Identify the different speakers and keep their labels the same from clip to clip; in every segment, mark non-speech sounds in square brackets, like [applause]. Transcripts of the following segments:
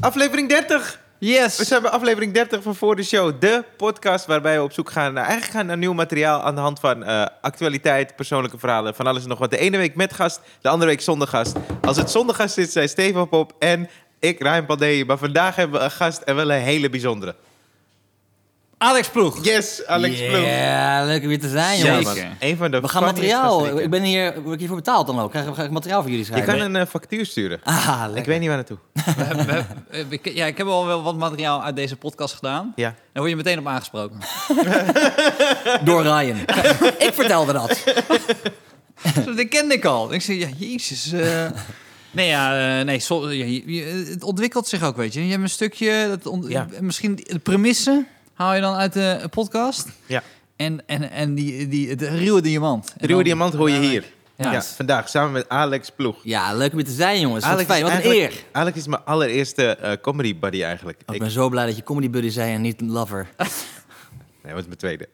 Speaker 1: Aflevering 30.
Speaker 2: Yes!
Speaker 1: We zijn bij aflevering 30 van Voor de Show. De podcast waarbij we op zoek gaan naar, eigenlijk gaan naar nieuw materiaal aan de hand van eh, actualiteit, persoonlijke verhalen, van alles en nog wat. De ene week met gast, de andere week zonder gast. Als het zonder gast is, zijn Stefan Pop en ik, Ryan Pandey. Maar vandaag hebben we een gast en wel een hele bijzondere.
Speaker 2: Alex Ploeg.
Speaker 1: Yes, Alex
Speaker 2: Ja,
Speaker 1: Ploem.
Speaker 2: leuk om weer te zijn,
Speaker 1: Ja,
Speaker 2: jongens.
Speaker 1: man.
Speaker 3: Zeker.
Speaker 1: Een van de
Speaker 2: We gaan
Speaker 1: funniest
Speaker 2: materiaal...
Speaker 1: gasten.
Speaker 2: Ik ben hier... Word ik hiervoor betaald dan ook? Krijg, krijg ik materiaal voor jullie
Speaker 1: Je
Speaker 2: schrijven?
Speaker 1: kan een eh, factuur sturen.
Speaker 2: Ah,
Speaker 1: Ik
Speaker 2: lekker.
Speaker 1: weet niet waar naartoe.
Speaker 3: We hebben- we hebben- eh, ik- ja, ik heb al wel wat materiaal uit deze podcast gedaan.
Speaker 1: Ja.
Speaker 3: Daar word je meteen op
Speaker 1: [laughs]
Speaker 3: aangesproken.
Speaker 2: Door Ryan. [laughs] ik vertelde dat.
Speaker 3: dat kende ik al. Ik zei, ja, jezus. eh. Nee, ja, eh, nee, so- ja, je- je- het ontwikkelt zich ook, weet je. Je hebt een stukje, dat ont-
Speaker 1: Ja.
Speaker 3: misschien de premissen haal je dan uit de podcast.
Speaker 1: Ja.
Speaker 3: En, en, en die, die, de ruwe diamant. En
Speaker 1: De Ruwe
Speaker 3: dan-
Speaker 1: Diamant hoor je hier. Ja.
Speaker 3: Ja.
Speaker 1: vandaag samen met Alex Ploeg.
Speaker 2: Ja, leuk om weer te zijn, jongens. Wat
Speaker 1: Alex
Speaker 2: fijn.
Speaker 1: is
Speaker 2: Wat een
Speaker 1: eigenlijk-
Speaker 2: eer.
Speaker 1: Alex is mijn allereerste eh, comedy buddy eigenlijk.
Speaker 2: Oh, ik
Speaker 1: Ik,
Speaker 2: ben zo blij dat je comedy buddy zei en niet lover.
Speaker 1: nee, dat is mijn
Speaker 2: [laughs]
Speaker 1: tweede.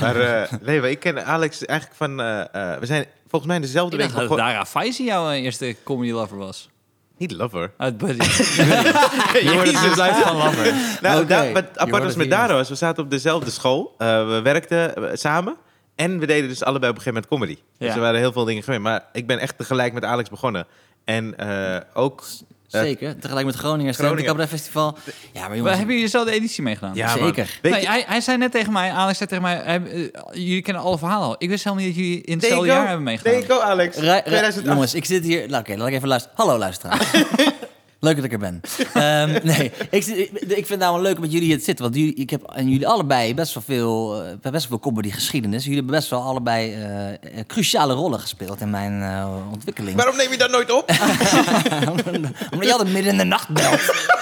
Speaker 1: maar eh, nee, maar ik ken Alex eigenlijk van... eh, eh, we zijn volgens mij dezelfde
Speaker 3: Ik
Speaker 1: week
Speaker 3: dacht dat
Speaker 1: begonnen.
Speaker 3: Dara Faisi jouw eh, eerste comedy lover was.
Speaker 1: Niet
Speaker 3: [laughs]
Speaker 1: lover.
Speaker 3: Uit Buddy. je wordt het dus uit van lover.
Speaker 1: [laughs] Nou,
Speaker 2: Oké.
Speaker 1: da- wat
Speaker 2: Je
Speaker 1: apart
Speaker 2: hoort
Speaker 1: was
Speaker 2: het
Speaker 1: met
Speaker 2: hier.
Speaker 1: Daro was, we zaten op dezelfde school. Eh, we werkten eh, samen. En we deden dus allebei op een gegeven moment comedy. Dus
Speaker 3: Ja.
Speaker 1: er waren heel veel dingen gemeen. Maar ik ben echt tegelijk met Alex begonnen. En eh, ook... eh,
Speaker 2: Zeker. Tegelijk met Groningen. Groningen.
Speaker 1: Groningen.
Speaker 2: Cabaret Festival. Ja, maar
Speaker 3: Hebben
Speaker 2: jongens...
Speaker 3: jullie dezelfde editie meegedaan?
Speaker 1: ja, man.
Speaker 2: Zeker.
Speaker 1: Weet
Speaker 3: nee,
Speaker 1: je-
Speaker 3: hij, hij zei net tegen mij, Alex zei tegen mij, hij- eh, jullie kennen alle verhalen al. Ik wist helemaal niet dat jullie in hetzelfde
Speaker 1: There you
Speaker 3: jaar
Speaker 1: go.
Speaker 3: hebben meegedaan.
Speaker 1: There you go, Alex.
Speaker 2: Ra- ra-
Speaker 1: 2008.
Speaker 2: jongens, ik zit hier... Nou, Oké, laat ik even luisteren. Hallo, luisteraar. [laughs] leuk dat ik er ben. Ehm, [laughs] nee, ik, zit- ik, ik vind het namelijk leuk om met jullie hier te zitten. Want jullie, ik heb aan jullie allebei best wel veel, eh, best wel veel comedy geschiedenis. Jullie hebben best wel allebei eh, eh, cruciale rollen gespeeld in mijn eh, ontwikkeling.
Speaker 1: Waarom neem je dat nooit op?
Speaker 2: [laughs] Omdat je altijd midden in de nacht belt. [laughs]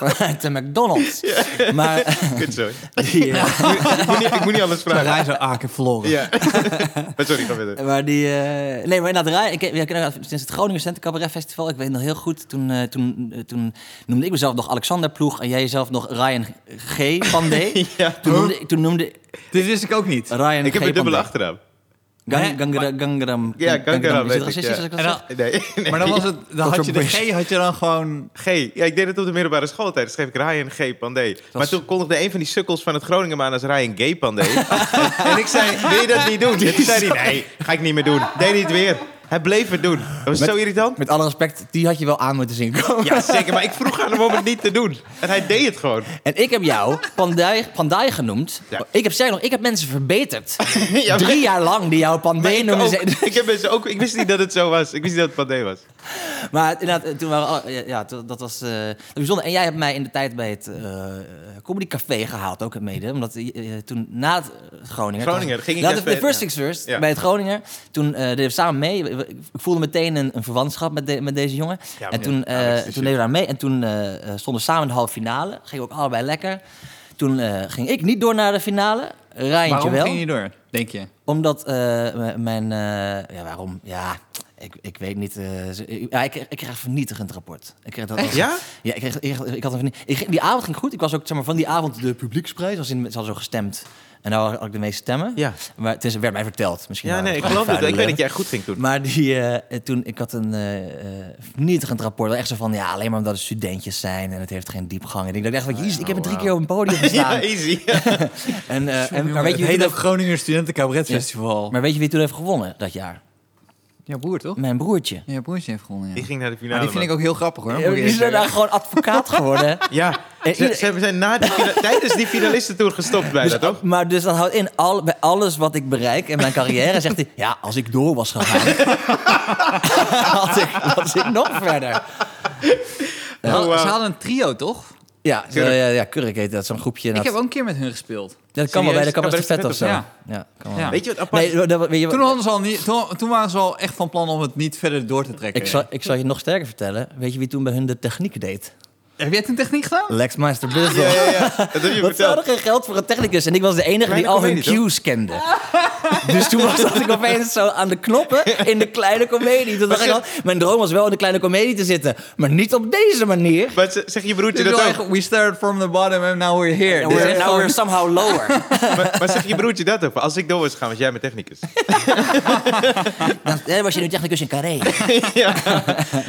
Speaker 2: Vanuit de McDonald's. Maar...
Speaker 1: [laughs] Kut, sorry.
Speaker 2: Ja.
Speaker 1: ik, moet niet, ik moet niet alles vragen.
Speaker 2: Parijs en Aken verloren.
Speaker 1: Ja. [laughs] maar sorry, ga verder.
Speaker 2: Maar die... eh, nee, maar inderdaad, Rai- ik, ik, ik, sinds het Groningen Center Cabaret Festival, ik weet nog heel goed, toen, eh, toen, eh, toen noemde ik mezelf nog Alexander Ploeg en jij jezelf nog Ryan G. van D.
Speaker 1: [laughs] Ja.
Speaker 2: toen, noemde, toen noemde
Speaker 3: Dit wist ik ook niet.
Speaker 2: Ryan
Speaker 1: Ik heb
Speaker 2: G.
Speaker 1: een dubbele
Speaker 2: Pandey.
Speaker 1: achternaam.
Speaker 2: Gang- Gangra- Gangram.
Speaker 1: Ja, Gangram,
Speaker 2: Is
Speaker 1: weet
Speaker 2: het
Speaker 1: ik,
Speaker 2: racistisch
Speaker 1: ja.
Speaker 2: als ik dat
Speaker 3: En dan-
Speaker 2: zeg?
Speaker 1: Nee, nee. [laughs]
Speaker 3: Maar dan was het, dan had je de
Speaker 2: Wat
Speaker 3: G, had je dan gewoon...
Speaker 1: G. Ja, ik deed het op de middelbare schooltijd. Dus schreef ik Ryan G. Pandey. Maar toen kondigde een van die sukkels van het Groningen aan als Ryan G. Pandey. En- en ik zei, wil je dat niet doen? En toen zei hij, nee, ga ik niet meer doen. Deed hij het weer. Hij bleef het doen. Dat was zo irritant.
Speaker 2: Met alle respect, die had je wel aan moeten zien komen.
Speaker 1: Ja, zeker. Maar ik vroeg aan hem om het niet te doen. En hij deed het gewoon.
Speaker 2: En ik heb jou Pandai, Pandai genoemd.
Speaker 1: Ja.
Speaker 2: Ik heb zeg nog, ik heb mensen verbeterd.
Speaker 1: [laughs] Ja, maar-
Speaker 2: Drie jaar lang die jou
Speaker 1: Maar
Speaker 2: Pandai
Speaker 1: ik,
Speaker 2: noemden.
Speaker 1: ook,
Speaker 2: ze- [laughs]
Speaker 1: ik, heb mensen ook, ik wist niet dat het zo was. Ik wist niet dat het Pandey was.
Speaker 2: Maar inderdaad, eh, toen waren we al- ja, ja, toen- dat was eh, bijzonder. En jij hebt mij in de tijd bij het eh Comedy Café gehaald, ook mede. Omdat eh, eh, toen na het eh, Groningen...
Speaker 1: Groningen,
Speaker 2: toen-
Speaker 1: ging ik
Speaker 2: na
Speaker 1: even-
Speaker 2: de, de First
Speaker 1: ja.
Speaker 2: Things First,
Speaker 1: Ja.
Speaker 2: bij het Groningen. Toen eh deden we samen mee. We- we- Ik voelde meteen een, een verwantschap met, de- met deze jongen.
Speaker 1: Ja, maar
Speaker 2: en toen,
Speaker 1: ja,
Speaker 2: eh,
Speaker 1: Alex is
Speaker 2: toen
Speaker 1: shit.
Speaker 2: deden we daar mee. En toen eh, eh, stonden we samen in de halve finale. Gingen we ook allebei lekker. Toen eh, ging ik niet door naar de finale. Rijntje
Speaker 3: Waarom
Speaker 2: wel.
Speaker 3: ging je door, denk je?
Speaker 2: Omdat eh, m- mijn... eh, ja, waarom? Ja, ik, ik weet niet. eh, ze- ik, ja, ik, kreeg- ik kreeg een vernietigend rapport. Ik kreeg dat als-
Speaker 1: Ja?
Speaker 2: Ja, ik, kreeg, ik, kreeg- ik had een vernie- ik ging- Die avond ging goed. Ik was ook zeg maar, van die avond de publieksprijs. Als in, ze hadden zo gestemd. En daar had ik de meeste stemmen.
Speaker 1: Ja.
Speaker 2: Maar het is, werd mij verteld. Misschien
Speaker 1: Ja,
Speaker 2: waren
Speaker 1: nee, ik
Speaker 2: het gewoon
Speaker 1: geloof het. Ik
Speaker 2: vuile
Speaker 1: weet dat jij goed ging toen.
Speaker 2: maar die, eh, eh, toen, ik had een eh, eh, vernietigend rapport. Echt zo van, ja, alleen maar omdat het studentjes zijn en het heeft geen diepgang. En ik dacht echt, van, jezus, ik heb er drie keer op een podium gestaan.
Speaker 1: Oh, [laughs] Ja, easy.
Speaker 2: en, eh, en, maar, weet je, wie
Speaker 3: het
Speaker 2: toen
Speaker 3: heet ook
Speaker 2: heeft,
Speaker 3: Groninger Studenten Cabaret Festival.
Speaker 2: maar weet je wie toen heeft gewonnen dat jaar?
Speaker 3: Jouw broer, toch?
Speaker 2: Mijn broertje.
Speaker 3: Ja, Jouw broertje heeft gewonnen, ja.
Speaker 1: Die ging naar de finale.
Speaker 3: Maar die vind
Speaker 1: man.
Speaker 3: ik ook heel grappig, hoor.
Speaker 2: Ja,
Speaker 3: moet ik
Speaker 2: Die
Speaker 3: eerlijk
Speaker 2: zijn daar
Speaker 3: zeggen.
Speaker 2: gewoon advocaat geworden.
Speaker 1: Ja,
Speaker 2: En
Speaker 1: ze,
Speaker 2: ieder-
Speaker 1: ze hebben- zijn na die fina- tijdens die finalistentour gestopt bij dat, toch?
Speaker 2: Maar dus dat houdt in, al, bij alles wat ik bereik in mijn carrière, zegt hij... Ja, als ik door was gegaan, [laughs] had ik, was ik nog verder.
Speaker 3: Ze hadden-
Speaker 1: Oh, wauw.
Speaker 3: Ze hadden een trio, toch?
Speaker 2: Ja, zo,
Speaker 1: Kurk.
Speaker 2: ja, ja Kurk heet dat, zo'n groepje.
Speaker 3: Ik
Speaker 2: Dat,
Speaker 3: heb ook een keer met hun gespeeld.
Speaker 2: dat kan wel bij de
Speaker 3: Serieus?
Speaker 1: Cabaret
Speaker 2: Cabaret Vet of zo.
Speaker 3: Ja.
Speaker 2: Ja, kan wel.
Speaker 3: Ja.
Speaker 1: Weet je wat apart?
Speaker 2: Nee, dat- dat- weet Oh. je wat-
Speaker 3: Toen, hadden ze al niet, toen, toen waren ze al echt van plan om het niet verder door te trekken.
Speaker 2: ik, zal, ik zal je nog sterker vertellen. Weet je wie toen bij hun de techniek deed?
Speaker 3: Heb jij het in techniek gedaan?
Speaker 2: Lexmeister Bizzle.
Speaker 1: Ja, ja, ja. Dat heb je
Speaker 2: [laughs] Wat ze hadden
Speaker 1: verteld.
Speaker 2: geen geld voor een technicus. En ik was de enige die
Speaker 1: Kleine
Speaker 2: al hun
Speaker 1: comedie,
Speaker 2: cues kende. Dus toen was dat ik opeens zo aan de knoppen in de kleine komedie. Toen dacht ik al, mijn droom was wel in de kleine komedie te zitten. Maar niet op deze manier.
Speaker 1: Maar ze- zeg je broertje
Speaker 3: Ik bedoel
Speaker 1: dat ook?
Speaker 3: echt, we started from the bottom and now we're here.
Speaker 2: And
Speaker 3: Dit is
Speaker 2: we're,
Speaker 3: echt
Speaker 2: now
Speaker 3: gewoon-
Speaker 2: we're nou somehow
Speaker 1: [laughs]
Speaker 2: lower.
Speaker 1: Maar, maar zeg je broertje dat ook? Als ik door was gaan, was jij mijn technicus. [laughs]
Speaker 2: Dan eh, was je nu technicus in Carré.
Speaker 1: ja.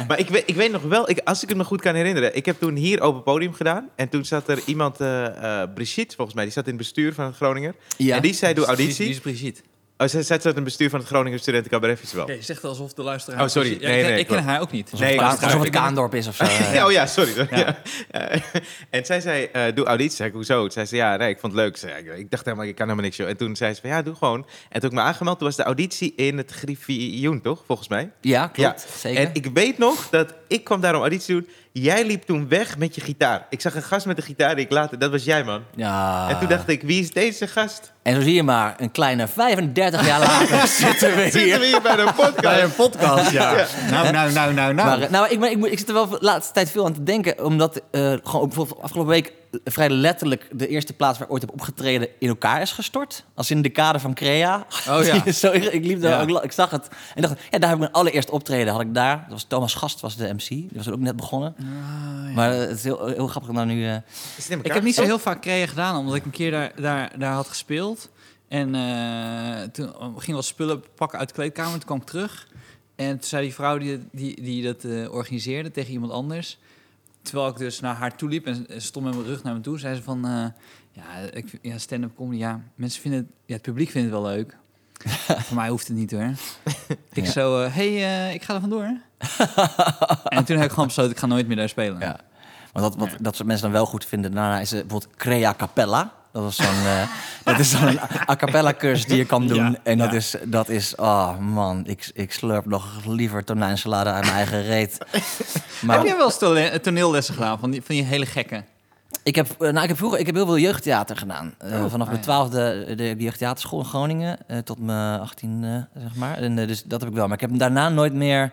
Speaker 1: Maar ik weet, ik weet nog wel, ik, als ik het me goed kan herinneren. Ik heb toen hier open podium gedaan. En toen zat er iemand, eh, eh, Brigitte volgens mij, die zat in het bestuur van het Groninger.
Speaker 2: Ja.
Speaker 1: En die zei: Doe auditie.
Speaker 3: Die is Brigitte.
Speaker 1: Oh, zij, zij zat in het bestuur van het Groninger Studenten Cabaret Festival.
Speaker 3: Oké, zegt alsof de luisteraar...
Speaker 1: Oh, sorry.
Speaker 3: Ja,
Speaker 1: Nee,
Speaker 3: ik,
Speaker 1: nee,
Speaker 3: ik ken
Speaker 1: klopt.
Speaker 3: haar ook niet.
Speaker 1: Nee,
Speaker 2: Alsof-
Speaker 1: luisteraar,
Speaker 2: Alsof het
Speaker 1: ik ben-
Speaker 2: Kaandorp is of zo.
Speaker 1: [laughs] Ja, oh ja, sorry. Ja. Eh, en zij zei, eh, doe auditie. Zei ik, hoezo? Toen zei ze, ja, nee, ik vond het leuk. Ze Zei, ik, ik dacht helemaal, ik kan helemaal niks, joh. En toen zei ze, van, ja, doe gewoon. En toen ik me aangemeld, toen was de auditie in het Griffioen, toch? Volgens mij.
Speaker 2: Ja, klopt.
Speaker 1: Ja.
Speaker 2: Zeker.
Speaker 1: En ik weet nog dat ik kwam daar om auditie te doen. Jij liep toen weg met je gitaar. Ik zag een gast met een gitaar die ik later... Dat was jij, man.
Speaker 2: ja.
Speaker 1: En toen dacht ik, wie is deze gast?
Speaker 2: En zo zie je maar, een kleine 35
Speaker 1: [laughs]
Speaker 2: jaar later zitten we
Speaker 1: Zitten
Speaker 2: hier.
Speaker 1: we hier bij de podcast?
Speaker 3: een podcast, ja. Nou, nou, nou, nou, nou.
Speaker 2: Maar, eh, nou, ik, ben- ik, moet- ik zit er wel de laatste tijd veel aan te denken. Omdat eh, gewoon ook bijvoorbeeld afgelopen week eh, vrij letterlijk de eerste plaats waar ik ooit heb opgetreden in elkaar is gestort. Als in de kader van Crea.
Speaker 1: [laughs]
Speaker 3: Oh
Speaker 2: [laughs]
Speaker 3: ja.
Speaker 2: Zo, ik, ik liep daar,
Speaker 3: Ja.
Speaker 2: ook la- ik zag het. En dacht, ja, daar heb ik mijn allereerste optreden. Had ik daar. Dat was Thomas Gast, was de MC. Die was ook net begonnen.
Speaker 3: Ah,
Speaker 2: Maar eh, het is heel, heel grappig om daar nu... eh,
Speaker 1: Is het in
Speaker 3: Ik
Speaker 1: elkaar Oh,
Speaker 3: heb niet zo
Speaker 1: gestopt?
Speaker 3: heel vaak creë gedaan, omdat ik een keer daar, daar, daar had gespeeld. En eh, toen ging ik wat spullen pakken uit de kleedkamer. Toen kwam ik terug. En toen zei die vrouw die, die, die dat eh, organiseerde tegen iemand anders. Terwijl ik dus naar haar toe liep en ze stond met mijn rug naar me toe. Zei ze van, eh, ja, ik, vind- ja stand-up comedy, ja, mensen vinden het, ja, het publiek vindt het wel
Speaker 2: [laughs]
Speaker 3: leuk. Voor mij hoeft het niet hoor. Ik
Speaker 2: Ja.
Speaker 3: zo, eh, hey, eh, ik ga er
Speaker 2: [laughs]
Speaker 3: vandoor. en toen heb ik gewoon besloten, ik ga nooit meer daar spelen.
Speaker 2: Ja. Maar dat, wat, dat soort mensen dan wel goed vinden, daarna is eh, bijvoorbeeld Crea Capella. Dat, was zo'n, eh, [laughs] dat is zo'n a cappella cursus die je kan doen.
Speaker 3: Ja,
Speaker 2: en dat
Speaker 3: ja.
Speaker 2: is, dat is, oh man, ik, ik slurp nog liever tonijnsalade uit mijn eigen
Speaker 3: [laughs]
Speaker 2: reet.
Speaker 3: Heb
Speaker 2: Maar
Speaker 3: jij wel eens tole- eh, toneellessen gedaan van die, van die hele gekke?
Speaker 2: ik heb, eh, nou, ik heb vroeger ik heb heel veel jeugdtheater gedaan. Eh, vanaf
Speaker 3: ah,
Speaker 2: mijn
Speaker 3: ja.
Speaker 2: twaalfde eh, deed ik jeugdtheaterschool in Groningen eh, tot mijn 18, eh, zeg maar. En, eh, dus dat heb ik wel. Maar ik heb hem daarna nooit
Speaker 3: [laughs]
Speaker 2: meer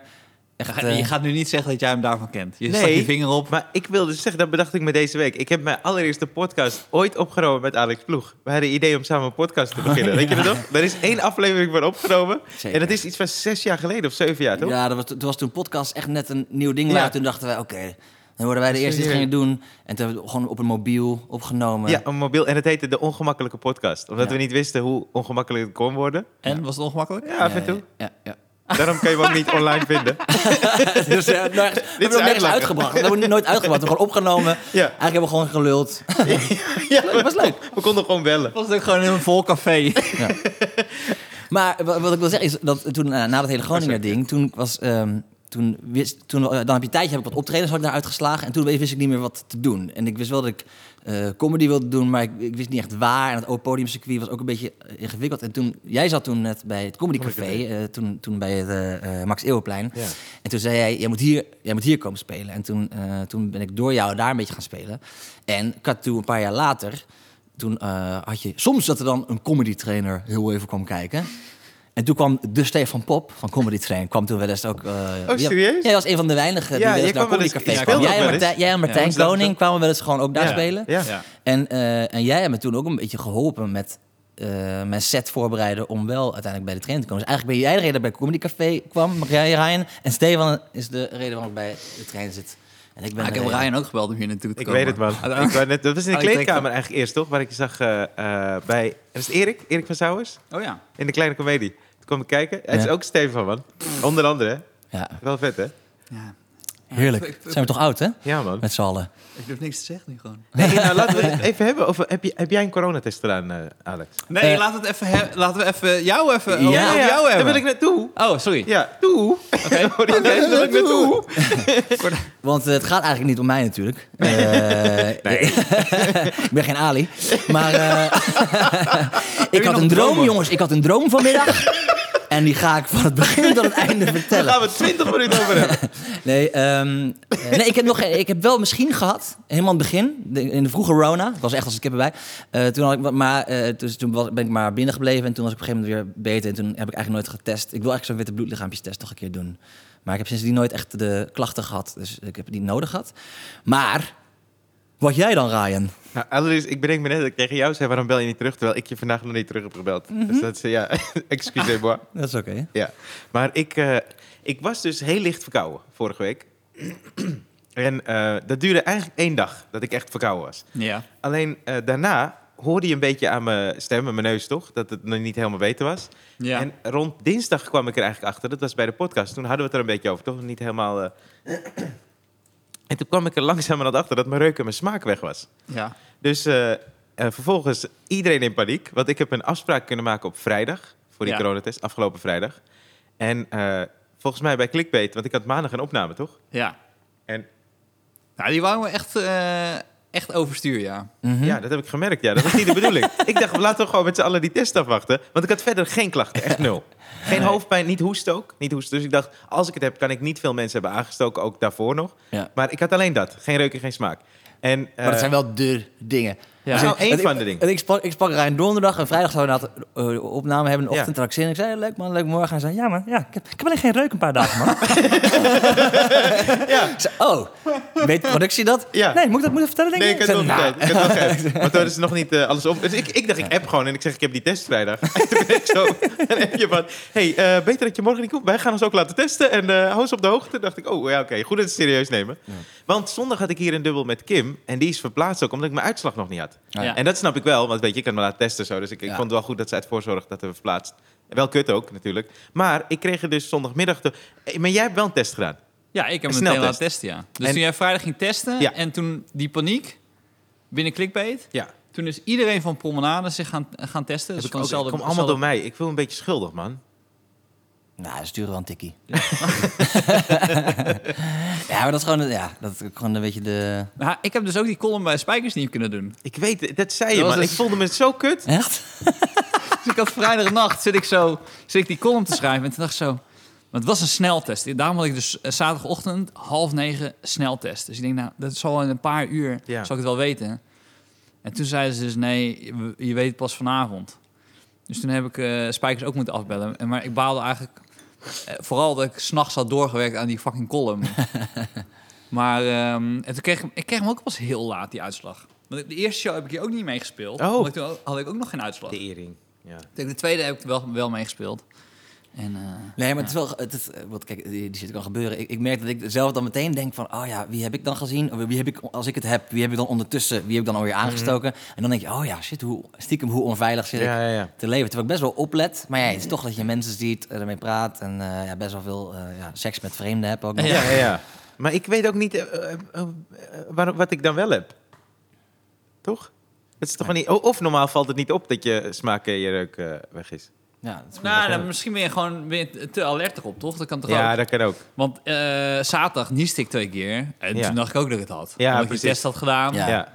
Speaker 2: echt... eh,
Speaker 3: je gaat nu niet zeggen dat jij hem daarvan kent. Je
Speaker 1: Nee.
Speaker 3: stak je vinger op.
Speaker 1: Maar ik wilde dus zeggen, dat bedacht ik me deze week. Ik heb mijn allereerste podcast ooit opgenomen met Alex Ploeg. We hadden het idee om samen een podcast te
Speaker 2: [laughs]
Speaker 1: beginnen. Weet je dat nog? Er is één aflevering van opgenomen.
Speaker 2: Zeker.
Speaker 1: En dat is iets van zes jaar geleden of zeven jaar, toch?
Speaker 2: Ja, dat was, toen was toen podcast echt net een nieuw ding.
Speaker 1: Ja.
Speaker 2: waren. Toen dachten wij, oké, dan worden wij de eerste die het
Speaker 1: Serieus.
Speaker 2: gingen doen. En toen hebben we het gewoon op een mobiel opgenomen.
Speaker 1: Ja, een mobiel. En het heette De Ongemakkelijke Podcast. Omdat
Speaker 2: Ja.
Speaker 1: we niet wisten hoe ongemakkelijk het kon worden.
Speaker 3: En, was het ongemakkelijk?
Speaker 1: Ja, af en toe.
Speaker 2: Ja, ja.
Speaker 1: Daarom kan je hem ook niet online vinden.
Speaker 2: [laughs] Dus eh,
Speaker 1: [laughs]
Speaker 2: nergens- we hebben het ook nergens
Speaker 1: uitlachen.
Speaker 2: uitgebracht. We hebben het nooit uitgebracht. We hebben gewoon
Speaker 1: [laughs]
Speaker 2: opgenomen.
Speaker 1: Ja.
Speaker 2: Eigenlijk hebben we gewoon geluld.
Speaker 1: [laughs] Ja,
Speaker 2: Leuk, was leuk.
Speaker 1: We konden gewoon bellen.
Speaker 3: Was het ook gewoon in een vol
Speaker 1: [laughs]
Speaker 3: café?
Speaker 2: Maar wa- wat ik wil zeggen is dat toen, eh, na dat hele Groninger-ding, toen was. ehm, toen, wist, toen eh, dan heb je een tijdje heb ik wat optredens had ik daar uitgeslagen. En toen wist ik niet meer wat te doen. En ik wist wel dat ik eh, comedy wilde doen, maar ik, ik wist niet echt waar. En het open podiumcircuit was ook een beetje eh, ingewikkeld. En toen, jij zat toen net bij het Comedy Café, eh, toen, toen bij het eh, eh, Max Eeuwenplein.
Speaker 1: Ja.
Speaker 2: En toen zei jij, jij moet hier, jij moet hier komen spelen. En toen, eh, toen ben ik door jou daar een beetje gaan spelen. En ik had toen een paar jaar later, toen eh, had je soms dat er dan een comedy trainer heel even kwam kijken. En toen kwam de Stefan Pop van Comedy Train, kwam toen wel eens ook... eh, die-
Speaker 1: Oh, serieus?
Speaker 2: Jij was een van de weinigen die
Speaker 1: Ja,
Speaker 2: wel
Speaker 1: jij
Speaker 2: eens naar
Speaker 1: kwam wel
Speaker 2: Comedy
Speaker 1: eens-
Speaker 2: Café
Speaker 1: ik
Speaker 2: kwam.
Speaker 1: speelde
Speaker 2: Jij en
Speaker 1: ook wel
Speaker 2: Martijn, jij en Martijn
Speaker 1: woensdag-
Speaker 2: Koning kwamen wel eens gewoon ook daar
Speaker 3: Ja,
Speaker 2: spelen.
Speaker 1: Ja.
Speaker 2: En, eh, en jij hebt me toen ook een beetje geholpen met eh, mijn set voorbereiden om wel uiteindelijk bij de trainer te komen. Dus eigenlijk ben jij de reden dat ik bij Comedy Café kwam, maar jij Ryan. En Stefan is de reden waarom ik bij de trainer zit. En ik ben
Speaker 3: Ah, ik
Speaker 2: de
Speaker 3: heb
Speaker 2: reden-
Speaker 3: Ryan ook gebeld om hier naartoe te
Speaker 1: eh, Ik
Speaker 3: komen.
Speaker 1: weet het, man.
Speaker 2: Ah,
Speaker 1: Ik wou net, dat was in de
Speaker 3: Oh, ik denk
Speaker 1: kleedkamer
Speaker 3: dat-
Speaker 1: eigenlijk eerst, toch? Waar ik je zag eh, eh, bij... Dat is het Erik? Erik van Souwers?
Speaker 3: Oh ja.
Speaker 1: In de kleine komedie. Toen kwam ik kijken. Het is
Speaker 2: Ja.
Speaker 1: ook Stefan, man. Onder andere, hè?
Speaker 2: Ja,
Speaker 1: Wel vet, hè?
Speaker 3: ja.
Speaker 2: heerlijk. Zijn we toch oud, hè?
Speaker 1: Ja, man.
Speaker 2: Met z'n allen.
Speaker 3: Ik durf niks te zeggen nu gewoon.
Speaker 1: [laughs] Nee, nou, laten we het [laughs] even hebben over... Heb, je, heb jij een coronatest gedaan, eh, Alex?
Speaker 3: Nee,
Speaker 2: Eh,
Speaker 3: laat het even he- laten we even jou even
Speaker 2: Ja.
Speaker 3: over jou
Speaker 1: Daar
Speaker 3: hebben.
Speaker 1: wil ik naartoe.
Speaker 3: Oh, sorry.
Speaker 1: Ja, toe. Oké. [laughs] daar wil ik naartoe.
Speaker 2: Want eh, het gaat eigenlijk niet om mij
Speaker 3: [laughs]
Speaker 2: natuurlijk. Eh, [laughs] ik ben geen Ali. Maar eh, [laughs] ik had
Speaker 3: nog
Speaker 2: een droom,
Speaker 3: dromen?
Speaker 2: jongens. Ik had een droom vanmiddag. en die ga ik van het begin tot het einde
Speaker 1: Daar
Speaker 2: vertellen.
Speaker 1: gaan we 20 minuten over hebben.
Speaker 2: Nee, ehm, eh, nee ik, heb nog, geen- ik heb wel misschien gehad, helemaal in het begin, de- in de vroege Rona. Ik was echt als een kippen bij. Eh, toen had ik, wat- maar eh, dus toen was, ben ik maar binnen gebleven en toen was ik op een gegeven moment weer beter. En toen heb ik eigenlijk nooit getest. Ik wil eigenlijk zo'n witte bloedlichaampjestest nog een keer doen. Maar ik heb sindsdien nooit echt de klachten gehad, dus ik heb het niet nodig gehad. Maar Wat jij dan, Ryan?
Speaker 1: [laughs] Nou, Annelies, ik bedenk me net dat ik tegen jou zei, waarom bel je niet terug? Terwijl ik je vandaag nog niet terug heb gebeld. Dus dat is, eh, ja, [laughs] excusez-moi.
Speaker 2: Dat is oké.
Speaker 1: Ja. Maar ik, eh, ik was dus heel licht verkouden vorige week. [clears throat] en eh, dat duurde eigenlijk één dag, dat ik echt verkouden was.
Speaker 3: Ja.
Speaker 1: Alleen eh, daarna hoorde je een beetje aan mijn stem en mijn neus, toch? Dat het nog niet helemaal beter was.
Speaker 3: Ja.
Speaker 1: En rond dinsdag kwam ik er eigenlijk achter. Dat was bij de podcast. Toen hadden we het er een beetje over, toch? Niet helemaal... eh. [clears throat] en toen kwam ik er langzamerhand achter dat mijn reuk en mijn smaak weg was.
Speaker 3: ja.
Speaker 1: Dus eh, eh, vervolgens iedereen in paniek. Want ik heb een afspraak kunnen maken op vrijdag. Voor die
Speaker 3: Ja.
Speaker 1: coronatest, afgelopen vrijdag. En eh, volgens mij bij Clickbait, want ik had maandag een opname, toch?
Speaker 3: Ja.
Speaker 1: En-
Speaker 3: Nou, die wouden we echt, eh, echt overstuur, ja.
Speaker 2: Mhm.
Speaker 1: Ja, dat heb ik gemerkt. Ja, dat was niet de
Speaker 2: [laughs]
Speaker 1: bedoeling. Ik dacht, laten we gewoon met z'n allen die test afwachten. Want ik had verder geen klachten, echt nul. Geen hoofdpijn, niet hoest ook. Niet hoest. Dus ik dacht, als ik het heb, kan ik niet veel mensen hebben aangestoken. Ook daarvoor nog.
Speaker 2: Ja.
Speaker 1: Maar ik had alleen dat. Geen reuk en geen smaak. En, eh,
Speaker 2: Maar dat zijn wel de dingen.
Speaker 3: Ja.
Speaker 2: Dus
Speaker 1: Nou,
Speaker 2: ik-
Speaker 1: één
Speaker 2: want ik-
Speaker 1: van de dingen.
Speaker 2: en Ik sprak, ik sprak Rijn donderdag en vrijdag zouden we inderdaad, eh, de opname hebben. Een
Speaker 1: Ja.
Speaker 2: ochtend had ik zin. in. Ik zei, leuk man, leuk morgen. Hij zei, ja man, ja, ik, heb, ik heb alleen geen reuk een paar dagen man.
Speaker 1: [laughs] Ja.
Speaker 2: Ik zei, oh, weet de productie dat?
Speaker 1: Ja.
Speaker 2: Nee, moet ik dat moeten vertellen denk
Speaker 1: Nee,
Speaker 2: je?
Speaker 1: ik heb
Speaker 2: zei,
Speaker 1: het nog
Speaker 2: nou,
Speaker 1: tijd. Ik heb het nog [laughs] tijd. Want toen is nog niet eh, alles op. Dus ik, ik dacht, ik app gewoon en ik zeg, ik heb die test vrijdag. [laughs] En toen ben ik zo een appje van, hey, eh, beter dat je morgen niet komt. Wij gaan ons ook laten testen en eh hou ons op de hoogte. Toen dacht ik, oh ja, oké, goed dat ze het serieus nemen. Want zondag had ik hier een dubbel met Kim en die is verplaatst ook omdat ik mijn uitslag nog niet had.
Speaker 2: Ja.
Speaker 1: En dat snap ik wel, want weet je, ik kan me laten testen zo. Dus ik, ik
Speaker 2: Ja.
Speaker 1: vond het wel goed dat ze uit voorzorg dat hebben verplaatst. Wel kut ook, natuurlijk. Maar ik kreeg er dus zondagmiddag... te- Hey, maar jij hebt wel een test gedaan.
Speaker 3: Ja, ik
Speaker 1: Een
Speaker 3: heb hem meteen
Speaker 1: sneltest.
Speaker 3: laten testen, ja. Dus
Speaker 1: En-
Speaker 3: toen jij vrijdag ging testen
Speaker 1: Ja.
Speaker 3: en toen die paniek binnen Clickbait...
Speaker 1: Ja.
Speaker 3: Toen is iedereen van Promenade zich gaan, gaan testen.
Speaker 1: Dat
Speaker 3: Dus
Speaker 1: ik
Speaker 3: van
Speaker 1: ook,
Speaker 3: dezelfde-
Speaker 1: kom allemaal door
Speaker 3: dezelfde-
Speaker 1: mij. Ik voel me een beetje schuldig, man.
Speaker 2: Nou, dat sturen wel een tikkie. [laughs] ja, maar dat is gewoon, ja, dat is gewoon een beetje de...
Speaker 3: Nou, ik heb dus ook die column bij Spijkers niet kunnen doen.
Speaker 1: Ik weet het, dat zei je,
Speaker 3: Dat was
Speaker 1: man.
Speaker 3: dus-
Speaker 1: Ik voelde me zo kut.
Speaker 2: Echt?
Speaker 3: [laughs] Dus ik had vrijdagnacht zit ik zo zit ik die column te schrijven en toen dacht ik zo. Maar het was een sneltest. Daarom had ik dus eh, zaterdagochtend half negen sneltest. Dus ik denk, nou, dat zal in een paar uur
Speaker 1: Ja.
Speaker 3: zal ik het wel weten. En toen zeiden ze dus, nee, je- je weet het pas vanavond. Dus toen heb ik eh, Spijkers ook moeten afbellen. En, maar ik baalde eigenlijk eh, vooral dat ik s'nachts had doorgewerkt aan die fucking
Speaker 1: [laughs]
Speaker 3: column. maar ehm, en toen kreeg ik, hem- ik kreeg hem ook pas heel laat, die uitslag. Want de eerste show heb ik hier ook niet mee gespeeld.
Speaker 1: Oh.
Speaker 3: omdat ik toen ook- had ik ook nog geen uitslag.
Speaker 1: De eering. Ja.
Speaker 3: Ik denk, de tweede heb ik wel, wel meegespeeld. En, eh,
Speaker 2: Nee, maar het is wel. Het is, eh, want kijk, die, die shit kan gebeuren. Ik, ik merk dat ik zelf dan meteen denk van, oh ja, wie heb ik dan gezien? Of Wie heb ik, als ik het heb, wie heb ik dan ondertussen? Wie heb ik dan
Speaker 1: Mhm.
Speaker 2: alweer aangestoken? En dan denk je, oh ja, shit, hoe, stiekem hoe onveilig zit ik
Speaker 1: Ja, ja, ja.
Speaker 2: te leven. Terwijl ik best wel oplet. Maar ja, het is toch dat je mensen ziet, eh, ermee praat en eh, ja, best wel veel eh, ja, seks met vreemden heb ook nog.
Speaker 1: Ja, ja, ja. Maar ik weet ook niet eh, eh, eh, waar- wat ik dan wel heb. Toch? Het is toch wel niet, o- of normaal valt het niet op dat je smaak en je reuk eh, weg is.
Speaker 2: Ja, dat is goed.
Speaker 3: nou, dan misschien ben je gewoon ben je te- te alert erop, toch? Dat kan toch
Speaker 1: Ja,
Speaker 3: ook?
Speaker 1: dat kan ook.
Speaker 3: Want eh, zaterdag nieste ik twee keer. En
Speaker 1: Ja.
Speaker 3: toen dacht ik ook dat ik het had.
Speaker 1: Ja,
Speaker 3: Omdat ik
Speaker 1: precies.
Speaker 3: die test had gedaan.
Speaker 2: Ja.
Speaker 1: Ja.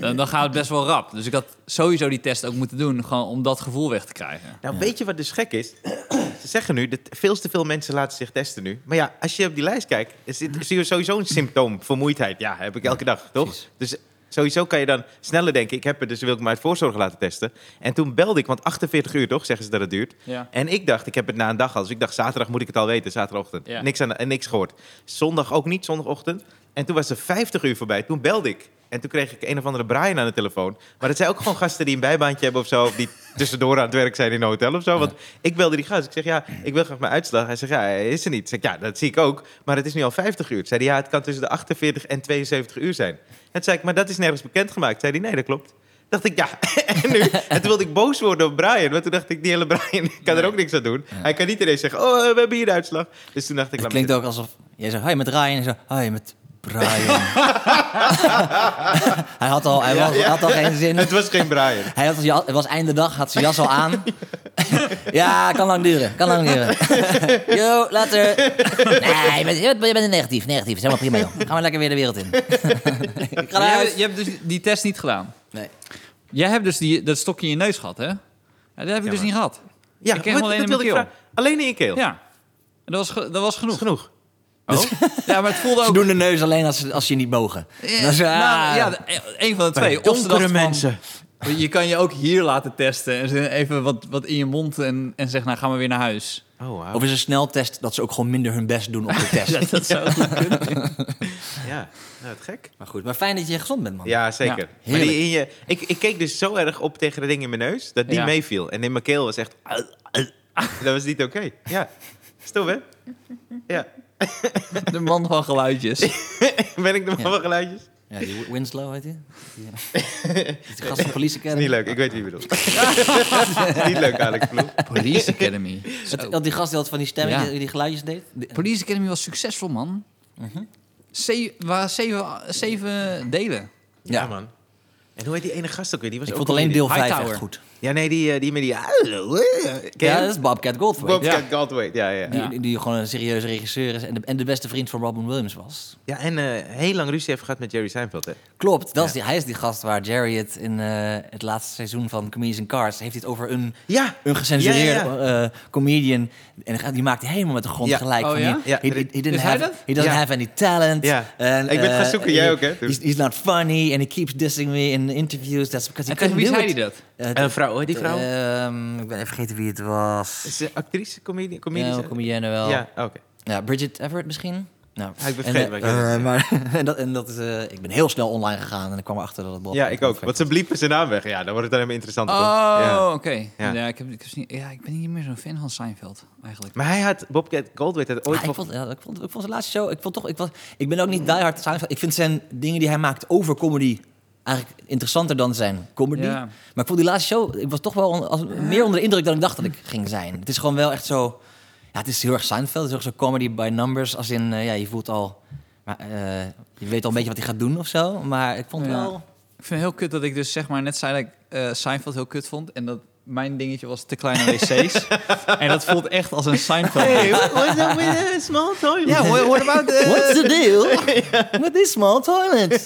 Speaker 3: Dan, dan gaat het best wel rap. Dus ik had sowieso die test ook moeten doen. Gewoon om dat gevoel weg te krijgen.
Speaker 1: Nou, weet je wat dus gek is? Ze zeggen nu dat veel te veel mensen laten zich testen nu. Maar ja, als je op die lijst kijkt, is dit- zie je sowieso een symptoom. Vermoeidheid, ja, heb ik elke dag, toch?
Speaker 2: precies.
Speaker 1: Dus sowieso kan je dan sneller denken, ik heb het, dus wil ik me uit voorzorg laten testen. En toen belde ik, want 48 uur toch, zeggen ze dat het duurt.
Speaker 3: Ja.
Speaker 1: En ik dacht, ik heb het na een dag al. Dus ik dacht, zaterdag moet ik het al weten, zaterdagochtend.
Speaker 3: Ja.
Speaker 1: Niks, aan, en niks gehoord. Zondag ook niet, zondagochtend. En toen was er 50 uur voorbij. Toen belde ik. En toen kreeg ik een of andere Brian aan de telefoon. Maar dat zijn ook gewoon gasten die een bijbaantje hebben of zo. Of die tussendoor aan het werk zijn in een hotel of zo. Want ik belde die gast. Ik zeg, ja, ik wil graag mijn uitslag. Hij zegt, ja, hij is er niet. Ik zeg, ja, dat zie ik ook. Maar het is nu al 50 uur. Toen Zei hij, ja, het kan tussen de 48 en 72 uur zijn. En toen zei ik, maar dat is nergens bekendgemaakt. Zei hij, nee, dat klopt dacht ik, ja. [laughs] en, nu, en toen wilde ik boos worden op Brian. Want toen dacht ik, die hele Brian kan er ook niks aan doen. Hij kan niet ineens zeggen, oh, eh, we hebben hier de uitslag. Dus toen dacht ik,
Speaker 2: Het
Speaker 1: laat
Speaker 2: klinkt
Speaker 1: maar
Speaker 2: ook alsof jij zegt, hoi met Ryan. En zo, hoi met
Speaker 1: [laughs]
Speaker 2: Brian. [laughs] hij had al, hij was- had al geen
Speaker 1: zitten. [laughs]
Speaker 2: zin.
Speaker 1: Het was geen
Speaker 2: [laughs]
Speaker 1: Brian.
Speaker 2: Hij had als ja- het was einde dag, had zijn jas al
Speaker 1: [laughs]
Speaker 2: aan. ja, kan lang duren, kan lang duren. Yo, later. Nee, je bent, je bent- je bent negatief, negatief. Is helemaal prima, joh. Ga maar lekker weer de wereld
Speaker 1: [laughs]
Speaker 2: in. Ik ga
Speaker 3: Maar jij,
Speaker 2: naar huis.
Speaker 3: hebt- je hebt dus die test niet gedaan.
Speaker 2: Nee.
Speaker 3: Jij hebt dus die, dat stokje in je neus gehad, hè? Ja, dat heb ik dus
Speaker 1: maar-
Speaker 3: niet gehad.
Speaker 1: Ja,
Speaker 3: Ik ken
Speaker 1: wat-
Speaker 3: hem alleen
Speaker 1: dat
Speaker 3: in mijn
Speaker 1: wilde ik
Speaker 3: keel.
Speaker 1: vragen. Alleen in je keel.
Speaker 3: Ja. En dat was, ge- dat was
Speaker 1: Dat is
Speaker 3: genoeg. Oh.
Speaker 1: genoeg.
Speaker 3: Ja, maar het [laughs] voelde
Speaker 2: Ze
Speaker 3: ook...
Speaker 2: doen de neus alleen als ze, als ze je niet bogen.
Speaker 3: Eh,
Speaker 2: Dat is, ah,
Speaker 3: nou, ja, de- een van de twee. Of ze dachten van, Je kan je ook hier laten testen. En ze- Even wat, wat in je mond en, en zeg, nou gaan we weer naar huis.
Speaker 1: Oh, wauw.
Speaker 2: Of is een sneltest dat ze ook gewoon minder hun best doen op
Speaker 1: [laughs]
Speaker 2: de test.
Speaker 3: Dat, dat zou goed kunnen.
Speaker 1: Ja, nou, het gek.
Speaker 2: Maar goed, maar fijn dat je gezond bent, man.
Speaker 1: Ja, zeker. maar
Speaker 2: heerlijk.
Speaker 1: die in je, ik, ik keek dus zo erg op tegen de ding in mijn neus, dat die
Speaker 3: Ja.
Speaker 1: meeviel. En in mijn keel was
Speaker 2: [laughs]
Speaker 1: echt... dat was niet oké. Ja, stof hè? Ja. [laughs]
Speaker 3: De man van geluidjes.
Speaker 1: Ben ik de man
Speaker 2: Ja.
Speaker 1: van geluidjes?
Speaker 2: Ja, die Wi- Winslow heet hij. Die, eh,
Speaker 1: [laughs]
Speaker 2: die gast van Police Academy.
Speaker 1: Niet leuk, ik weet wie je
Speaker 2: [laughs]
Speaker 1: bedoelt. niet leuk, Alex Ploeg.
Speaker 3: Police Academy.
Speaker 2: Dat, dat die gast die altijd van die stemmen,
Speaker 3: Ja.
Speaker 2: die, die geluidjes deed. Die-
Speaker 3: Police Academy was succesvol, man. Mhm. Ze- waar zeven, zeven delen.
Speaker 1: Ja,
Speaker 2: Ja.
Speaker 1: man. En hoe heet die ene gast ook weer? Die was
Speaker 2: ik
Speaker 1: ook
Speaker 2: vond alleen
Speaker 1: comedian.
Speaker 2: deel 5
Speaker 3: Hightower.
Speaker 2: echt goed.
Speaker 1: Ja, nee, die, eh, die met die... Hallo, eh, Ken je
Speaker 2: Ja,
Speaker 1: hem?
Speaker 2: dat is Bobcat Goldthwait.
Speaker 1: Bobcat Goldthwait, ja, ja.
Speaker 2: Die, die gewoon een serieuze regisseur is en de, en de beste vriend van Robin Williams was.
Speaker 1: Ja, en eh, heel lang ruzie heeft gehad met Jerry Seinfeld, hè?
Speaker 2: Klopt, dat is die, hij is die gast waar Jerry het in eh, het laatste seizoen van Comedians in Cars... heeft hij het over een,
Speaker 1: Ja,
Speaker 2: een gecensureerde
Speaker 1: Ja,
Speaker 2: eh, comedian. En hij- die maakt hij helemaal met de grond
Speaker 1: Ja.
Speaker 2: gelijk.
Speaker 3: Oh,
Speaker 2: van
Speaker 3: ja?
Speaker 2: die-
Speaker 1: Ja.
Speaker 2: he- he- he didn't
Speaker 3: Is hij
Speaker 2: have,
Speaker 3: dat?
Speaker 2: he doesn't
Speaker 1: Ja.
Speaker 2: have any talent.
Speaker 1: Ja.
Speaker 2: En,
Speaker 1: Ik ben gaan
Speaker 2: eh,
Speaker 1: zoeken, jij
Speaker 2: he-
Speaker 1: ook, hè?
Speaker 2: He's, he's not funny and he keeps dissing me in interviews. That's because he
Speaker 3: En tegen wie
Speaker 2: couldn't
Speaker 3: zei
Speaker 2: do
Speaker 3: hij dat?
Speaker 2: it. Eh,
Speaker 1: En een vrouw, hoor, die vrouw?
Speaker 2: Ehm, ik ben even vergeten wie het was.
Speaker 1: Is ze actrice, comedie?
Speaker 2: Ja,
Speaker 1: comedian?
Speaker 2: comedienne wel.
Speaker 1: Ja, oké.
Speaker 2: Ja, Bridget Everett misschien? Nou,
Speaker 1: Ah, ik ben vergeten
Speaker 2: en,
Speaker 1: wat je
Speaker 2: eh,
Speaker 1: net
Speaker 2: eh, maar, [laughs] en, dat, en dat is... eh, ik ben heel snel online gegaan en ik kwam erachter dat het Bob
Speaker 1: Ja, ik ook. Want ze bliepen zijn naam weg. Ja, dan wordt het alleen maar interessanter.
Speaker 3: Oh,
Speaker 1: toch? Ja.
Speaker 3: oké.
Speaker 1: Ja.
Speaker 3: Ja. ik heb, ik, heb, niet- ja, ik ben niet meer zo'n fan van Seinfeld, eigenlijk.
Speaker 1: Maar hij had, Bobcat Goldthwait had ooit...
Speaker 2: Ah, ik,
Speaker 1: nog-
Speaker 2: vond, ja, ik, vond, ik vond zijn laatste show... Ik, vond toch, ik, was, ik ben ook niet die hard Seinfeld. Ik vind zijn dingen die hij maakt over comedy... eigenlijk interessanter dan zijn comedy.
Speaker 3: Ja.
Speaker 2: Maar ik vond die laatste show... Ik was toch wel on- als, meer onder de indruk dan ik dacht dat ik ging zijn. Het is gewoon wel echt zo... Ja, het is heel erg Seinfeld. Het is ook zo comedy by numbers. Als in, eh, ja, je voelt al... Maar, eh, je weet al een beetje wat hij gaat doen of zo. Maar ik vond
Speaker 3: Ja.
Speaker 2: wel...
Speaker 3: Ik vind het heel kut dat ik dus zeg maar net zei dat ik eh, Seinfeld heel kut vond. En dat mijn dingetje was te kleine [laughs] wc's. en dat voelt echt als een Seinfeld.
Speaker 1: Hey, what- what's up with eh, small toy?
Speaker 3: Ja, what, what about... eh,
Speaker 2: What's the deal
Speaker 3: [laughs]
Speaker 2: with these small toilets?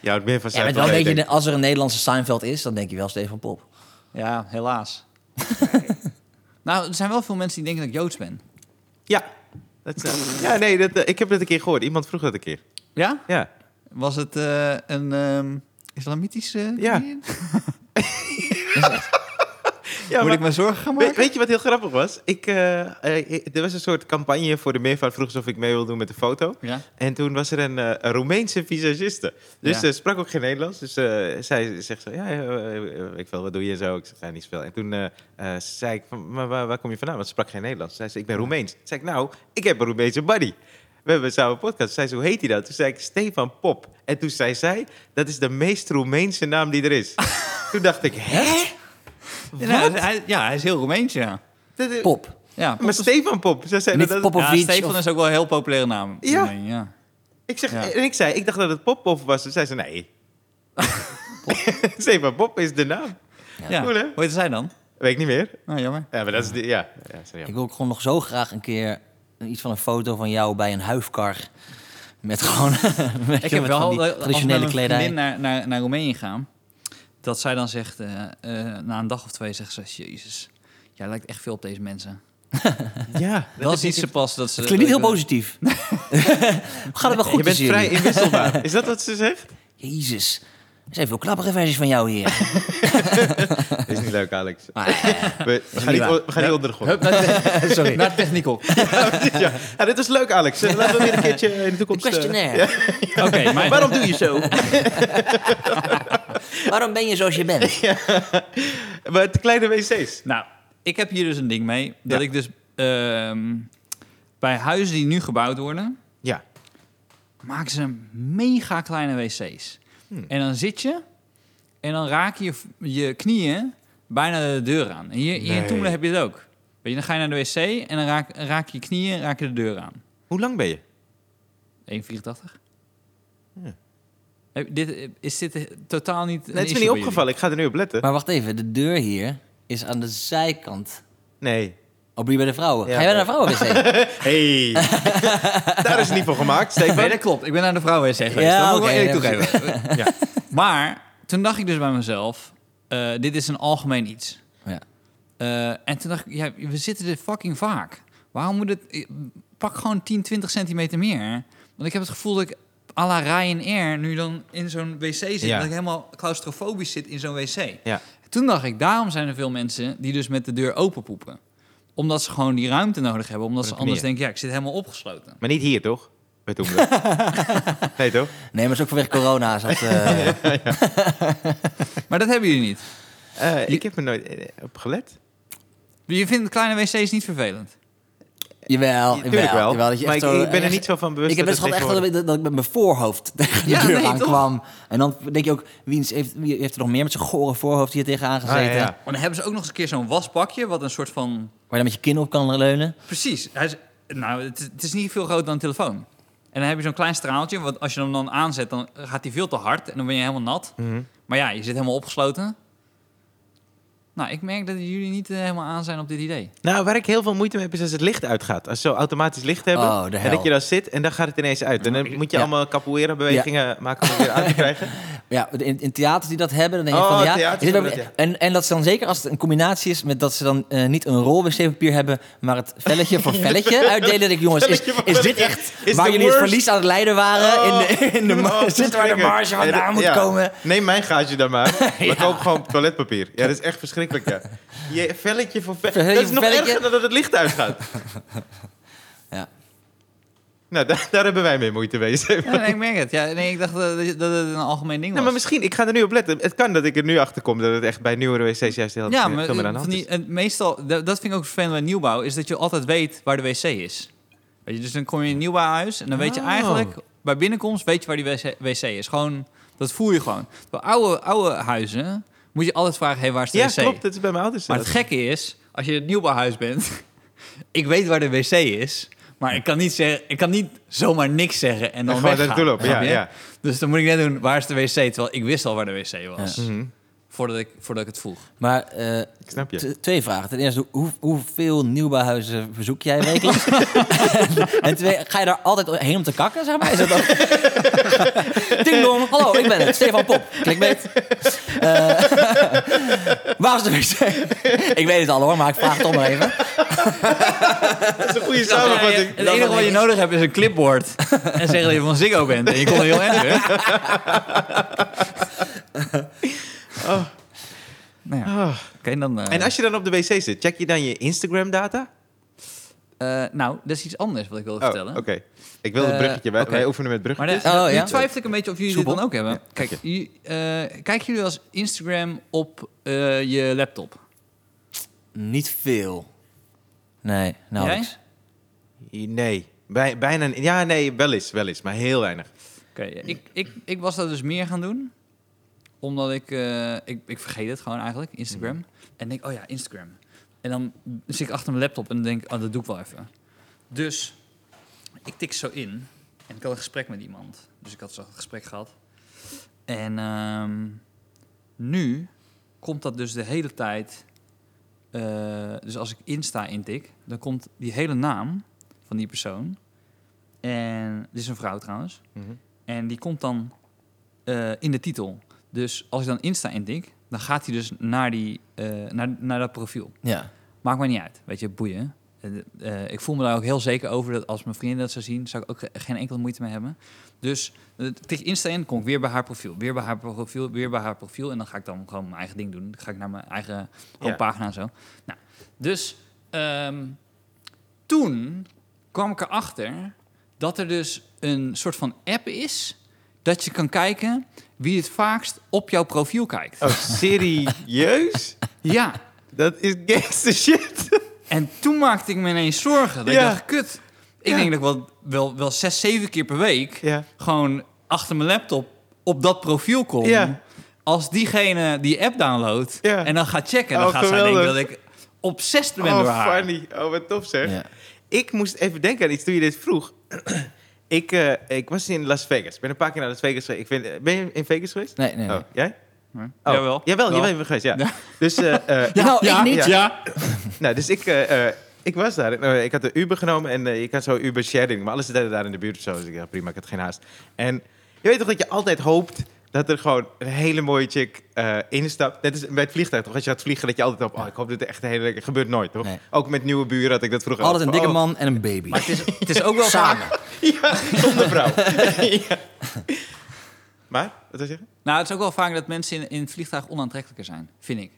Speaker 1: Ja, het meer van
Speaker 2: Ja, maar
Speaker 1: zijn.
Speaker 2: wel een beetje, als er een Nederlandse Seinfeld is, dan denk je wel Stefan Pop.
Speaker 3: Ja, [laughs] helaas. nou, er zijn wel veel mensen die denken dat ik Joods ben.
Speaker 1: Ja. Dat is, eh, ja, nee, dat, eh, ik heb dat een keer gehoord. Iemand vroeg dat een keer.
Speaker 3: Ja?
Speaker 1: Ja.
Speaker 3: Was het eh, een ehm, islamitische...
Speaker 1: Ja.
Speaker 3: ding?
Speaker 1: ja
Speaker 3: Moet
Speaker 1: maar,
Speaker 3: ik me zorgen gaan
Speaker 1: weet,
Speaker 3: maken?
Speaker 1: weet je wat heel grappig was? Ik, eh, eh, er was een soort campagne voor de meervoud. Vroeg ze of ik mee wil doen met de foto.
Speaker 3: Ja.
Speaker 1: En toen was er een, eh, een Roemeense visagiste. Dus
Speaker 3: Ja.
Speaker 1: ze sprak ook geen Nederlands. Dus eh, zij zegt zo, ja, eh, eh, ik wil, wat doe je en zo? Ik zeg, ja, niet veel. En toen eh, eh, zei ik, van, maar waar, waar kom je vandaan? Want ze sprak geen Nederlands. Zij zei, ik ben Roemeens. Toen zei ik, nou, ik heb een Roemeense buddy. We hebben samen een podcast. Zij zei, hoe heet hij dat? Toen zei ik, Stefan Pop. En toen zei zij, dat is de meest Roemeense naam die er is. toen dacht ik, hè?
Speaker 3: Ja, nou, hij, ja, hij is heel Roemeens, ja.
Speaker 1: Dat is-
Speaker 2: Pop.
Speaker 3: Ja,
Speaker 1: Maar Stefan Pop. Zij zei,
Speaker 2: Niet
Speaker 1: dat,
Speaker 2: Pop-
Speaker 3: ja
Speaker 2: Popovic
Speaker 3: Stefan
Speaker 2: of-
Speaker 3: is ook wel een heel populaire naam.
Speaker 1: Ja.
Speaker 3: Nee, ja.
Speaker 1: ik zeg,
Speaker 3: Ja.
Speaker 1: En ik zei, ik dacht dat het Pop of was. Toen zei ze, nee. [laughs] Stefan Pop is de naam.
Speaker 3: Ja.
Speaker 1: Cool, hè?
Speaker 3: Hoe heette zij dan?
Speaker 1: Weet ik niet meer.
Speaker 3: Nou, jammer.
Speaker 1: Ja, maar dat is... De, ja, ja, sorry.
Speaker 2: Ik wil ook gewoon nog zo graag een keer een- iets van een foto van jou bij een huifkar. Met gewoon met,
Speaker 3: [laughs] Ik
Speaker 2: met
Speaker 3: heb wel
Speaker 2: van die
Speaker 3: al-
Speaker 2: traditionele
Speaker 3: als ik met mijn
Speaker 2: kledij.
Speaker 3: vriendin naar, naar, naar Roemenië gaan, dat zij dan zegt, eh, eh, na een dag of twee zegt ze, jezus, jij lijkt echt veel op deze mensen.
Speaker 1: Ja,
Speaker 3: Dat, is niet zo pas dat ze...
Speaker 2: Het klinkt niet heel
Speaker 3: [laughs]
Speaker 2: positief. [laughs] Gaat het wel
Speaker 1: je
Speaker 2: goed
Speaker 1: bent
Speaker 2: tussen
Speaker 1: vrij
Speaker 2: jullie?
Speaker 1: inwisselbaar. Is dat wat ze zegt?
Speaker 2: Jezus. Er zijn veel knappere versies van
Speaker 3: [laughs]
Speaker 2: jou hier.
Speaker 1: Is niet leuk, Alex.
Speaker 2: Maar, eh,
Speaker 1: We, we gaan,
Speaker 2: niet
Speaker 1: Ah, niet,
Speaker 2: waar.
Speaker 1: on- we gaan niet onder de grond.
Speaker 3: [laughs]
Speaker 2: [laughs] sorry.
Speaker 3: Naar de techniek op.
Speaker 1: ja. [laughs] Ja, dit is leuk, Alex. Eh, Laten we weer een keertje in de toekomst... eh,
Speaker 2: questionnaire.
Speaker 3: Oké,
Speaker 2: [laughs]
Speaker 3: maar
Speaker 1: Waarom doe je zo?
Speaker 2: Waarom ben je zoals je
Speaker 3: [laughs]
Speaker 2: bent?
Speaker 1: Maar de kleine wc's.
Speaker 3: [laughs] Nou, ik heb hier dus een ding mee. Dat
Speaker 1: Ja.
Speaker 3: ik dus ehm, bij huizen die nu gebouwd worden,
Speaker 1: Ja.
Speaker 3: maken ze mega kleine wc's.
Speaker 1: Hmm.
Speaker 3: En dan zit je en dan raak je je knieën bijna de deur aan. En hier, hier in
Speaker 1: Nee.
Speaker 3: Toemelen heb je het ook. Weet je, dan ga je naar de wc en dan raak, raak je knieën raak je de deur aan.
Speaker 1: Hoe lang ben je?
Speaker 3: 1,84.
Speaker 1: Ja.
Speaker 3: Heb- Dit, is dit eh, totaal niet...
Speaker 1: Nee, het is me niet opgevallen. Ik ga er nu op letten.
Speaker 2: Maar wacht even, de deur hier is aan de zijkant.
Speaker 1: Nee.
Speaker 2: Oh, ben je bij de vrouwen?
Speaker 1: Ja.
Speaker 2: Ga je bij de vrouwen wc?
Speaker 3: [laughs]
Speaker 1: Hey. [laughs] Daar is het niet voor gemaakt,
Speaker 3: Nee,
Speaker 1: Stefan.
Speaker 3: dat klopt. Ik ben naar de vrouwen wc geweest.
Speaker 2: Ja,
Speaker 3: dat moet ik
Speaker 2: oké,
Speaker 3: wel eerlijk toegeven. [laughs]
Speaker 1: Ja.
Speaker 3: Maar toen dacht ik dus bij mezelf... eh, dit is een algemeen iets.
Speaker 2: Ja.
Speaker 3: Eh, en toen dacht ik, ja, we zitten er fucking vaak. Waarom moet het... eh, Pak gewoon 10, 20 centimeter meer. Want ik heb het gevoel dat ik à la Ryanair nu dan in zo'n wc zit.
Speaker 1: Ja.
Speaker 3: Dat ik helemaal claustrofobisch zit in zo'n wc.
Speaker 1: Ja.
Speaker 3: Toen dacht ik, daarom zijn er veel mensen die dus met de deur open poepen. Omdat ze gewoon die ruimte nodig hebben. Omdat
Speaker 1: Op
Speaker 3: ze
Speaker 1: die
Speaker 3: anders
Speaker 1: manier.
Speaker 3: denken, ja, ik zit helemaal opgesloten.
Speaker 1: Maar niet hier, toch? Bij Toemler. [laughs] nee, toch?
Speaker 2: Nee, maar het is ook vanwege corona. Is
Speaker 1: [laughs]
Speaker 2: dat, eh,
Speaker 3: Maar dat hebben jullie niet.
Speaker 1: Eh, ik heb er nooit eh, op gelet.
Speaker 3: Je vindt kleine wc's niet vervelend.
Speaker 2: Jawel,
Speaker 1: Tuurlijk wel.
Speaker 2: jawel, dat je
Speaker 1: maar
Speaker 2: echt
Speaker 1: ik,
Speaker 2: zo-
Speaker 1: ik ben er
Speaker 2: echt-
Speaker 1: niet zo van bewust.
Speaker 2: Ik heb
Speaker 1: dat
Speaker 2: best gehad
Speaker 1: het
Speaker 2: echt dat,
Speaker 1: tegenwoordig-
Speaker 2: ik- dat ik met mijn voorhoofd [laughs] tegen de
Speaker 3: Ja,
Speaker 2: deur
Speaker 3: nee, toch?
Speaker 2: aankwam. En dan denk je ook, wie is- heeft, wie heeft er nog meer met zijn gore voorhoofd hier tegenaan gezeten?
Speaker 1: Ah, ja, ja.
Speaker 3: Maar dan hebben ze ook nog eens een keer zo'n wasbakje, wat een soort van...
Speaker 2: Waar je dan met je kin op kan leunen.
Speaker 3: Precies. Hij is, nou, het, is- het is niet veel groter dan een telefoon. En dan heb je zo'n klein straaltje, want als je hem dan aanzet, dan gaat hij veel te hard en dan ben je helemaal nat.
Speaker 1: Mhm.
Speaker 3: Maar ja, je zit helemaal opgesloten. Nou, ik merk dat jullie niet eh, helemaal aan zijn op dit
Speaker 1: [laughs]
Speaker 3: idee.
Speaker 1: Nou, waar ik heel veel moeite mee heb, is als het licht uitgaat. Als ze zo automatisch licht hebben.
Speaker 2: Oh, de
Speaker 1: en
Speaker 2: hel.
Speaker 1: dat je dan zit en dan gaat het ineens uit. En dan moet je
Speaker 2: Ja.
Speaker 1: allemaal capoeira-bewegingen maken om het weer aan te
Speaker 2: [laughs]
Speaker 1: krijgen.
Speaker 2: Ja, in, in theaters die dat hebben, dan denk je
Speaker 1: Oh,
Speaker 2: van ja.
Speaker 1: theaters
Speaker 2: dit
Speaker 1: hebben
Speaker 2: hebben-
Speaker 1: dat,
Speaker 2: en, en dat is dan zeker als het een combinatie is met dat ze dan eh, niet een rol wc-papier hebben, maar het velletje
Speaker 1: [laughs]
Speaker 2: voor velletje uitdelen. Dat ik, jongens, is,
Speaker 1: Velletje voor
Speaker 2: is dit
Speaker 1: velletje.
Speaker 2: echt
Speaker 1: Is
Speaker 2: waar
Speaker 1: de
Speaker 2: jullie het
Speaker 1: worst.
Speaker 2: verlies aan het leiden waren? Eh, in de, in de, mar-
Speaker 1: Oh,
Speaker 2: zit waar de
Speaker 1: verschrikkelijk.
Speaker 2: marge vandaan moet
Speaker 1: Ja.
Speaker 2: komen?
Speaker 1: Neem mijn gaatje dan
Speaker 2: [laughs]
Speaker 1: maar. We kopen gewoon toiletpapier. Ja, dat is echt verschrikkelijk, ja. Je velletje voor velletje.
Speaker 2: Velletje
Speaker 1: Dat is
Speaker 2: voor
Speaker 1: nog
Speaker 2: velletje.
Speaker 1: erger dan dat het licht uitgaat.
Speaker 2: [laughs] Ja.
Speaker 1: Nou, daar, daar hebben wij mee moeite mee. [laughs]
Speaker 3: Ja, nee, ik merk het. Ja, nee, ik dacht eh, dat, dat het een algemeen ding was.
Speaker 1: Nou, maar misschien, ik ga er nu op letten. Het kan dat ik er nu achter kom dat het echt bij nieuwere wc's juist heel
Speaker 3: ja,
Speaker 1: veel
Speaker 3: maar,
Speaker 1: meer aan de hand
Speaker 3: van die-
Speaker 1: is.
Speaker 3: en meestal, da- dat vind ik ook vervelend bij nieuwbouw, is dat je altijd weet waar de wc is. Weet je, dus dan kom je in een nieuwbouwhuis en dan weet je
Speaker 1: Oh.
Speaker 3: eigenlijk, bij binnenkomst weet je waar die wc, wc is. Gewoon, dat voel je gewoon. Bij oude, oude huizen moet je altijd vragen, hey, waar is de
Speaker 1: Ja,
Speaker 3: wc?
Speaker 1: klopt. Dat is bij mijn ouders.
Speaker 3: Maar
Speaker 1: zelfs.
Speaker 3: het gekke is, als je in het nieuwbouwhuis bent, [laughs] ik weet waar de wc is, maar ik kan niet, zeggen, ik kan niet zomaar niks zeggen en dan
Speaker 1: Gewoon
Speaker 3: weggaan.
Speaker 1: naartoe lopen, ja,
Speaker 3: snap je?
Speaker 1: ja.
Speaker 3: Dus dan moet ik net doen, waar is de wc? Terwijl ik wist al waar de wc was,
Speaker 1: Mhm,
Speaker 3: voordat, ik, voordat ik het vroeg.
Speaker 2: Maar eh,
Speaker 1: ik snap je. [laughs]
Speaker 2: T- Twee vragen. Ten eerste, hoe, hoeveel nieuwbouwhuizen bezoek jij wekelijks? [laughs] en twee, ga je daar altijd heen om te kakken, zeg maar? Is dat ook... [laughs] Ding dong, hallo, ik ben het, Stefan Pop. Klikbeet. Eh [laughs] waar is de wc? ik weet het al hoor, maar ik vraag het toch maar even.
Speaker 1: Dat is een [laughs] goede
Speaker 3: Ja,
Speaker 1: samenvatting.
Speaker 3: Het enige wat je nodig hebt is een
Speaker 1: [laughs]
Speaker 3: clipboard. en zeggen dat je van Ziggo bent. En je komt er heel erg weg.
Speaker 1: Oh.
Speaker 3: Nou ja,
Speaker 1: Ah.
Speaker 3: oké, dan... eh,
Speaker 1: En als je dan op de wc zit, check je dan je Instagram-data?
Speaker 3: eh, nou, dat is iets anders wat ik wilde
Speaker 1: Oh,
Speaker 3: vertellen.
Speaker 1: oké. Ik wil het
Speaker 3: Eh,
Speaker 1: bruggetje. Wij,
Speaker 3: oké.
Speaker 1: wij oefenen met
Speaker 3: Maar
Speaker 1: bruggetjes.
Speaker 3: de,
Speaker 2: Oh,
Speaker 3: nu
Speaker 2: ja?
Speaker 3: twijfel ik een beetje of jullie
Speaker 2: Soepel.
Speaker 3: dit dan ook hebben. Kijk, ju- eh, kijken jullie als Instagram op eh, je laptop?
Speaker 2: Niet veel. Nee, nauwelijks.
Speaker 3: Jij?
Speaker 1: Nee. Bij, bijna... Ja, nee, wel eens, wel eens. Maar heel weinig.
Speaker 3: Oké, ik, ik, ik was dat dus meer gaan doen. Omdat ik, eh, ik... Ik vergeet het gewoon eigenlijk, Instagram. En denk, oh ja, Instagram. En dan zit ik achter mijn laptop en denk, oh, dat doe ik wel even. Dus ik tik zo in. En ik had een gesprek met iemand. Dus ik had zo'n gesprek gehad. En ehm, nu komt dat dus de hele tijd... eh, dus als ik Insta intik, dan komt die hele naam van die persoon. En dit is een vrouw trouwens. En die komt dan eh, in de titel. Dus als ik dan Insta intik, dan gaat hij dus naar, die, eh, naar, naar dat profiel.
Speaker 2: Ja.
Speaker 3: Maakt mij niet uit, weet je, boeien. Eh, eh, ik voel me daar ook heel zeker over dat als mijn vriendin dat zou zien, zou ik ook ge- geen enkele moeite mee hebben. Dus eh, tik Insta in, kom ik weer bij haar profiel, weer bij haar profiel, weer bij haar profiel. En dan ga ik dan gewoon mijn eigen ding doen. Dan ga ik naar mijn eigen homepagina en zo. Nou, dus ehm, toen kwam ik erachter dat er dus een soort van app is dat je kan kijken wie het vaakst op jouw profiel kijkt.
Speaker 1: Oh, serieus?
Speaker 3: Ja.
Speaker 1: Dat is gangster shit.
Speaker 3: En toen maakte ik me ineens zorgen. Dat
Speaker 1: Ja.
Speaker 3: ik dacht, kut. Ik
Speaker 1: Ja.
Speaker 3: denk dat ik wel, wel, wel zes, zeven keer per week...
Speaker 1: Ja.
Speaker 3: gewoon achter mijn laptop op dat profiel kom.
Speaker 1: Ja.
Speaker 3: Als diegene die app downloadt
Speaker 1: Ja.
Speaker 3: en dan gaat checken... dan
Speaker 1: Oh,
Speaker 3: gaat zij denken
Speaker 1: geweldig.
Speaker 3: dat ik obsessed ben door
Speaker 1: Oh,
Speaker 3: haar.
Speaker 1: funny. Oh, wat tof zeg.
Speaker 2: Ja.
Speaker 1: Ik moest even denken aan iets toen je dit vroeg. [clears throat] ik, eh, ik was in Las Vegas. Ik ben een paar keer naar Las Vegas geweest. Ik vind, ben je in Vegas geweest?
Speaker 2: Nee, nee, nee.
Speaker 1: Oh, jij?
Speaker 3: Ja.
Speaker 1: Oh.
Speaker 3: Jawel.
Speaker 1: Jawel,
Speaker 3: Wel.
Speaker 1: jawel, je bent geweest, ja.
Speaker 3: Ja.
Speaker 1: Dus, eh, eh,
Speaker 2: [laughs] Ja, nou, ik
Speaker 1: ja.
Speaker 2: niet.
Speaker 3: Ja.
Speaker 1: nou, dus ik, eh, eh, ik was daar. Eh, ik had de Uber genomen en eh, je kan zo Uber sharing. Maar alles is daar in de buurt of zo. Dus ik dacht, prima, ik had geen haast. En je weet toch dat je altijd hoopt dat er gewoon een hele mooie chick eh, instapt. Net als bij het vliegtuig, toch? Als je gaat vliegen, dat je altijd op... Oh, ik hoop dat er echt een hele... gebeurt nooit, toch?
Speaker 2: Nee.
Speaker 1: Ook met nieuwe buren had ik dat vroeger [laughs]
Speaker 2: Altijd een
Speaker 1: altijd.
Speaker 2: dikke
Speaker 1: Oh,
Speaker 2: man en een baby.
Speaker 3: Maar het is, het is ook wel
Speaker 2: Samen.
Speaker 3: vaak...
Speaker 2: [laughs]
Speaker 1: Ja, zonder vrouw. ja. Maar, wat wil je zeggen?
Speaker 3: Nou, het is ook wel vaak dat mensen in, in het vliegtuig onaantrekkelijker zijn, vind ik.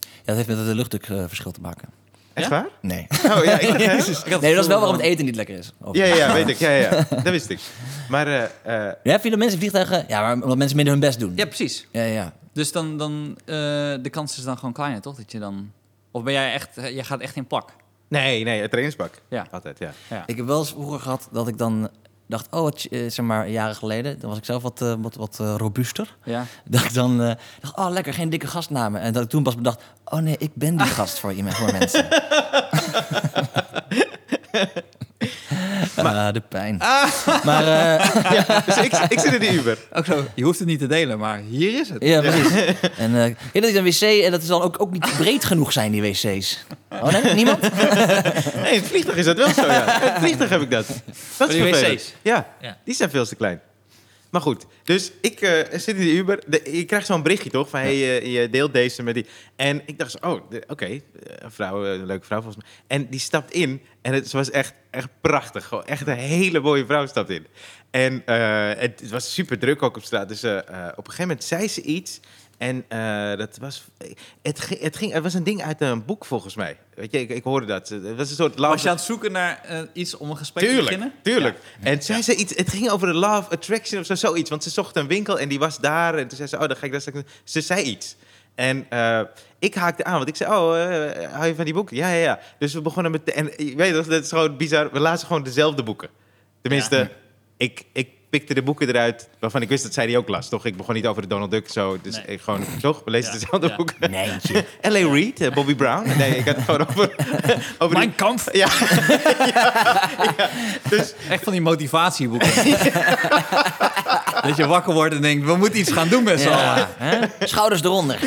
Speaker 2: Ja, dat heeft met het luchtdrukverschil te maken.
Speaker 1: Echt
Speaker 3: Ja?
Speaker 1: waar?
Speaker 2: Nee.
Speaker 1: Oh ja, ik dacht,
Speaker 2: [laughs]
Speaker 1: hè?
Speaker 3: Ik had
Speaker 2: Nee, dat is wel
Speaker 3: vroeger
Speaker 2: waarom het eten niet lekker is.
Speaker 1: ja, ja, ja, weet ik. Ja, ja, ja. dat wist ik. Maar eh, eh,
Speaker 2: Ja, vinden mensen in vliegtuigen... Ja, maar omdat mensen minder hun best doen.
Speaker 3: Ja, precies.
Speaker 2: Ja, ja.
Speaker 3: Dus dan, dan eh, de kans is dan gewoon kleiner, toch? Dat je dan... Of ben jij echt... eh, Jij gaat echt in pak.
Speaker 1: nee, nee, het trainingspak.
Speaker 3: Ja.
Speaker 1: Altijd, ja.
Speaker 2: Ik heb wel eens vroeger gehad dat ik dan dacht... Oh, wat, eh, zeg maar, jaren geleden. Dan was ik zelf wat, eh, wat, wat eh, robuuster.
Speaker 3: Ja.
Speaker 2: Dat ik dan eh, dacht, oh lekker, geen dikke gastnamen. En dat ik toen pas bedacht, oh nee, ik ben die gast voor, iemand, voor mensen. Maar Ah, de pijn. Maar eh,
Speaker 1: ja dus ik, ik zit in de Uber.
Speaker 3: Ook zo, je hoeft het niet te delen, maar hier is het.
Speaker 2: ja, precies. En eh, ja, dat is een wc en dat is dan ook, ook niet breed genoeg zijn, die wc's. Oh nee, niemand?
Speaker 1: Nee, in het vliegtuig is dat wel zo, ja.
Speaker 3: [laughs]
Speaker 1: In het vliegtuig heb ik dat. Dat is
Speaker 3: die
Speaker 1: vervelend.
Speaker 3: wc's?
Speaker 1: Ja,
Speaker 2: Ja.
Speaker 1: die zijn veel te klein. Maar goed, dus ik eh, zit in de Uber. De- je krijgt zo'n berichtje, toch? Van, hey, eh, je deelt deze met die. En ik dacht, zo, oh, de- oké, eh, een vrouw, eh, een leuke vrouw volgens mij. En die stapt in en het, ze was echt, echt prachtig. Gewoon echt een hele mooie vrouw stapt in. En eh, het, het was super druk ook op straat. Dus eh, eh, op een gegeven moment zei ze iets. En eh, dat was, het, ge- het, ging, het was een ding uit een boek volgens mij. Weet je, ik, ik hoorde dat. Het was een soort
Speaker 3: Was
Speaker 1: love
Speaker 3: je aan het zoeken naar eh, iets om een gesprek te
Speaker 1: Tuurlijk,
Speaker 3: beginnen?
Speaker 1: tuurlijk. En zei ze iets, het ging over de love attraction of zo, zoiets. Want ze zocht een winkel en die was daar. En toen zei ze, oh, dan ga ik daar straks... Ze zei iets. En eh, ik haakte aan, want ik zei, oh, eh, hou je van die boeken? Ja, ja, ja. Dus we begonnen met... En je weet je, dat is gewoon bizar. We lazen gewoon dezelfde boeken. Tenminste, ik, ik pikte de boeken eruit waarvan ik wist dat zij die ook las, toch? Ik begon niet over de Donald Duck zo. Dus
Speaker 3: Nee.
Speaker 1: ik gewoon, toch? We lezen
Speaker 3: Ja,
Speaker 1: dezelfde
Speaker 3: ja.
Speaker 1: boeken.
Speaker 2: Nee,
Speaker 1: [laughs]
Speaker 2: joh.
Speaker 1: L.A. Reid, eh, Bobby Brown. Nee, ik had het gewoon
Speaker 3: [laughs]
Speaker 1: over... over die-
Speaker 3: Mijn kamp.
Speaker 1: [laughs] ja. Ja, ja. Dus
Speaker 3: Echt van die motivatieboeken. dat je wakker wordt en denkt, we moeten iets gaan doen met z'n allen.
Speaker 2: Ja, hè? Schouders eronder.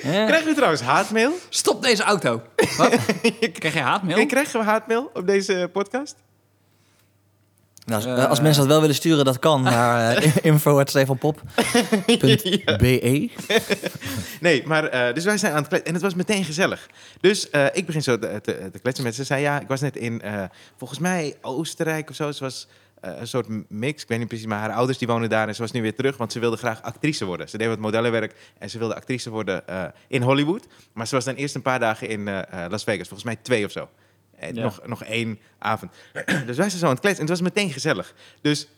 Speaker 1: Krijgen we trouwens haatmail?
Speaker 3: Stop deze auto. Wat?
Speaker 1: [laughs]
Speaker 3: Krijg je haatmail?
Speaker 1: Hey, Krijgen we haatmail op deze podcast?
Speaker 2: Nou, als,
Speaker 3: Eh.
Speaker 2: als mensen dat wel willen sturen, dat kan naar
Speaker 1: [laughs]
Speaker 2: uh, info.stefanpop.be.
Speaker 1: Nee, maar eh, dus wij zijn aan het kletsen. En het was meteen gezellig. Dus eh, ik begin zo te, te, te kletsen met ze. Ze zei ja, ik was net in, eh, volgens mij, Oostenrijk of zo. Ze was eh, een soort mix. Ik weet niet precies, maar haar ouders die wonen daar. En ze was nu weer terug, want ze wilde graag actrice worden. Ze deed wat modellenwerk en ze wilde actrice worden eh, in Hollywood. Maar ze was dan eerst een paar dagen in eh, eh, Las Vegas. Volgens mij twee of zo. En
Speaker 3: Ja.
Speaker 1: Eh, nog, nog één avond. [clears throat] dus wij zijn zo aan het kletsen. En het was meteen gezellig. Dus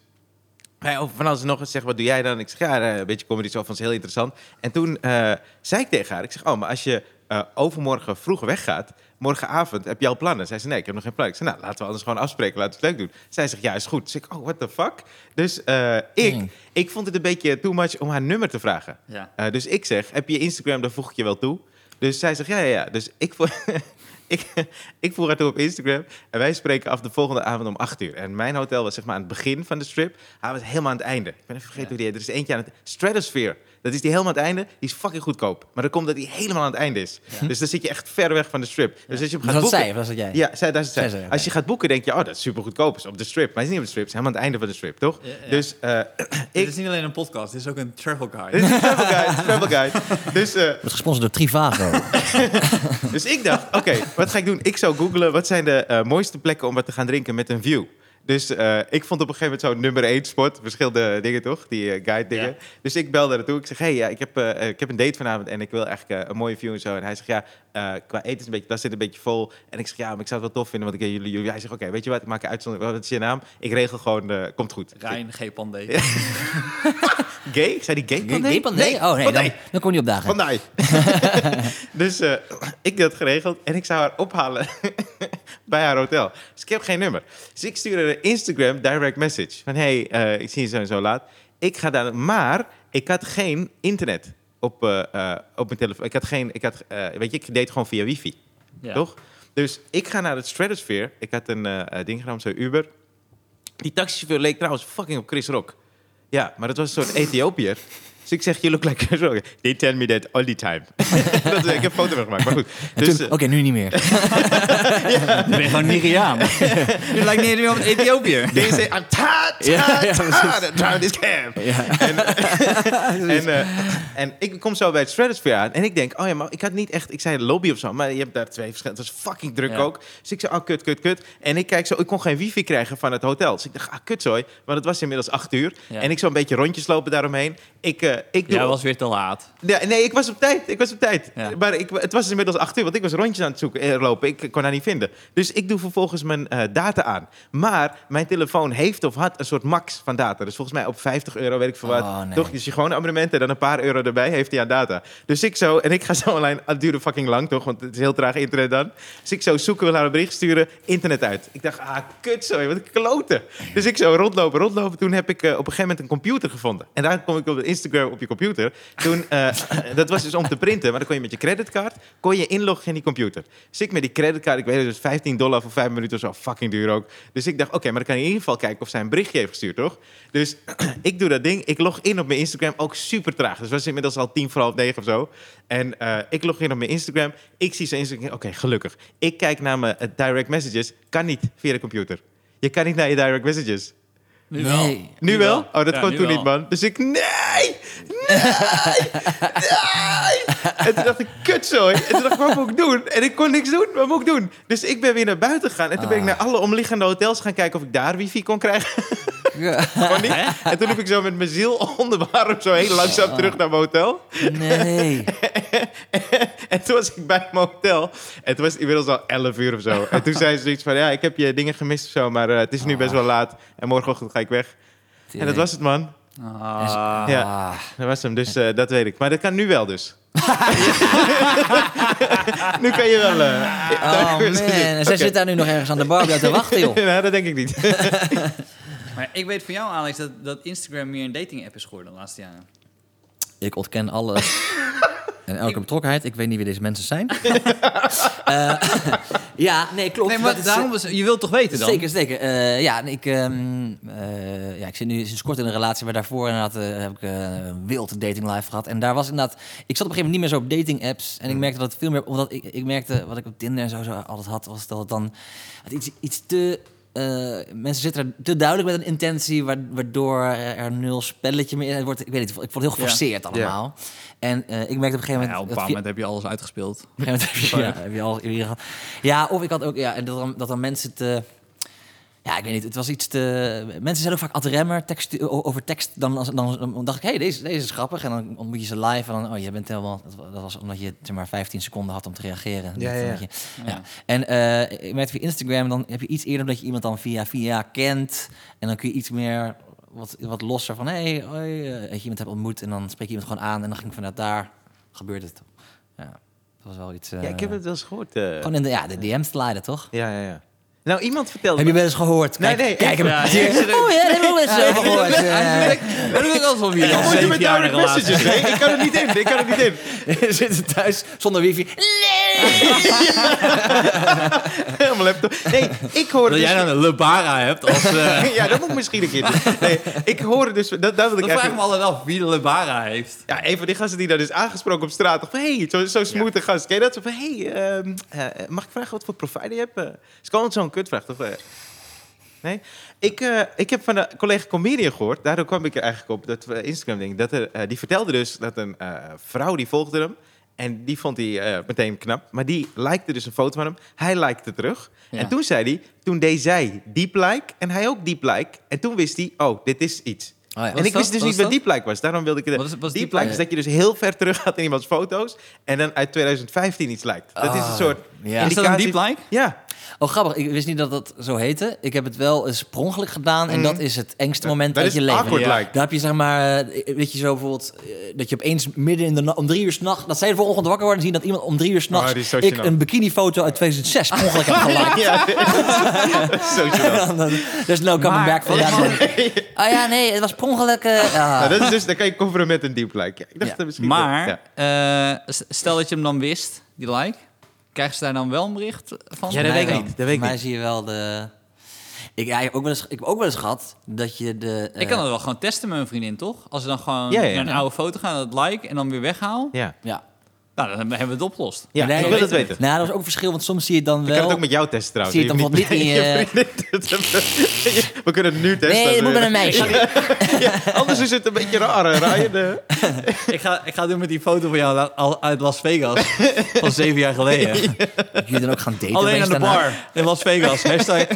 Speaker 1: Hij over van alles en nog eens zegt, wat doe jij dan? Ik zeg, ja, eh, een beetje comedy zo, vond ze heel interessant. En toen eh, zei ik tegen haar, ik zeg, oh, maar als je eh, overmorgen vroeg weggaat, morgenavond, heb je al plannen? Zij zei, nee, ik heb nog geen plannen. Ik zei, nou, laten we anders gewoon afspreken, laten we het leuk doen. Zij zegt, ja, is goed. Dus ik, oh, what the fuck? Dus eh, ik,
Speaker 2: Hmm.
Speaker 1: ik vond het een beetje too much om haar nummer te vragen.
Speaker 3: Ja.
Speaker 1: Eh, dus ik zeg, heb je Instagram, dan voeg ik je wel toe. Dus zij zegt, ja, ja, ja. Dus ik, vo- [laughs] ik, ik voeg haar toe op Instagram. En wij spreken af de volgende avond om 8 uur. En mijn hotel was zeg maar aan het begin van de strip. Haar was helemaal aan het einde. Ik ben even vergeten hoe die heet. Er is eentje aan het... Stratosphere. Dat is die helemaal aan het einde. Die is fucking goedkoop. Maar dat komt dat die helemaal aan het einde is. Dus dan zit je echt ver weg van de strip. Dus als je hem
Speaker 2: Dus
Speaker 1: gaat
Speaker 2: dat
Speaker 1: boeken...
Speaker 2: zij, of was dat jij?
Speaker 1: Ja, zij, daar is het
Speaker 2: Zij
Speaker 1: zij.
Speaker 2: zei, oké.
Speaker 1: Als je gaat boeken, denk je, oh, dat is super goedkoop. Is op de strip. Maar het is niet op de strip. Het is helemaal aan het einde van de strip, toch?
Speaker 3: Ja, ja.
Speaker 1: Dus eh, [laughs]
Speaker 3: Dit
Speaker 1: ik...
Speaker 3: is niet alleen een podcast, dit is ook een travel
Speaker 1: Dit
Speaker 3: guide.
Speaker 1: is een travel guide, travel guide. Dus eh,
Speaker 2: Wordt gesponsord door
Speaker 1: [laughs]
Speaker 2: Trivago.
Speaker 1: Dus ik dacht, oké, wat ga ik doen? Ik zou googlen, wat zijn de eh, mooiste plekken om wat te gaan drinken met een view? Dus eh, ik vond op een gegeven moment zo'n nummer 1 spot. Verschillende dingen toch? Die eh, guide dingen.
Speaker 3: Ja.
Speaker 1: Dus ik belde naartoe. Ik zeg, hey, ja, ik, heb, eh, eh, ik heb een date vanavond en ik wil eigenlijk eh, een mooie view en zo. En hij zegt, ja, eh, qua eten is een beetje, dat zit een beetje vol. En ik zeg, ja, maar ik zou het wel tof vinden, want ik ken jullie, jullie. Hij zegt, oké, weet je wat, ik maak een uitzondering. Wat is je naam? Ik regel gewoon, eh, komt goed.
Speaker 3: Rijn G. Pandé.
Speaker 1: Gay? Zei die gay?
Speaker 2: Gay Pandé? Oh nee, dan, dan kon je op dagen.
Speaker 1: Vandaag. [laughs] dus eh, ik had geregeld en ik zou haar ophalen [laughs] bij haar hotel. Dus ik heb geen nummer. Dus ik stuurde een Instagram direct message. Van hey, eh, ik zie je zo en zo laat. Ik ga daar, maar ik had geen internet op, eh, eh, op mijn telefoon. Ik had geen, ik had, eh, weet je, ik deed gewoon via wifi.
Speaker 3: Ja.
Speaker 1: Toch? Dus ik ga naar het Stratosphere. Ik had een eh, eh, ding genomen, zo Uber. Die taxichauffeur leek trouwens fucking op Chris Rock. Ja, maar dat was een soort Ethiopiër. Dus ik zeg, you look like a Zorg. They tell me that all the time. [laughs] dat, eh, ik heb een foto van gemaakt, maar goed. Dus,
Speaker 2: Natuurlijk, Oké, nu niet
Speaker 1: [laughs]
Speaker 2: meer. [laughs] Nu ben je gewoon Nigeriaan.
Speaker 3: Je lijkt niet helemaal op een Ethiopiër.
Speaker 2: [laughs]
Speaker 1: They say, I'm tired,
Speaker 2: Ja, ja,
Speaker 1: tired,
Speaker 2: precies.
Speaker 1: tired of driving this cab.
Speaker 2: [laughs]
Speaker 1: En, eh, en ik kom zo bij het Stratosphere aan. En ik denk, oh ja, maar ik had niet echt... Ik zei lobby of zo, maar je hebt daar twee verschillende... Het was fucking druk
Speaker 2: Ja.
Speaker 1: ook. Dus ik zei, oh, kut, kut, kut. En ik kijk zo, ik kon geen wifi krijgen van het hotel. Dus ik dacht, ah, kutzooi. Maar het was inmiddels acht uur.
Speaker 2: Ja.
Speaker 1: En ik zou een beetje rondjes lopen daaromheen. Ik, eh, ik doe...
Speaker 3: Jij was weer te laat.
Speaker 1: Ja, nee, ik was op tijd. Ik was op tijd.
Speaker 3: Ja.
Speaker 1: Maar ik, het was inmiddels acht uur, want ik was rondjes aan het zoeken, eh, lopen. Ik kon haar niet vinden. Dus ik doe vervolgens mijn eh, data aan. Maar mijn telefoon heeft of had een soort max van data. Dus volgens mij op 50 euro, weet ik veel wat.
Speaker 2: Oh, nee.
Speaker 1: Toch? Dus je gewoon een abonnement en dan een paar euro erbij heeft hij aan data. Dus ik zo, en ik ga zo online, het duurde fucking lang toch, want het is heel traag internet dan. Dus ik zo zoeken, wil haar een bericht sturen, internet uit. Ik dacht, ah, kut zo, wat een klote. Dus ik zo rondlopen, rondlopen. Toen heb ik eh, op een gegeven moment een computer gevonden. En daar kom ik op Instagram op je computer. Toen, eh, dat was dus om te printen, maar dan kon je met je creditcard, kon je inloggen in die computer. Dus ik met die creditcard, ik weet het, dus 15 dollar voor 5 minuten of zo, fucking duur ook. Dus ik dacht, oké, maar dan kan je in ieder geval kijken of zij een berichtje heeft gestuurd, toch? Dus [clears throat] ik doe dat ding. Ik log in op mijn Instagram. Ook super traag. Dus het was inmiddels al tien voor half negen of zo. En eh, ik log in op mijn Instagram. Ik zie zijn Instagram. Oké, gelukkig. Ik kijk naar mijn eh, direct messages. Kan niet via de computer. Je kan niet naar je direct messages.
Speaker 3: Nu
Speaker 2: Nee.
Speaker 1: Nu,
Speaker 3: Nu
Speaker 1: wel?
Speaker 3: wel.
Speaker 1: Oh, dat
Speaker 3: Ja,
Speaker 1: kon
Speaker 3: nu
Speaker 1: toen
Speaker 3: wel.
Speaker 1: niet, man. Dus ik, nee! Nee! Nee! En toen dacht ik, kutzooi. En toen dacht ik, wat moet ik doen? En ik kon niks doen. Wat moet ik doen? Dus ik ben weer naar buiten gegaan. En toen ben ik
Speaker 2: Ah.
Speaker 1: naar alle omliggende hotels gaan kijken of ik daar wifi kon krijgen.
Speaker 2: Ja.
Speaker 1: Gewoon
Speaker 3: [laughs]
Speaker 1: niet. En toen heb ik zo met mijn ziel [laughs] onder mijn arm zo heel
Speaker 3: Ah.
Speaker 1: langzaam terug naar mijn hotel. [laughs]
Speaker 2: Nee.
Speaker 1: En toen was ik bij mijn hotel. En toen was het inmiddels al 11 uur of zo. En toen zei ze zoiets van, ja, ik heb je dingen gemist of zo, maar eh, het is nu best wel laat. En morgenochtend ga ik weg. [laughs] En dat was het, man.
Speaker 3: Ah.
Speaker 1: Ja.
Speaker 2: Ah.
Speaker 1: Dat was hem, dus eh, dat weet ik. Maar dat kan nu wel [laughs] dus. nu kan je wel... eh,
Speaker 2: Oh man,
Speaker 1: daar-
Speaker 2: zij
Speaker 1: Oké.
Speaker 2: zit daar nu nog ergens aan de bar te
Speaker 1: [laughs]
Speaker 2: wachten, joh.
Speaker 1: Nou, dat denk ik niet.
Speaker 3: Maar ik weet van jou, Alex, dat, dat Instagram meer een dating app is geworden de laatste jaren.
Speaker 2: Ik ontken alles
Speaker 1: [laughs]
Speaker 2: en elke betrokkenheid. Ik weet niet wie deze mensen zijn. Eh, [laughs] ja, nee, klopt.
Speaker 3: Nee, maar
Speaker 2: Dat is,
Speaker 3: daarom was, je wilt toch weten dan?
Speaker 2: Zeker, zeker. Eh, ja, en ik, ehm, eh, ja, ik zit nu sinds kort in een relatie, maar daarvoor inderdaad, eh, heb ik eh, een wild dating life gehad. En daar was inderdaad, ik zat op een gegeven moment niet meer zo op dating apps.
Speaker 3: Mm.
Speaker 2: En ik merkte dat het veel meer, omdat ik, ik merkte wat ik op Tinder en zo, zo altijd had, was dat het dan het iets, iets te. eh, mensen zitten er te duidelijk met een intentie, wa- waardoor er, er nul spelletje meer in het wordt. Ik weet niet, ik vond het heel geforceerd allemaal. En eh, ik merkte op een gegeven moment.
Speaker 3: Ja, op een bepaald
Speaker 2: dat via-
Speaker 3: moment heb je alles uitgespeeld.
Speaker 2: op een
Speaker 1: [laughs]
Speaker 2: gegeven moment heb je, ja, heb je al heb je gehad. Ja, of ik had ook, ja, dat dan, dat dan mensen te. Ja, ik weet niet, het was iets te... Mensen zijn ook vaak ad remmer tekst, o- over tekst. Dan, als- dan, dan dacht ik, hé, hey, deze, deze is grappig. En dan ontmoet je ze live. En dan, oh, je bent helemaal... Dat wa- dat was omdat je zeg maar 15 seconden had om te reageren.
Speaker 1: Ja,
Speaker 2: Dat-
Speaker 1: ja,
Speaker 2: dat
Speaker 1: ja.
Speaker 2: je- ja. En eh ik merkte via Instagram, dan heb je iets eerder dat je iemand dan via via kent. En dan kun je iets meer, wat, wat losser van... Hé, hey, hoi, eh, dat je iemand hebt ontmoet. En dan spreek je iemand gewoon aan. En dan ging ik vanuit daar, gebeurt het. Ja, dat was wel iets... eh,
Speaker 1: Ja, ik heb het wel eens gehoord. eh.
Speaker 2: Gewoon in de, ja, de DM sliden, toch?
Speaker 1: Ja, ja, ja. Nou, iemand vertelde...
Speaker 2: Heb je wel eens gehoord?
Speaker 1: Nee,
Speaker 2: Kijk,
Speaker 1: nee,
Speaker 2: kijk
Speaker 1: ik-
Speaker 2: hem.
Speaker 3: Ja, ja,
Speaker 2: Oh ja, dat heb ik wel eens eh, gehoord. eh.
Speaker 3: Dat heb ik altijd
Speaker 2: [laughs]
Speaker 3: van wie.
Speaker 1: Ik moet je met direct messages, hè? Ik kan er niet in, ik kan er niet in.
Speaker 2: Zitten thuis zonder wifi.
Speaker 1: [laughs] Helemaal laptop. Nee, ik hoorde
Speaker 3: Dat jij
Speaker 1: dus...
Speaker 3: dan een Lebara hebt als... eh,
Speaker 1: [laughs] ja, dat moet ik misschien een keer doen. Nee, ik hoorde dus... Dat, dat wil ik
Speaker 3: dat vraag ik
Speaker 1: eigenlijk...
Speaker 3: me altijd af, wie de Lebara heeft.
Speaker 1: Ja, een van die gasten die daar dus aangesproken op straat. dacht Van, hey, zo, zo smooth een gast. Ken je dat? Zo van, hey, ehm, eh, mag ik vragen wat voor provider je hebt? Eh, is gewoon zo'n kutvraag, toch? Eh, nee? Ik, eh, ik heb van een collega comedian gehoord. Daardoor kwam ik er eigenlijk op dat we Instagram ding. Dat er, eh, die vertelde dus dat een eh, vrouw die volgde hem. En die vond hij eh, meteen knap. Maar die likte dus een foto van hem. Hij likte terug.
Speaker 2: Ja.
Speaker 1: En toen zei hij, toen deed zij deep like. En hij ook deep like. En toen wist hij, oh, dit is iets.
Speaker 2: Oh ja.
Speaker 1: en ik
Speaker 3: dat?
Speaker 1: wist dus
Speaker 3: Wat
Speaker 1: niet
Speaker 3: is
Speaker 1: wat deep like was. Daarom wilde ik het...
Speaker 3: Wat is- wat is
Speaker 1: deep
Speaker 3: deep
Speaker 1: like
Speaker 3: like?
Speaker 2: Ah,
Speaker 1: is dat je dus heel ver terug gaat in iemands foto's. En dan uit 2015 iets lijkt. Dat is een
Speaker 2: Ah,
Speaker 1: soort
Speaker 2: ja.
Speaker 3: Is dat een
Speaker 1: indicatie-
Speaker 3: deep like?
Speaker 1: Ja.
Speaker 2: Oh, grappig. Ik wist niet dat dat zo heette. Ik heb het wel eens per ongeluk gedaan. En dat is het engste moment
Speaker 1: Mhm. Dat
Speaker 2: uit
Speaker 1: is
Speaker 2: je leven.
Speaker 1: awkward
Speaker 3: Ja.
Speaker 1: like.
Speaker 2: Daar heb je zeg maar, eh, weet je zo bijvoorbeeld, eh, dat je opeens midden in de nacht, om drie uur s'nachts, dat zij de volgende wakker worden en zien dat iemand om drie uur
Speaker 1: Oh,
Speaker 2: s'nachts
Speaker 1: die is zo
Speaker 2: ik
Speaker 1: gênant.
Speaker 2: een bikinifoto uit 2006 per ongeluk heb geliked.
Speaker 1: [laughs] Ja, dat is
Speaker 2: [laughs]
Speaker 1: zo gênant.
Speaker 2: En dan- There's no coming
Speaker 3: Maar-
Speaker 2: back van dat.
Speaker 1: [laughs]
Speaker 2: Oh ja, nee, het was per ongeluk. eh, ah.
Speaker 1: Nou, dat is dus, dan kan je coveren met een deep like. Ja, ik dacht
Speaker 2: Ja.
Speaker 1: dat misschien...
Speaker 3: Maar,
Speaker 1: Ja.
Speaker 3: eh, s- stel dat je hem dan wist, die like. Krijgen ze daar dan wel een bericht van?
Speaker 1: Ja, dat weet ik
Speaker 2: Mij wel.
Speaker 1: niet, dat weet ik
Speaker 2: Mij
Speaker 1: niet.
Speaker 2: zie je wel de... Ik, ja, ik, heb ook wel eens, ik heb ook wel eens gehad dat je de... eh,
Speaker 3: ik kan dat wel gewoon testen met mijn vriendin, toch? Als we dan gewoon
Speaker 1: Ja, ja, ja.
Speaker 3: naar een oude foto gaan, dat like en dan weer weghaal.
Speaker 1: Ja,
Speaker 2: Ja.
Speaker 3: Nou, dan hebben we het opgelost.
Speaker 1: ja
Speaker 2: Nee,
Speaker 1: ik wil
Speaker 2: weet
Speaker 1: dat
Speaker 3: het.
Speaker 1: weten.
Speaker 2: Nou, dat is ook een verschil, want soms zie je dan
Speaker 1: Ik kan
Speaker 2: wel...
Speaker 1: het ook met jou testen trouwens.
Speaker 2: Zie je het
Speaker 1: hoeft
Speaker 2: dan wat
Speaker 1: [laughs]
Speaker 2: niet in je-
Speaker 1: vriendin te testen. We kunnen het [laughs] nu testen.
Speaker 2: Nee, je moet met een meisje.
Speaker 1: Ja, [laughs] anders is het een beetje raar, hè, Ryan. [laughs] Eh,
Speaker 3: ik, ga, ik ga doen met die foto van jou la- al- uit Las Vegas
Speaker 1: [laughs]
Speaker 3: van zeven jaar geleden.
Speaker 2: [laughs] Jullie dan ook gaan daten.
Speaker 3: Alleen
Speaker 2: opeens
Speaker 3: aan de
Speaker 2: daarna.
Speaker 3: bar in Las
Speaker 1: [laughs]
Speaker 3: Vegas. Hashtag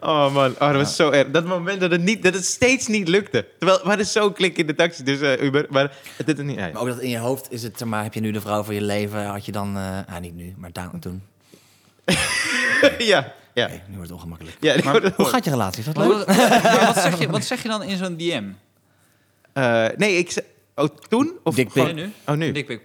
Speaker 1: Oh man, oh, dat was zo erg. Dat moment dat het, niet, dat het steeds niet lukte. Terwijl, maar het is zo klik in de taxi, dus eh, Uber. Maar het deed er niet uit.
Speaker 2: Maar ook dat in je hoofd is het, zeg maar heb je nu de vrouw van je leven? Had je dan, eh, ah niet nu, maar daar toen.
Speaker 1: [laughs] ja, ja.
Speaker 2: Oké, nu wordt het ongemakkelijk.
Speaker 1: ja [laughs]
Speaker 3: Maar
Speaker 2: Hoe gaat je relatie? Is dat
Speaker 3: Maar
Speaker 2: leuk?
Speaker 3: wat, [laughs] maar wat zeg je, wat zeg je dan in zo'n DM?
Speaker 1: Eh, nee, ik... ze- Oh, toen? Of
Speaker 2: Dick
Speaker 1: gewoon-
Speaker 3: Nee, nu?
Speaker 1: Oh, nu.
Speaker 3: Dick pic.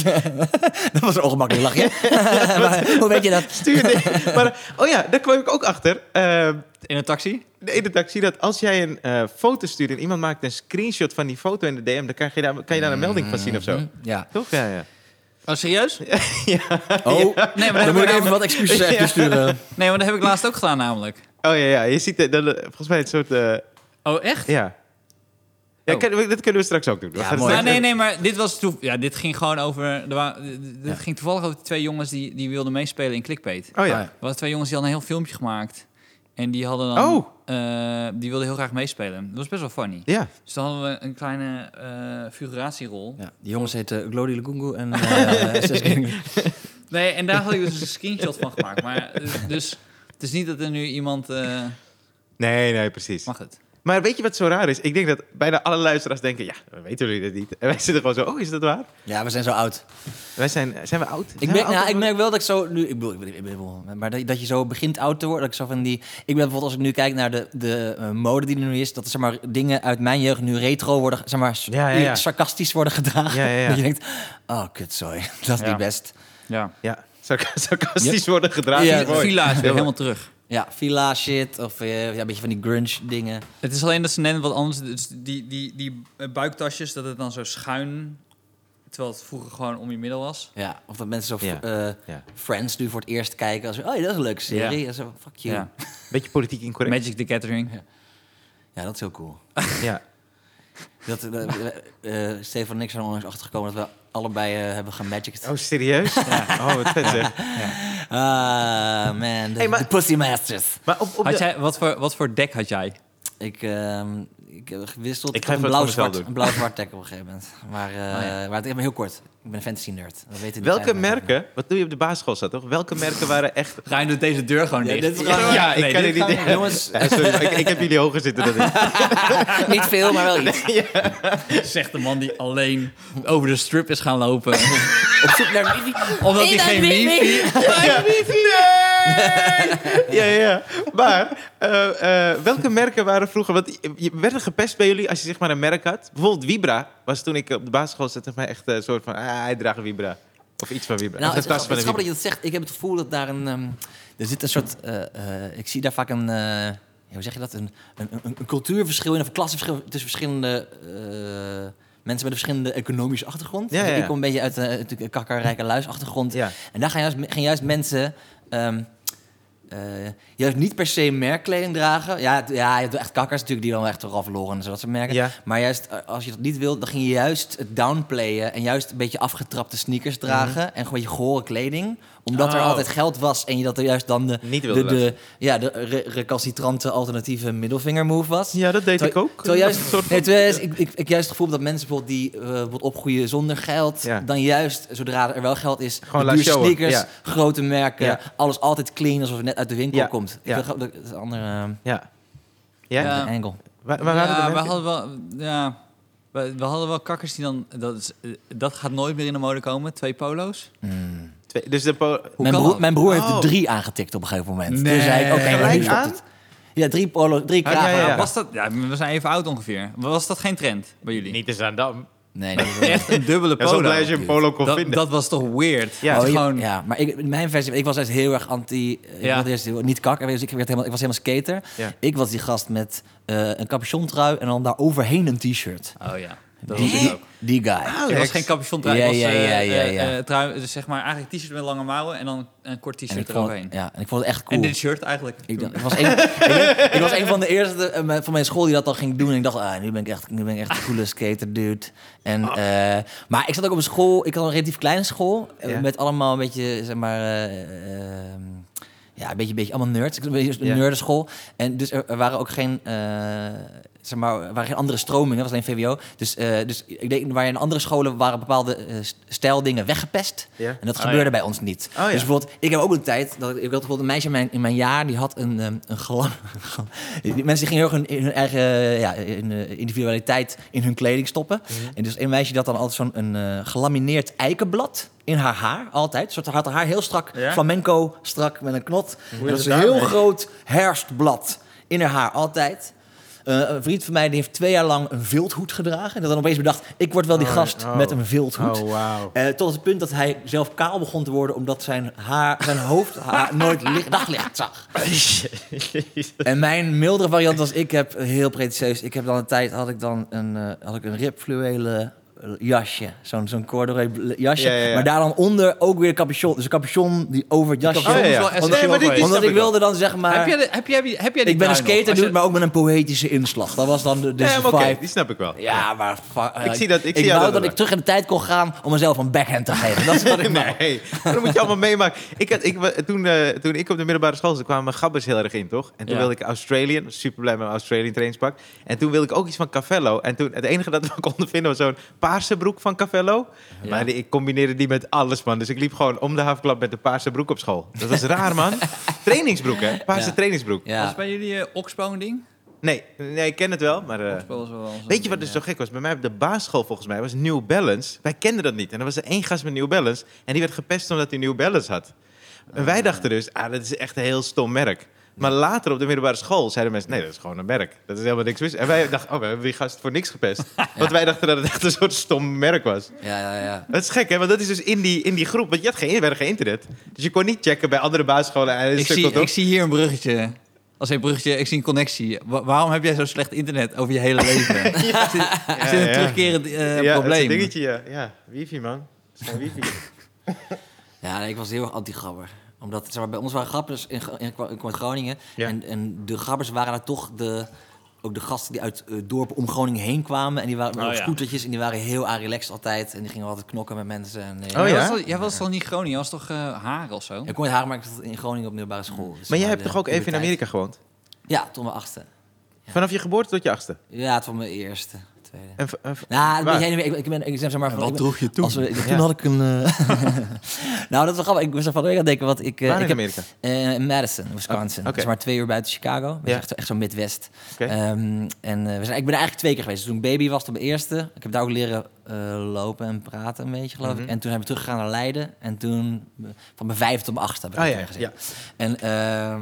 Speaker 2: [laughs] Dat was een ongemakkelijk
Speaker 1: [laughs]
Speaker 2: lachje. [laughs] maar, hoe weet je dat?
Speaker 1: [laughs] Stuur
Speaker 2: [laughs]
Speaker 1: dit. maar, oh ja, daar kwam ik ook achter. Eh,
Speaker 3: In een taxi?
Speaker 1: in de taxi, dat als jij een eh, foto stuurt en iemand maakt een screenshot van die foto in de DM, dan kan je daar, kan je daar een melding van zien of
Speaker 2: Mhm.
Speaker 1: zo.
Speaker 2: Ja.
Speaker 1: Toch? Ja, ja.
Speaker 3: Oh, serieus? Nee,
Speaker 2: Oh,
Speaker 3: maar dat
Speaker 2: dan moet
Speaker 3: heb ik
Speaker 2: ik even
Speaker 3: namelijk-
Speaker 2: wat excuses appjes sturen.
Speaker 3: nee, maar dat heb ik laatst ook gedaan namelijk.
Speaker 1: Oh ja, ja. Je ziet eh, dat, eh, volgens mij een soort... eh,
Speaker 3: Oh, echt?
Speaker 1: ja. ja
Speaker 3: Oh.
Speaker 1: kan- dat kunnen we straks ook doen. We
Speaker 2: Ja,
Speaker 1: gaan
Speaker 2: mooi.
Speaker 1: straks-
Speaker 3: Ah, nee, nee, maar dit was toe... Ja, dit ging gewoon over... er wa- dit ging toevallig over twee jongens die, die wilden meespelen in Clickbait.
Speaker 1: Oh
Speaker 2: Ah,
Speaker 1: ja.
Speaker 2: ja.
Speaker 3: Er waren twee jongens die hadden een heel filmpje gemaakt. En die hadden dan...
Speaker 1: Oh.
Speaker 3: eh, die wilden heel graag meespelen. Dat was best wel funny.
Speaker 1: Ja.
Speaker 3: Dus dan hadden we een kleine eh, figuratierol.
Speaker 2: Ja, die jongens heten uh, Glody Lugungu en eh, [laughs] Zes King.
Speaker 3: Nee, en daar had ik dus een screenshot van gemaakt. Maar eh, dus... Het is niet dat er nu iemand... eh,
Speaker 1: Nee, nee, precies.
Speaker 3: mag het?
Speaker 1: Maar weet je wat zo raar is? Ik denk dat bijna alle luisteraars denken, ja, dan weten jullie dat niet. En wij zitten gewoon zo, oh, is dat waar?
Speaker 2: Ja, we zijn zo oud.
Speaker 1: Wij zijn, zijn we oud?
Speaker 2: Ik
Speaker 1: Zijn we
Speaker 2: merk,
Speaker 1: oud
Speaker 2: nou,
Speaker 1: of-
Speaker 2: ik merk wel dat ik zo nu. Ik bedoel, ik ben, ik ben wel- maar dat, dat je zo begint oud te worden. Dat ik zo van die. Ik ben bijvoorbeeld als ik nu kijk naar de, de eh, mode die er nu is, dat er zeg maar dingen uit mijn jeugd nu retro worden, zeg maar, s-
Speaker 1: Ja, ja, ja.
Speaker 2: sarcastisch worden gedragen.
Speaker 1: Ja, ja, ja.
Speaker 2: [laughs] Dat je denkt, oh kut, sorry, [laughs] dat is
Speaker 3: Ja.
Speaker 2: niet best.
Speaker 3: Ja.
Speaker 1: Ja, sarca- sarcastisch worden gedragen.
Speaker 2: Ja,
Speaker 1: is mooi.
Speaker 3: Villa is weer
Speaker 1: Ja,
Speaker 3: helemaal terug.
Speaker 2: Ja, villa shit of eh, ja, een beetje van die grunge dingen.
Speaker 3: Het is alleen dat ze net wat anders... Dus die, die, die eh, buiktasjes, dat het dan zo schuin... Terwijl het vroeger gewoon om je middel was.
Speaker 2: Ja, of dat mensen zo
Speaker 1: Ja,
Speaker 2: eh,
Speaker 1: ja.
Speaker 2: Friends nu voor het eerst kijken als oh, ja, dat is een leuke serie.
Speaker 3: Ja.
Speaker 2: En zo, fuck you. Ja.
Speaker 1: Beetje politiek incorrect.
Speaker 3: Magic the Gathering.
Speaker 2: dat is heel cool.
Speaker 1: Ja.
Speaker 2: Dat, eh, eh, eh, Stefan en ik zijn onlangs achtergekomen dat we allebei eh, hebben gemagicked.
Speaker 1: Oh, serieus? Oh, wat vet zeg.
Speaker 2: Ah, man. De,
Speaker 1: Hey, maar-
Speaker 2: de Pussy Masters.
Speaker 1: Maar op, op
Speaker 3: Had
Speaker 1: de-
Speaker 3: jij, wat, voor, wat voor deck had jij?
Speaker 2: Ik, ehm, ik heb gewisseld.
Speaker 1: Ik ga
Speaker 2: had
Speaker 1: even
Speaker 2: een
Speaker 1: wat voor mezelf
Speaker 2: blauw-zwart
Speaker 1: doen.
Speaker 2: een blauw-zwart deck op een gegeven moment. Maar, eh maar het is maar heel kort. Ik ben een fantasy nerd. Dat weten die
Speaker 1: Oh, welke
Speaker 2: vijf mensen.
Speaker 1: merken, wat doe je op de basisschool zat toch? Welke merken waren echt...
Speaker 3: Rijn doet deze deur gewoon
Speaker 2: Ja,
Speaker 3: dicht.
Speaker 2: dit is gewoon-
Speaker 1: Ja, ik
Speaker 3: Nee,
Speaker 1: kan
Speaker 3: dit
Speaker 1: het niet...
Speaker 2: gaan we- jongens.
Speaker 1: Ja, sorry, maar ik, ik heb jullie hoger zitten dan
Speaker 2: [laughs]
Speaker 1: ik.
Speaker 2: Niet veel, maar wel iets.
Speaker 3: Zegt de man die alleen over de strip is gaan
Speaker 1: [laughs]
Speaker 3: lopen.
Speaker 2: Op zoek naar wifi.
Speaker 3: Omdat hij
Speaker 2: Nee,
Speaker 3: geen
Speaker 2: dat weet
Speaker 3: wifi...
Speaker 2: ik.
Speaker 1: Ja. Nee! Ja, ja. Maar eh, eh, welke merken waren vroeger... Want je- je werd er gepest bij jullie als je zeg maar een merk had. Bijvoorbeeld Vibra was toen ik op de basisschool zat... zeg maar echt eh, een soort van, ah, hij draagt een Vibra. Of iets van Vibra.
Speaker 2: Nou,
Speaker 1: Of een
Speaker 2: het,
Speaker 1: tas
Speaker 2: het,
Speaker 1: van
Speaker 2: is
Speaker 1: een
Speaker 2: grappig dat
Speaker 1: Vibra.
Speaker 2: je dat zegt. Ik heb het gevoel dat daar een... ehm, er zit een soort... eh, eh, ik zie daar vaak een... eh, ja, hoe zeg je dat? Een, een, een, een cultuurverschil in of een klassenverschil tussen verschillende... eh, mensen met een verschillende economische achtergrond.
Speaker 1: Ja,
Speaker 2: Dus
Speaker 1: ja, ja.
Speaker 2: Ik kom een beetje uit, eh, uit de kakkerrijke luisachtergrond.
Speaker 1: Ja.
Speaker 2: En daar gaan juist, gaan juist mensen... ehm, eh, juist niet per se merkkleding dragen. Ja, het- ja, je hebt echt kakkers natuurlijk die dan echt toch verloren en zo dat soort merken.
Speaker 1: Ja.
Speaker 2: Maar juist eh, als je dat niet wilt, dan ging je juist het downplayen en juist een beetje afgetrapte sneakers dragen en gewoon je gore kleding, omdat er
Speaker 1: Mhm. Oh.
Speaker 2: altijd geld was en je dat er juist dan de
Speaker 1: Niet wilde
Speaker 2: de, de ja de re- recalcitrante alternatieve middelvinger move was.
Speaker 1: Ja, dat deed ik
Speaker 2: Terwijl-
Speaker 1: ook.
Speaker 2: terwijl
Speaker 1: Een
Speaker 2: juist,
Speaker 1: soort van-
Speaker 2: nee, terwijl juist- ik, ik, ik juist het gevoel heb dat mensen bijvoorbeeld die eh, bijvoorbeeld opgroeien zonder geld,
Speaker 1: Ja.
Speaker 2: dan juist zodra er wel geld is,
Speaker 1: Gewoon
Speaker 2: de
Speaker 1: laat
Speaker 2: dure
Speaker 1: showen,
Speaker 2: sneakers,
Speaker 1: ja.
Speaker 2: grote merken,
Speaker 1: Ja.
Speaker 2: alles altijd clean alsof het net uit de winkel
Speaker 1: Ja,
Speaker 2: komt. Ik
Speaker 1: ja.
Speaker 2: vind dat- dat is een andere
Speaker 1: Ja. Ja?
Speaker 3: Ja.
Speaker 2: eh, angle.
Speaker 1: Waar, waar waren de
Speaker 3: Ja, we
Speaker 1: merken?
Speaker 3: hadden wel... Ja, we, we hadden wel kakkers die dan... Dat, is, eh, dat gaat nooit meer in de mode komen. Twee polo's.
Speaker 1: Twee- dus de po-
Speaker 2: Mijn
Speaker 3: kan
Speaker 2: broer,
Speaker 3: dat?
Speaker 2: mijn broer heeft
Speaker 1: Oh.
Speaker 2: er drie aangetikt op een gegeven moment.
Speaker 3: Nee.
Speaker 2: Toen zei ik, oké,
Speaker 3: Gelijk
Speaker 2: maar nu stopt
Speaker 1: aan?
Speaker 2: het. Ja, drie polo, drie
Speaker 1: Ah,
Speaker 2: kragen.
Speaker 1: ja, ja.
Speaker 3: Was dat... Ja, we zijn even oud ongeveer. Was dat geen trend bij jullie?
Speaker 1: Niet in Zaandam.
Speaker 2: Nee, nee,
Speaker 1: [laughs]
Speaker 2: [laughs] nee.
Speaker 3: Echt een dubbele
Speaker 1: Ja, zo
Speaker 3: polo.
Speaker 1: blij als je een polo kon
Speaker 3: dat,
Speaker 1: vinden.
Speaker 3: dat was toch weird?
Speaker 1: Ja.
Speaker 3: Dat
Speaker 2: Oh, ja,
Speaker 3: gewoon,
Speaker 2: ja, maar ik, mijn versie, ik was echt heel erg anti. eh, Ik
Speaker 3: Ja.
Speaker 2: wilde eerst heel- niet kakker, dus ik, werd helemaal, ik was helemaal skater.
Speaker 1: Ja.
Speaker 2: Ik was die gast met eh, een capuchon trui en dan daar overheen een t-shirt.
Speaker 3: Oh ja. Dat
Speaker 2: Die-
Speaker 3: was het ook. Ah,
Speaker 2: Die guy.
Speaker 3: Het was geen capuchon trui,
Speaker 2: Ja,
Speaker 3: het was
Speaker 2: ja,
Speaker 3: eh,
Speaker 2: ja, ja,
Speaker 3: eh,
Speaker 2: ja.
Speaker 3: eh, trui, dus zeg maar eigenlijk een t-shirt met lange mouwen en dan een kort
Speaker 2: en ik
Speaker 3: t-shirt
Speaker 2: vond,
Speaker 3: eroverheen.
Speaker 2: ja, en ik vond het echt
Speaker 3: En
Speaker 2: cool.
Speaker 3: dit shirt eigenlijk.
Speaker 2: Ik, dacht- ik was een, ik,
Speaker 1: [laughs]
Speaker 2: ben- ik was een van de eerste eh, me- van mijn school die dat dan ging doen. En ik dacht, ah, nu ben ik echt, nu ben ik echt de coole skater, dude. En, eh, maar ik zat ook op een school, ik had een relatief kleine school. eh,
Speaker 1: Ah. Ja.
Speaker 2: Met allemaal een beetje, zeg maar... eh, ehm, ja, een beetje, beetje allemaal nerds. Ik was een beetje een
Speaker 1: Ja.
Speaker 2: nerdenschool. En dus er, er waren ook geen, eh, zeg maar, er waren geen andere stromingen. Het was alleen VWO. Dus, eh, dus ik denk, waar in andere scholen waren bepaalde eh, s- stijldingen weggepest.
Speaker 1: Ja.
Speaker 2: En dat
Speaker 3: Oh,
Speaker 2: gebeurde bij ons niet.
Speaker 1: ja.
Speaker 2: Dus bijvoorbeeld, ik heb ook een tijd, dat ik, ik had bijvoorbeeld een meisje in mijn, in mijn jaar, die had een, ehm, een glam. [laughs] Die mensen gingen heel erg hun, in hun eigen eh, ja, in, eh, individualiteit in hun kleding stoppen.
Speaker 1: Mhm.
Speaker 2: En dus een meisje die had dan altijd zo'n een, eh, gelamineerd eikenblad in haar haar, altijd. Een Soort had haar haar heel strak,
Speaker 3: Ja?
Speaker 2: flamenco, strak met een knot.
Speaker 1: is
Speaker 2: Dat
Speaker 1: het
Speaker 2: is een heel
Speaker 1: daarmee?
Speaker 2: groot herfstblad in haar haar, altijd. Eh, een vriend van mij die heeft twee jaar lang een vilthoed gedragen. En dat dan opeens bedacht, ik word wel die
Speaker 1: Oh,
Speaker 2: gast
Speaker 1: oh.
Speaker 2: met een vilthoed.
Speaker 1: Oh, wauw.
Speaker 2: Eh, tot het punt dat hij zelf kaal begon te worden omdat zijn, haar, zijn hoofd
Speaker 1: [laughs]
Speaker 2: haar nooit licht, daglicht zag. en mijn mildere variant was, ik heb heel pretentieus, ik heb dan een tijd, had ik dan een, eh, had ik een ribfluwelen jasje, zo'n zo'n corduroy bl- jasje,
Speaker 1: Ja, ja, ja.
Speaker 2: maar daar dan onder ook weer een capuchon, dus een capuchon die over het jasje.
Speaker 3: capuchon
Speaker 1: Oh, ja, ja.
Speaker 3: is wel
Speaker 1: Nee, maar dit- dit snap
Speaker 2: Omdat ik
Speaker 1: ik wel.
Speaker 2: wilde dan zeg maar,
Speaker 3: heb, jij de, heb, jij, heb jij die
Speaker 2: ik ben
Speaker 3: trui
Speaker 2: een
Speaker 3: nog?
Speaker 2: skater,
Speaker 3: Als je-
Speaker 2: dude, maar ook met een poëtische inslag. Dat was dan de, de
Speaker 1: Ja, maar oké,
Speaker 2: vibe.
Speaker 1: die snap ik wel.
Speaker 2: Ja, maar fa- eh,
Speaker 1: Ik zie dat- ik zie jou
Speaker 2: wou
Speaker 1: dat
Speaker 2: dat
Speaker 1: doen.
Speaker 2: ik terug in de tijd kon gaan om mezelf een backhand te geven. Dat is wat ik wou.
Speaker 1: [laughs] Nee, dat moet je allemaal meemaken. Ik had, ik, wa- toen, eh, toen ik op de middelbare school zat, kwamen mijn gabbers heel erg in, toch? En toen
Speaker 3: Ja.
Speaker 1: wilde ik Australian, super blij met mijn Australian trainingspak. En toen wilde ik ook iets van Cavello. En toen, het enige dat we [laughs] konden vinden was zo'n paarse broek van Cavello.
Speaker 3: Ja.
Speaker 1: Maar die- ik combineerde die met alles, man. Dus ik liep gewoon om de havenklap met de paarse broek op school. Dat was raar, man. trainingsbroek, hè? Paarse
Speaker 2: Ja.
Speaker 1: trainingsbroek.
Speaker 3: Was
Speaker 2: Ja.
Speaker 3: het bij jullie eh Oxbow een ding?
Speaker 1: Nee, nee, ik ken het wel, maar... eh,
Speaker 3: Oxbow was wel zo'n
Speaker 1: Weet je
Speaker 3: ding,
Speaker 1: wat dus
Speaker 3: ja.
Speaker 1: zo gek was? Bij mij op de basisschool volgens mij was New Balance. Wij kenden dat niet. En er was er één gast met New Balance. En die werd gepest omdat hij New Balance had. En wij dachten dus, ah, dat is echt een heel stom merk. Maar later op de middelbare school zeiden mensen... nee, dat is gewoon een merk. Dat is helemaal niks mis. En wij dachten, oh, we hebben die gast voor niks
Speaker 3: [laughs]
Speaker 1: gepest. Want wij dachten dat het echt een soort stom merk was.
Speaker 2: Ja, ja, ja.
Speaker 1: Dat is gek, hè? Want dat is dus in die, in die groep. Want je had geen, er werd geen internet. Dus je kon niet checken bij andere basisscholen. En het
Speaker 3: Ik
Speaker 1: stuk
Speaker 3: zie,
Speaker 1: komt op.
Speaker 3: ik zie hier een bruggetje. Als een bruggetje, ik zie een connectie. Wa- waarom heb jij zo slecht internet over je hele leven?
Speaker 2: [laughs]
Speaker 3: Er
Speaker 2: Oh,
Speaker 3: zit, er zit een
Speaker 1: ja.
Speaker 3: terugkerend eh,
Speaker 1: ja, dat is een
Speaker 3: probleem.
Speaker 1: dingetje, ja. Ja, wifi, man. Dat is gewoon
Speaker 3: [laughs]
Speaker 1: wifi.
Speaker 2: Ja, nee, ik was heel erg anti-grabber. Omdat zeg maar, bij ons waren grappers in, Gro- in, Gro- in Groningen.
Speaker 1: Ja.
Speaker 2: En, en de grabbers waren daar toch de, ook de gasten die uit eh, dorpen om Groningen heen kwamen. En die waren
Speaker 3: Oh,
Speaker 2: op
Speaker 3: ja.
Speaker 2: scootertjes en die waren heel aan relaxed altijd. En die gingen altijd knokken met mensen. En, eh,
Speaker 1: Oh,
Speaker 3: Jij
Speaker 1: ja?
Speaker 3: was toch- jij was toch niet Groningen? Jij was toch eh, haar of zo?
Speaker 2: Ik kon in Haarlem, maar ik zat in Groningen op middelbare school. Dus
Speaker 1: Maar jij
Speaker 2: de
Speaker 1: hebt toch ook even in
Speaker 2: puberteit.
Speaker 1: Amerika gewoond?
Speaker 2: Ja, tot mijn achtste.
Speaker 1: Vanaf je geboorte tot je achtste?
Speaker 2: Ja, tot mijn eerste, tweede.
Speaker 1: En v- en v-
Speaker 2: Nou,
Speaker 1: Waar?
Speaker 2: weet jij niet meer, ik, ik ben, ik zeg maar... van- ik ben-
Speaker 3: droeg je toen?
Speaker 2: Als we, toen
Speaker 1: Ja.
Speaker 2: had ik een... eh, [laughs] nou, dat is wel grappig. Ik was er van de week aan het denken, want ik... eh,
Speaker 1: Waar in
Speaker 2: ik heb,
Speaker 1: Amerika?
Speaker 2: eh, in Madison, Wisconsin.
Speaker 1: oké.
Speaker 2: Dat is maar twee uur buiten Chicago. Dat is
Speaker 1: Ja.
Speaker 2: echt, echt zo'n Midwest.
Speaker 1: Oké.
Speaker 2: Ehm, en eh, we zijn, ik ben er eigenlijk twee keer geweest. Dus toen ik baby was, toen mijn eerste. Ik heb daar ook leren eh, lopen en praten een beetje, geloof
Speaker 1: Mhm.
Speaker 2: ik. En toen zijn we teruggegaan naar Leiden. En toen eh, van mijn vijfde tot mijn achtste heb ik
Speaker 1: Ah,
Speaker 2: dat
Speaker 1: ja,
Speaker 2: weer gezien.
Speaker 1: ja.
Speaker 2: En, ehm,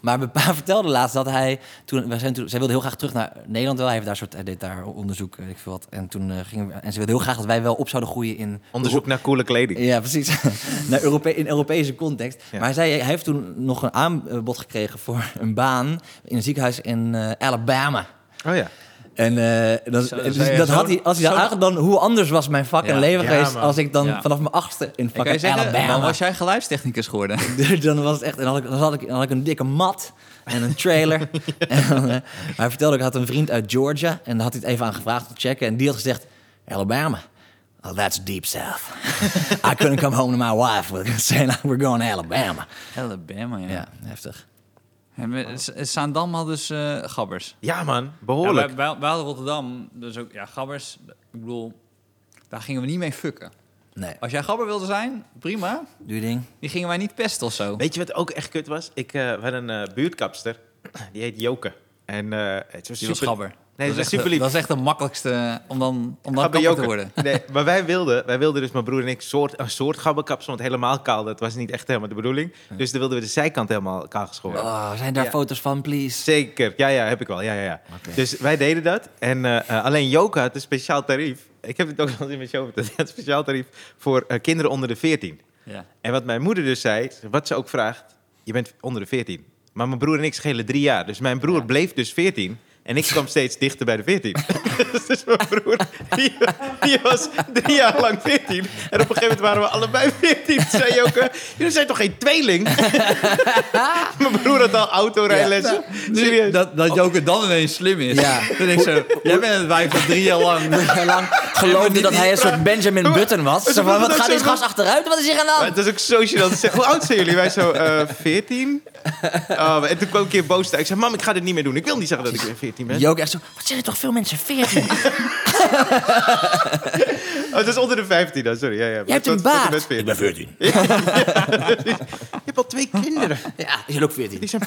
Speaker 2: maar mijn pa [laughs] vertelde laatst dat hij... Toen, wij zijn toen, zij wilde heel graag terug naar Nederland wel. Hij, heeft daar soort, hij deed daar onderzoek, weet ik veel wat. En, toen, eh, gingen we, en ze wilde heel graag dat wij wel op zouden groeien in...
Speaker 1: Onderzoek naar coole kleding.
Speaker 2: Ja, precies. [laughs] Naar Europe in Europese context.
Speaker 1: Ja.
Speaker 2: Maar hij, zei, hij heeft toen nog een aanbod gekregen voor een baan in een ziekenhuis in eh, Alabama.
Speaker 1: Oh ja.
Speaker 2: En eh, dat,
Speaker 3: Zo, dat
Speaker 2: dus
Speaker 3: zei je,
Speaker 2: dat
Speaker 3: zo-
Speaker 2: had hij, als hij dat
Speaker 3: zo-
Speaker 2: aangedaan, hoe anders was mijn fucking
Speaker 3: Ja.
Speaker 2: leven
Speaker 1: Ja,
Speaker 2: geweest
Speaker 1: man.
Speaker 2: als ik dan
Speaker 3: Ja.
Speaker 2: vanaf mijn achtste in
Speaker 3: Ik kan je
Speaker 2: fucking
Speaker 3: zeggen, dan
Speaker 2: Alabama
Speaker 3: was jij geluidstechnicus geworden.
Speaker 2: [laughs] dan was het echt. En dan had ik, dan had ik, dan had ik een dikke mat en een trailer. [laughs] en, eh, maar hij vertelde ook, hij had een vriend uit Georgia. En daar had hij het even aan gevraagd om te checken. En die had gezegd: Alabama. Well, that's deep south. I couldn't come home to my wife with saying we're going to Alabama.
Speaker 3: [laughs] Alabama, ja. Oh.
Speaker 2: Ja, heftig.
Speaker 3: En we- S- Zaandam had dus eh, gabbers.
Speaker 1: Ja man,
Speaker 3: Ja,
Speaker 1: behoorlijk.
Speaker 3: wij, wij, wij hadden Rotterdam, dus ook, ja, gabbers. Ik bedoel, daar gingen we niet mee fucken.
Speaker 2: Nee,
Speaker 3: Als jij gabber wilde zijn, prima.
Speaker 2: doe je ding.
Speaker 3: Die gingen wij niet pesten of zo.
Speaker 1: Weet je wat ook echt kut was? Ik eh, we had een eh, buurtkapster. Die heet Joke. En eh het was
Speaker 3: Die
Speaker 1: super...
Speaker 3: was gabber.
Speaker 1: Nee,
Speaker 3: dat,
Speaker 1: ze
Speaker 3: is
Speaker 1: was super
Speaker 3: echt, de-
Speaker 1: lief.
Speaker 3: dat is echt de makkelijkste om dan, om dan
Speaker 1: Gabber
Speaker 3: kapper te
Speaker 1: Joke.
Speaker 3: worden.
Speaker 1: Nee, [laughs] maar wij wilden, wij wilden dus, mijn broer en ik, soort, een soort gabberkapsel. Want helemaal kaal, dat was niet echt helemaal de bedoeling. Dus dan wilden we de zijkant helemaal kaal geschoren.
Speaker 2: Oh, zijn daar
Speaker 1: Ja.
Speaker 2: foto's van, please?
Speaker 1: Zeker, ja, ja, heb ik wel. Ja, ja, ja.
Speaker 2: Oké.
Speaker 1: Dus wij deden dat. En eh, eh, alleen Joka had een speciaal tarief. Ik heb het ook al in mijn show verteld. Een speciaal tarief voor eh, kinderen onder de 14.
Speaker 3: Ja.
Speaker 1: En wat mijn moeder dus zei, wat ze ook vraagt, je bent onder de 14. Maar mijn broer en ik schelen drie jaar. Dus mijn broer bleef dus 14. En En ik kwam steeds dichter bij de 14. [laughs] dus mijn broer, die, die was drie jaar lang 14. En op een gegeven moment waren we allebei 14. Toen zei je ook, eh, jullie zijn toch geen tweeling? mijn broer had al autorijlessen. Serieus.
Speaker 3: Dat, dat Joker dan ineens slim is.
Speaker 2: Ja.
Speaker 3: Dan denk ik zo, jij bent het wijf van drie jaar lang.
Speaker 2: Heel lang geloofde dat hij een soort Benjamin Button was. Zo van,
Speaker 1: vonden
Speaker 2: wat
Speaker 1: het
Speaker 2: gaat
Speaker 1: ook
Speaker 2: deze
Speaker 1: zo
Speaker 2: gast achteruit? Wat is hier aan de hand?
Speaker 1: Maar het is ook zo gênant. Ze zeggen, hoe oud zijn jullie? Wij zo, eh 14? Oh, en toen kwam ik een keer boos thuis. Ik zei, mam, ik ga dit niet meer doen. Ik wil niet zeggen dat ik weer 14 ben.
Speaker 2: Joke echt zo, wat zijn er toch veel mensen 14?
Speaker 1: Oh, het is onder de 15 dan, sorry. Ja, ja.
Speaker 2: Jij hebt een
Speaker 1: Tot- tot en met
Speaker 2: baard.
Speaker 1: 14.
Speaker 2: 14.
Speaker 1: Je hebt al [laughs] twee kinderen.
Speaker 2: Ja, je bent ook 14.
Speaker 1: Die [laughs] zijn...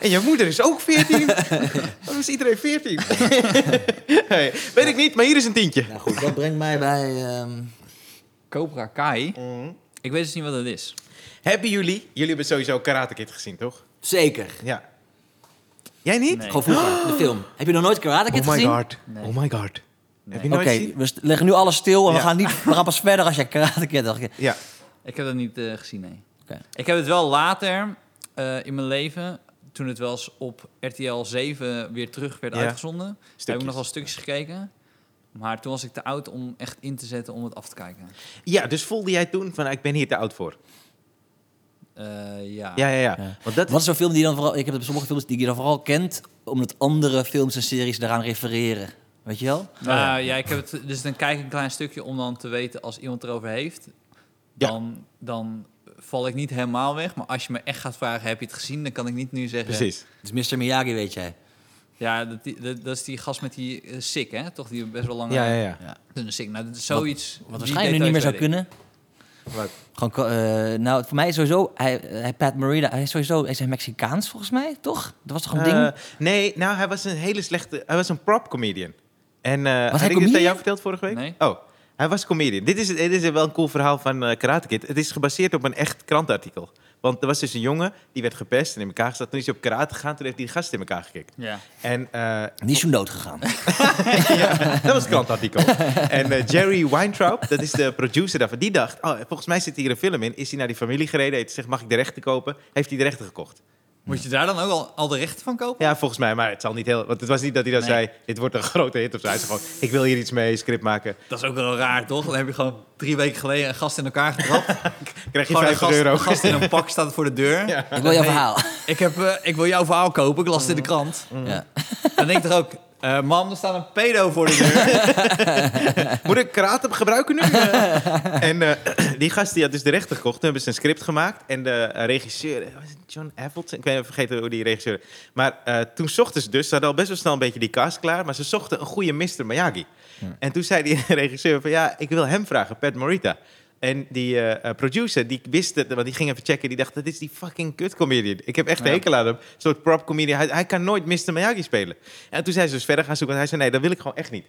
Speaker 1: en je moeder is ook 14. Waarom is iedereen [laughs] 14? Hey, weet ik niet, maar hier is een tientje.
Speaker 2: Nou goed, dat brengt mij bij... ehm,
Speaker 3: Cobra Kai. Ik weet dus niet wat dat is.
Speaker 1: Hebben jullie... Jullie hebben sowieso Karate Kid gezien, toch?
Speaker 2: Zeker.
Speaker 1: Ja. Jij niet?
Speaker 3: Nee.
Speaker 2: Gewoon vroeger, de film. Heb je nog nooit Karate Kid
Speaker 1: Oh my
Speaker 2: gezien?
Speaker 1: god. Oh my god. Heb je
Speaker 2: Oké,
Speaker 1: nooit gezien?
Speaker 2: we st- leggen nu alles stil en
Speaker 1: Ja.
Speaker 2: we, gaan niet, we gaan pas verder als jij Karate Kid had gekeken.
Speaker 1: Ja.
Speaker 3: Ik heb dat niet eh, gezien, nee.
Speaker 2: Oké.
Speaker 3: Ik heb het wel later eh, in mijn leven, toen het wel eens op RTL 7 weer terug werd
Speaker 1: Ja.
Speaker 3: uitgezonden, heb ik
Speaker 1: Stukjes.
Speaker 3: nog wel stukjes gekeken. Maar toen was ik te oud om echt in te zetten om het af te kijken.
Speaker 1: Ja, dus voelde jij toen van, ah, ik ben hier te oud voor.
Speaker 3: Eh, ja.
Speaker 1: Ja, ja, ja.
Speaker 2: Ja.
Speaker 1: Want dat...
Speaker 2: Wat is zo'n film die je dan vooral... Ik heb het sommige films die je dan vooral kent... omdat andere films en series daaraan refereren. Weet je wel?
Speaker 3: Nou ja. ik heb het, dus dan kijk ik een klein stukje om dan te weten als iemand erover heeft.
Speaker 1: Ja.
Speaker 3: Dan, dan val ik niet helemaal weg. Maar als je me echt gaat vragen, heb je het gezien? Dan kan ik niet nu zeggen.
Speaker 1: Precies.
Speaker 2: Het is Mr. Miyagi, weet jij.
Speaker 3: Ja, dat, die- dat, dat is die gast met die eh, sik, hè? Toch? Die best wel lang...
Speaker 1: Ja, ja, ja.
Speaker 3: Dunne sik. Nou, dat is zoiets... die
Speaker 2: Wat waarschijnlijk nu niet meer zou
Speaker 3: details weet ik.
Speaker 2: kunnen. Gewoon, ko- eh, nou, voor mij is sowieso... Hij, hij, Pat Morita, hij is sowieso... Hij is Mexicaans, volgens mij, toch? Dat was toch een ding?
Speaker 1: Eh, nee, nou, hij was een hele slechte... Hij was een prop comedian. En, eh, had ik dit aan
Speaker 2: comedian?
Speaker 1: jou verteld vorige week?
Speaker 3: Nee.
Speaker 1: Oh, hij was comedian. Dit is, dit is wel een cool verhaal van eh Karate Kid. Het is gebaseerd op een echt krantartikel. Want er was dus een jongen, die werd gepest en in elkaar gezet. Toen is hij op karate gegaan, toen heeft hij de gast in elkaar gekikt.
Speaker 3: Ja.
Speaker 1: En eh, [laughs]
Speaker 2: Die is toen dood gegaan.
Speaker 1: ja, dat was een krantartikel. En eh, Jerry Weintraub, dat is de producer daarvan, die dacht... Oh, volgens mij zit hier een film in. Is hij naar die familie gereden, heeft gezegd, mag ik de rechten kopen? Heeft hij de rechten gekocht?
Speaker 3: Moet je daar dan ook al, al de rechten van kopen?
Speaker 1: Ja, volgens mij, maar het zal niet heel... Want het was niet dat hij dan
Speaker 3: Nee.
Speaker 1: zei, dit wordt een grote hit of zo. Hij zei gewoon, ik wil hier iets mee, script maken.
Speaker 3: Dat is ook wel raar, toch? Dan heb je gewoon drie weken geleden een gast in elkaar
Speaker 1: [laughs]
Speaker 3: getrapt.
Speaker 1: Krijg je
Speaker 3: Gewoon een
Speaker 1: 50
Speaker 3: gast,
Speaker 1: euro.
Speaker 3: een gast in een pak staat voor de deur.
Speaker 1: Ja.
Speaker 2: ik wil jouw
Speaker 3: Hey,
Speaker 2: verhaal.
Speaker 3: Ik, heb, eh, ik wil jouw verhaal kopen, ik las het in de krant.
Speaker 2: Mm. Ja.
Speaker 3: [laughs] Dan denk ik er ook, eh, mam, er staat een pedo voor de
Speaker 2: [laughs]
Speaker 3: deur.
Speaker 1: [laughs] Moet ik karate gebruiken nu? Eh, en eh, [clears throat] die gast die had dus de rechten gekocht. Toen hebben ze een script gemaakt. En de eh, regisseur, eh, was het John Appleton? Ik ben even vergeten hoe die regisseur... Maar eh, toen zochten ze dus, ze hadden al best wel snel een beetje die cast klaar. Maar ze zochten een goede Mr. Miyagi. En toen zei die [laughs] regisseur van, ja, ik wil hem vragen, Pat Morita. En die eh, eh, producer, die wist het, want die ging even checken. Die dacht, dat is die fucking kutcomedian. Ik heb echt een
Speaker 3: Ja.
Speaker 1: hekel aan hem. Een soort prop comedian. Hij, hij kan nooit Mr. Miyagi spelen. En toen zijn ze dus verder gaan zoeken. En hij zei, nee, dat wil ik gewoon echt niet.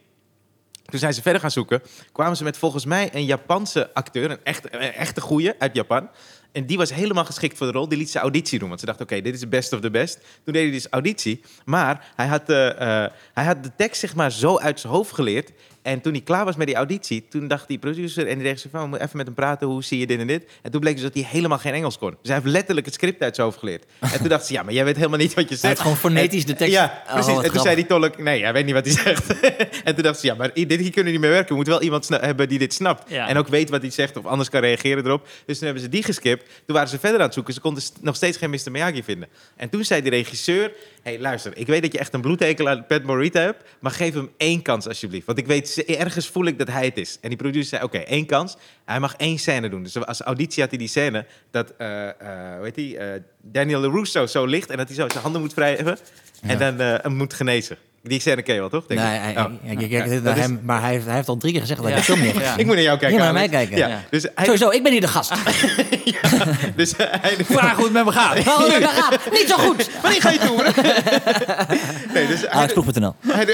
Speaker 1: Toen zijn ze verder gaan zoeken. Kwamen ze met volgens mij een Japanse acteur. Een echte, een echte goeie uit Japan. En die was helemaal geschikt voor de rol. Die liet ze auditie doen. Want ze dachten, oké, dit is de best of the best. Toen deed hij dus auditie. Maar hij had, de, eh, hij had de tekst zeg maar zo uit zijn hoofd geleerd. En toen hij klaar was met die auditie, toen dacht die producer en die regisseur van... we moeten even met hem praten, hoe zie je dit en dit? En toen bleek dus dat hij helemaal geen Engels kon. Dus hij heeft letterlijk het script uit zijn hoofd geleerd. En toen dacht ze, ja, maar jij weet helemaal niet wat je
Speaker 2: Hij
Speaker 1: zegt.
Speaker 2: heeft gewoon fonetisch de tekst...
Speaker 1: Ja,
Speaker 2: Oh,
Speaker 1: precies.
Speaker 2: wat
Speaker 1: en toen zei
Speaker 2: grappig.
Speaker 1: die tolk, nee, hij weet niet wat hij zegt. [laughs] en toen dacht ze, ja, maar i- dit, hier kunnen we niet mee werken. We moeten wel iemand sna- hebben die dit snapt.
Speaker 3: Ja.
Speaker 1: En ook weet wat hij zegt of anders kan reageren erop. Dus toen hebben ze die geskipt. Toen waren ze verder aan het zoeken. Ze konden st- nog steeds geen Mr. Miyagi vinden. En toen zei de regisseur, hey, luister, ik weet dat je echt een bloedhekel aan Pat Morita hebt. Maar geef hem één kans alsjeblieft. Want ik weet, ze- ergens voel ik dat hij het is. En die producer zei, oké, één kans. Hij mag één scène doen. Dus als auditie had hij die scène dat, eh, eh, hoe heet die, eh, Daniel LaRusso zo ligt. En dat hij zo zijn handen moet vrij hebben. En dan eh, hem moet genezen. Die scène ken je wel, toch? denk
Speaker 2: Nee,
Speaker 1: ik?
Speaker 2: hij-
Speaker 1: Oh.
Speaker 2: ik- ik kijk
Speaker 1: Ja,
Speaker 2: dit
Speaker 1: dat
Speaker 2: naar
Speaker 1: is-
Speaker 2: hem, maar hij heeft, hij heeft al drie keer gezegd dat
Speaker 3: Ja.
Speaker 2: hij de film niet heeft
Speaker 3: Ja.
Speaker 2: gezien.
Speaker 1: Ik moet naar jou kijken.
Speaker 2: Ja, maar naar
Speaker 1: Alex.
Speaker 2: mij kijken.
Speaker 1: Ja.
Speaker 3: Ja.
Speaker 1: Dus hij...
Speaker 2: Sowieso, ik ben hier de gast.
Speaker 1: [laughs] Dus hij
Speaker 3: Vraag hoe het met me
Speaker 2: [laughs]
Speaker 3: gaat.
Speaker 2: Waarom is het daar gaat? Niet zo
Speaker 1: [laughs]
Speaker 2: goed! Ah,
Speaker 1: Wanneer ga je toeren? nee, dus hij...
Speaker 2: Alex.nl.
Speaker 1: hij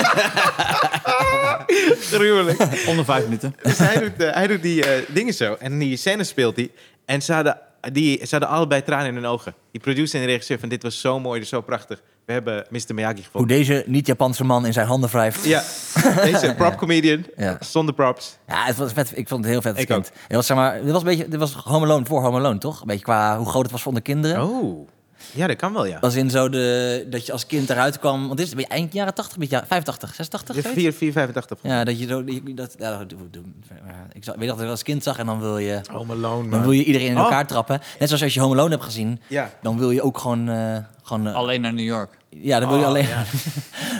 Speaker 1: [laughs] Gruwelijk.
Speaker 3: Onder vijf minuten.
Speaker 1: Dus hij doet, eh, hij doet die eh, dingen zo. En die scène speelt hij. En ze hadden, die, ze hadden allebei tranen in hun ogen. Die producer en de regisseur van dit was zo mooi, dit is zo prachtig. we hebben Mr. Miyagi
Speaker 2: Hoe
Speaker 1: gevonden.
Speaker 2: deze niet-Japanse man in zijn handen wrijft.
Speaker 1: Ja,
Speaker 2: [laughs]
Speaker 1: deze prop comedian.
Speaker 2: Ja.
Speaker 1: Zonder props.
Speaker 2: Ja, het was vet. Ik vond het heel vet als
Speaker 1: Ik
Speaker 2: kind. Het was, zeg maar, dit was een beetje, dit was Home Alone voor Home Alone, toch? Een beetje qua hoe groot het was voor de kinderen.
Speaker 1: Oh. Ja, dat kan wel, ja.
Speaker 2: Als in zo de, dat je als kind eruit kwam. Want dit is een beetje eind jaren 80, een beetje jaren- 85, 86.
Speaker 1: Dit is
Speaker 2: zoiets?
Speaker 1: 4, 485.
Speaker 2: Ja, dat je zo. dat je- Dat, ja, dat doe ik doen. Ik zag- weet dat ik dat als kind zag en dan wil je,
Speaker 1: Home Alone,
Speaker 2: dan wil je iedereen in
Speaker 1: Oh.
Speaker 2: elkaar trappen. Net zoals als je Home Alone hebt gezien,
Speaker 1: Ja.
Speaker 2: dan wil je ook gewoon. eh, gewoon eh,
Speaker 3: Alleen naar New York.
Speaker 2: ja, [laughs] dan wil je
Speaker 1: Oh,
Speaker 2: alleen.
Speaker 1: ja.
Speaker 2: dan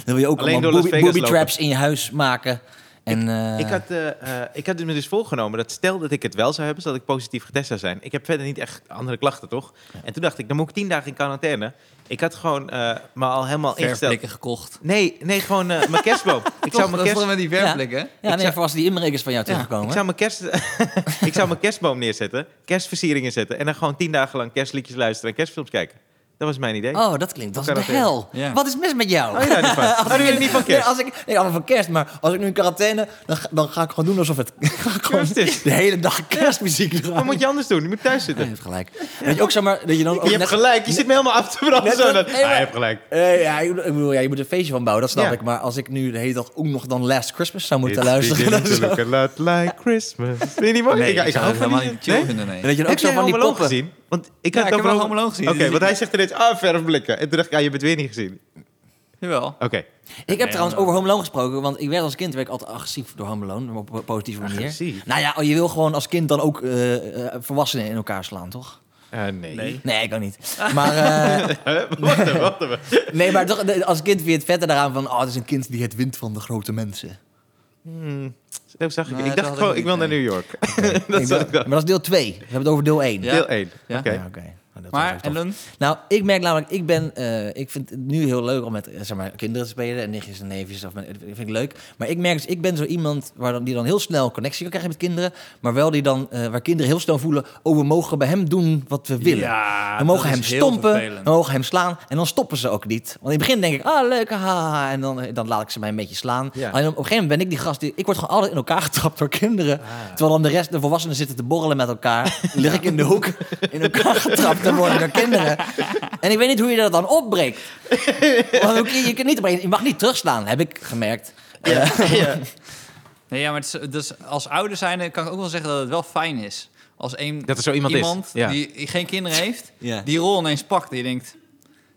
Speaker 2: wil je ook
Speaker 1: Alleen
Speaker 2: allemaal
Speaker 1: door Las
Speaker 2: booby,
Speaker 1: Vegas
Speaker 2: booby
Speaker 1: lopen.
Speaker 2: traps in je huis maken. En, eh,
Speaker 1: Ik had, eh, eh, ik had me dus volgenomen dat stel dat ik het wel zou hebben, zodat ik positief getest zou zijn. Ik heb verder niet echt andere klachten, toch? En toen dacht ik, dan moet ik tien dagen in quarantaine. Ik had gewoon eh, me al helemaal ingesteld.
Speaker 3: Verplikken gekocht.
Speaker 1: Nee, nee, gewoon eh, mijn
Speaker 2: [laughs]
Speaker 1: kerstboom. ik, zou mijn
Speaker 3: dat is
Speaker 1: kerst, Oh,
Speaker 3: toch met die verplikken?
Speaker 2: ja, nee,
Speaker 1: zou-
Speaker 2: voor als die inbrekers van jou terugkomen.
Speaker 1: ik, zou mijn kerst, [laughs] ik zou mijn kerstboom neerzetten, kerstversieringen zetten en dan gewoon tien dagen lang kerstliedjes luisteren en kerstfilms kijken. Dat was mijn idee.
Speaker 2: Oh, dat klinkt als de
Speaker 1: Quarantaine.
Speaker 2: hel.
Speaker 3: Ja.
Speaker 2: Wat is mis met jou?
Speaker 1: Oh, je houdt niet
Speaker 2: [laughs]
Speaker 1: van- Oh, nu ben ik niet van
Speaker 2: Nee,
Speaker 1: kerst.
Speaker 2: als ik, nee, allemaal van kerst, maar als ik nu in quarantaine, dan ga, dan ga ik gewoon doen alsof het [laughs] ga ik gewoon
Speaker 1: Kerst is.
Speaker 2: de hele dag kerstmuziek draait.
Speaker 1: Wat moet je anders doen? Je moet thuis
Speaker 2: oh. Nee,
Speaker 1: zitten.
Speaker 2: je hebt gelijk. Dat je ook zeg maar, dat je dan ook
Speaker 1: Je hebt
Speaker 2: net-
Speaker 1: gelijk, je zit me helemaal af te branden.
Speaker 2: Net
Speaker 1: Zo,
Speaker 2: als-
Speaker 1: dat,
Speaker 2: nee,
Speaker 1: Ah, je
Speaker 2: maar-
Speaker 1: hebt gelijk.
Speaker 2: Eh, ja, ik bedoel, ja, je moet een feestje van bouwen, dat snap
Speaker 1: Ja.
Speaker 2: ik. Maar als ik nu de hele dag ook nog dan Last Christmas zou moeten
Speaker 1: It's
Speaker 2: luisteren, dan
Speaker 1: beginning
Speaker 2: zou-
Speaker 1: to look a lot like Christmas. Vind je niet mooi?
Speaker 3: Nee,
Speaker 1: ik, ik
Speaker 3: zou
Speaker 1: hou
Speaker 3: dat
Speaker 1: van
Speaker 3: helemaal
Speaker 1: die...
Speaker 3: niet chill
Speaker 1: Nee?
Speaker 3: vinden, nee.
Speaker 2: dat je dan ook
Speaker 1: Heb
Speaker 2: zo
Speaker 1: jij
Speaker 2: van die
Speaker 1: Home Alone
Speaker 2: poppen.
Speaker 1: gezien? Want ik
Speaker 3: Ja,
Speaker 1: had
Speaker 3: ik heb wel
Speaker 1: over-
Speaker 3: Home Alone gezien.
Speaker 1: Oké,
Speaker 3: Dus ik-
Speaker 1: want hij zegt ineens, ah, verfblikken. En toen dacht ik, ja, je hebt het weer niet gezien.
Speaker 3: Jawel.
Speaker 1: Oké.
Speaker 2: Ik heb trouwens over Home Alone gesproken, want ik werd als kind werd ik altijd agressief door Home Alone, maar op een positieve manier.
Speaker 1: Agressief?
Speaker 2: Nou ja, je wil gewoon als kind dan ook eh, eh, volwassenen in elkaar slaan, toch?
Speaker 1: Eh, nee. [laughs]
Speaker 3: Nee.
Speaker 2: Nee, ik ook niet. Maar, eh,
Speaker 1: Huh? Wacht even, wacht even.
Speaker 2: nee, maar toch, de- als kind vind je het vette daaraan van... Oh, het is een kind die het wint van de grote mensen.
Speaker 1: Hmm, zo zag ik.
Speaker 3: Nee,
Speaker 1: ik
Speaker 3: dat
Speaker 1: dacht
Speaker 3: had ik
Speaker 1: gewoon,
Speaker 3: niet,
Speaker 1: ik wil naar
Speaker 3: nee.
Speaker 1: New York. [laughs]
Speaker 2: Ik
Speaker 1: dat
Speaker 2: dacht-
Speaker 1: zag ik
Speaker 2: maar
Speaker 1: wel.
Speaker 2: dat is deel 2. We hebben het over deel 1.
Speaker 3: Ja.
Speaker 1: Deel 1.
Speaker 3: Ja.
Speaker 1: Oké.
Speaker 2: oké. Nou, dat was
Speaker 3: Maar,
Speaker 2: even
Speaker 3: en
Speaker 2: tof.
Speaker 3: dan?
Speaker 2: Nou, ik merk namelijk, ik ben, eh, ik vind het nu heel leuk om met eh, zeg maar, kinderen te spelen en nichtjes en neefjes. Of met, dat vind ik leuk. Maar ik merk dus, ik ben zo iemand waar dan, die dan heel snel connectie kan krijgen met kinderen. Maar wel die dan, eh, waar kinderen heel snel voelen, oh, we mogen bij hem doen wat we willen.
Speaker 3: Ja,
Speaker 2: we mogen
Speaker 3: dat
Speaker 2: hem
Speaker 3: is heel
Speaker 2: stompen,
Speaker 3: vervelend.
Speaker 2: we mogen hem slaan en dan stoppen ze ook niet. Want in het begin denk ik, ah, leuk, haha, en dan, dan laat ik ze mij een beetje slaan.
Speaker 1: Ja.
Speaker 2: Alleen op een gegeven moment ben ik die gast, die, ik word gewoon altijd in elkaar [laughs] getrapt door kinderen. Terwijl dan de rest, de volwassenen zitten te borrelen met elkaar. Lig ik in de hoek in elkaar [laughs] getrapt te worden door kinderen. En ik weet niet hoe je dat dan opbreekt. Want ook- je, je, kunt niet opbrengen, je mag niet terugslaan, heb ik gemerkt.
Speaker 3: Nee, ja, maar het is, dus als ouder zijnde kan ik ook wel zeggen dat het wel fijn is. Als een,
Speaker 1: Dat er zo iemand is, ja.
Speaker 3: die geen kinderen heeft,
Speaker 2: Ja.
Speaker 3: die rol ineens pakt. En je denkt,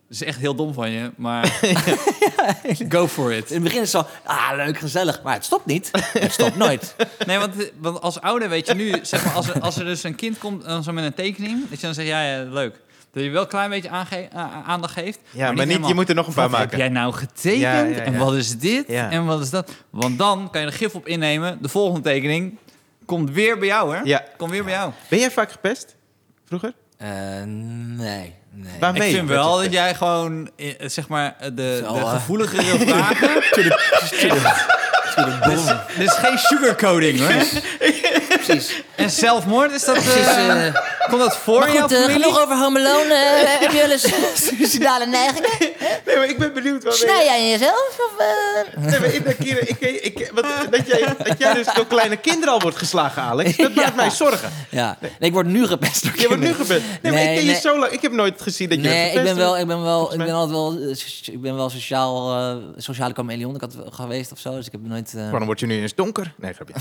Speaker 3: dat is echt heel dom van je, maar [laughs] go for
Speaker 2: In
Speaker 3: it.
Speaker 2: het begin is het zo, ah, leuk, gezellig. Maar het stopt niet. Het stopt nooit.
Speaker 3: Nee, want, want als ouder weet je nu, zeg maar, als er, als er dus een kind komt dan zo met een tekening, dat je dan zegt, ja, ja leuk. Dat je wel een klein beetje aange- a- aandacht geeft.
Speaker 1: Ja, maar niet, je moet er nog een paar
Speaker 3: Wat heb
Speaker 1: maken.
Speaker 3: jij nou getekend?
Speaker 1: Ja, ja, ja.
Speaker 3: En wat is dit?
Speaker 1: Ja.
Speaker 3: En wat is dat? Want dan kan je er gif op innemen. De volgende tekening komt weer bij jou, hè?
Speaker 1: Ja.
Speaker 3: Komt weer bij jou.
Speaker 1: Ben jij vaak gepest? Vroeger?
Speaker 2: Eh, nee, nee.
Speaker 1: Waarom ben
Speaker 3: ik
Speaker 1: je
Speaker 3: vind wel
Speaker 1: gepest?
Speaker 3: dat jij gewoon, eh, zeg maar, eh, de,
Speaker 2: Zo,
Speaker 3: de
Speaker 2: eh. [laughs]
Speaker 3: gevoeligere vragen... Dit is geen sugarcoating, hoor.
Speaker 1: [laughs]
Speaker 2: Precies.
Speaker 3: En zelfmoord, is dat... eh,
Speaker 2: Precies, eh,
Speaker 3: komt dat voor
Speaker 2: Maar
Speaker 3: jou?
Speaker 2: goed, eh, genoeg over Home Alone.
Speaker 1: [laughs]
Speaker 2: Eh, heb je wel eens suicidale neigingen?
Speaker 1: Nee, maar ik ben benieuwd. Wat
Speaker 2: Snij jij in jezelf? Of, eh?
Speaker 1: Nee, maar ik denk hier, ik, ik, ik- wat, dat, jij, dat jij dus door kleine kinderen al wordt geslagen, Alex,
Speaker 3: [laughs]
Speaker 1: dat maakt mij zorgen.
Speaker 2: Ja, nee, ik word nu gepest door
Speaker 1: Je wordt nu
Speaker 2: kinderen.
Speaker 1: gepest. Nee, maar ik
Speaker 2: Nee,
Speaker 1: ken je
Speaker 2: nee.
Speaker 1: zo lang. Ik heb nooit gezien dat je
Speaker 2: Nee,
Speaker 1: gepest
Speaker 2: ik ben wel,
Speaker 1: wordt.
Speaker 2: ik ben wel, ik
Speaker 1: mij.
Speaker 2: ben altijd wel, eh, so- ik ben wel sociaal, eh, sociale chameleon. Ik had wel geweest of zo, dus ik heb nooit. [laughs] eh,
Speaker 1: Waarom word je nu eens donker? Nee,
Speaker 2: [laughs]
Speaker 1: grapje.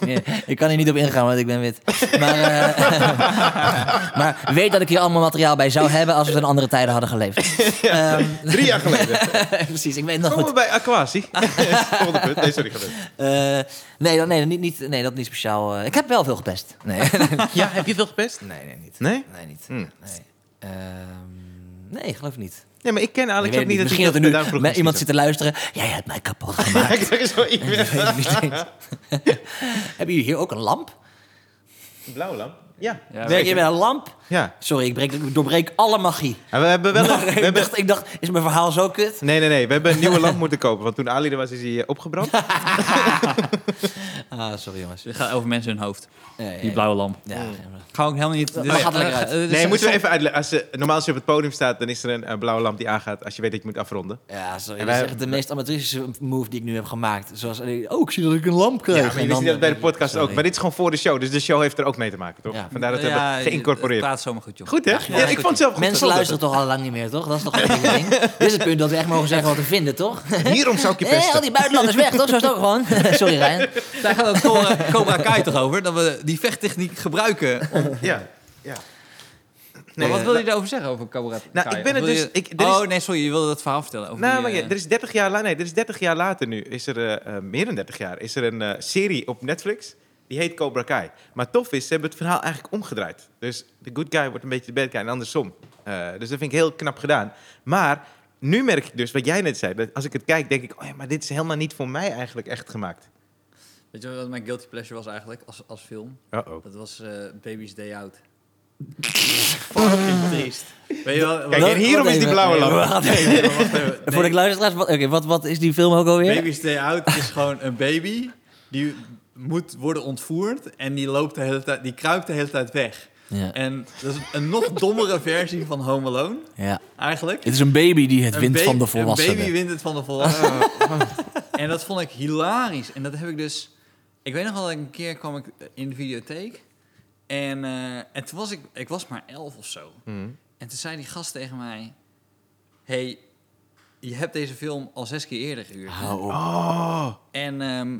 Speaker 2: nee, ik kan hier niet op ingaan, want ik ben wit. Maar, eh, [laughs] maar weet dat ik hier allemaal materiaal bij zou hebben als we in andere tijden hadden
Speaker 1: [laughs]
Speaker 2: geleefd. Ehm,
Speaker 1: Drie jaar geleden.
Speaker 2: [laughs] precies, ik weet het nog
Speaker 1: Komen
Speaker 2: goed.
Speaker 1: we bij Aquasi. [laughs] Volgende punt. Nee, sorry. ga verder.
Speaker 2: Eh, nee, dat, nee, niet, niet, nee, dat niet speciaal. eh. ik heb wel veel gepest. Nee,
Speaker 1: [laughs] Ja, heb je veel gepest?
Speaker 2: nee, nee niet.
Speaker 1: Nee?
Speaker 2: Nee, niet.
Speaker 1: Hmm.
Speaker 2: Nee. Ehm, nee, geloof ik niet.
Speaker 1: Nee, maar ik ken
Speaker 2: Ik
Speaker 1: Alex
Speaker 2: weet
Speaker 1: ook niet.
Speaker 2: het niet.
Speaker 1: dat
Speaker 2: Misschien
Speaker 1: hij
Speaker 2: dat er nu
Speaker 1: daarom vroeg
Speaker 2: me-
Speaker 1: ik
Speaker 2: iemand
Speaker 1: niet
Speaker 2: zit te luisteren. Jij hebt mij
Speaker 1: [laughs]
Speaker 2: kapot
Speaker 1: zo.
Speaker 2: gemaakt.
Speaker 1: Ik zeg zo
Speaker 2: Ik
Speaker 1: iemand.
Speaker 2: weet het niet eens. [laughs] Hebben jullie hier ook een lamp?
Speaker 1: Blauwe lamp? Ja.
Speaker 3: Ja,
Speaker 2: Werk je met een lamp?
Speaker 1: Ja.
Speaker 2: Sorry, ik, breek, ik doorbreek alle magie.
Speaker 1: En we hebben
Speaker 2: [laughs]
Speaker 1: wel een...
Speaker 2: Maar
Speaker 1: We
Speaker 2: ik,
Speaker 1: hebben,
Speaker 2: dacht, ik dacht, is mijn verhaal zo kut?
Speaker 1: nee, nee, nee. We hebben een nieuwe lamp moeten kopen. Want toen Ali er was, is hij eh, opgebrand.
Speaker 2: Ah, sorry jongens.
Speaker 3: Het gaat over mensen hun hoofd.
Speaker 2: Nee, nee,
Speaker 3: Die blauwe lamp.
Speaker 2: Ja,
Speaker 3: Ga ook helemaal niet... dit
Speaker 2: Maar
Speaker 3: is-
Speaker 2: gaat lekker uit.
Speaker 3: eh, eh, dit is-
Speaker 1: Nee, moeten we even uitleggen. Als, eh, normaal als je op het podium staat, dan is er een eh, blauwe lamp die aangaat als je weet dat je moet afronden.
Speaker 2: ja, sorry.
Speaker 1: En
Speaker 2: Dat is
Speaker 1: wij-
Speaker 2: echt de meest amateuristische move die ik nu heb gemaakt. Zoals, eh, oh, ik zie dat ik een lamp krijg.
Speaker 1: Ja, maar
Speaker 2: En
Speaker 1: je wist
Speaker 2: dan-
Speaker 1: niet dat bij de podcast
Speaker 2: sorry.
Speaker 1: ook. Maar dit is gewoon voor de show, dus de show heeft er ook mee te maken, toch?
Speaker 2: Ja,
Speaker 1: vandaar dat we hebben geïncorporeerd.
Speaker 3: Praat zomaar goed, joh.
Speaker 1: Goed, hè? Ja, ik vond het zelf goed.
Speaker 4: Mensen
Speaker 1: [laughs]
Speaker 4: luisteren toch al lang niet meer, toch? Dat is toch een ding. Dit is het punt dat we echt mogen zeggen wat we vinden,
Speaker 1: [laughs]
Speaker 4: toch?
Speaker 1: Hierom zou ik je
Speaker 4: Eh, al
Speaker 1: pesten.
Speaker 4: die buitenlanders weg, toch? Zo is het ook
Speaker 1: [laughs]
Speaker 4: gewoon. Sorry, Ryan.
Speaker 3: Daar gaat het Cobra- Cobra Kai toch over? Dat we die vechttechniek gebruiken. om-
Speaker 1: Ja, ja.
Speaker 3: maar wat
Speaker 1: eh,
Speaker 3: wil je daarover zeggen, over Cobra Kai?
Speaker 1: Nou, ik ben het
Speaker 3: Of wil
Speaker 1: dus-
Speaker 3: je-
Speaker 1: ik- er is-
Speaker 3: oh, nee, sorry, je wilde dat verhaal vertellen. Over
Speaker 1: Nou,
Speaker 3: die,
Speaker 1: maar ja,
Speaker 3: eh,
Speaker 1: er is 30 jaar, la- nee, er is 30 jaar later nu, is er, eh, eh, meer dan 30 jaar, is er een eh, serie op Netflix. Die heet Cobra Kai. Maar tof is, ze hebben het verhaal eigenlijk omgedraaid. Dus de good guy wordt een beetje de bad guy en andersom. Eh, dus dat vind ik heel knap gedaan. Maar nu merk ik dus, wat jij net zei, dat als ik het kijk, denk ik... Oh ja, maar dit is helemaal niet voor mij eigenlijk echt gemaakt.
Speaker 3: Weet je wat mijn guilty pleasure was eigenlijk, als, als film?
Speaker 1: Uh-oh.
Speaker 3: Dat was eh, Baby's Day Out. [laughs] Fucking triest. Weet je wel?
Speaker 1: Kijk,
Speaker 2: Wat-
Speaker 1: en hierom
Speaker 2: wat
Speaker 1: is die
Speaker 2: even-
Speaker 1: blauwe lamp.
Speaker 2: we gaan even-
Speaker 3: Nee, maar [laughs] wacht even.
Speaker 2: Voor de
Speaker 3: Nee,
Speaker 2: luisteraars, wat, oké, wat, wat is die film ook alweer?
Speaker 3: Baby's Day Out is gewoon een baby die moet worden ontvoerd en die, loopt de hele tijd, die kruipt de hele tijd weg.
Speaker 2: Ja.
Speaker 3: En dat is een nog dommere versie van Home Alone,
Speaker 2: ja.
Speaker 3: eigenlijk.
Speaker 2: Het is een baby die het
Speaker 3: Een
Speaker 2: wint
Speaker 3: ba-
Speaker 2: van de volwassenen.
Speaker 3: Een baby wint het van de volwassenen. en dat vond ik hilarisch. En dat heb ik dus... Ik weet nog wel, dat ik een keer kwam ik in de videotheek. En, eh, en toen was ik... Ik was maar elf of zo.
Speaker 1: Mhm.
Speaker 3: En toen zei die gast tegen mij... hey, je hebt deze film al zes keer eerder gehuurd.
Speaker 2: Hou op.
Speaker 1: Oh,
Speaker 3: En ehm,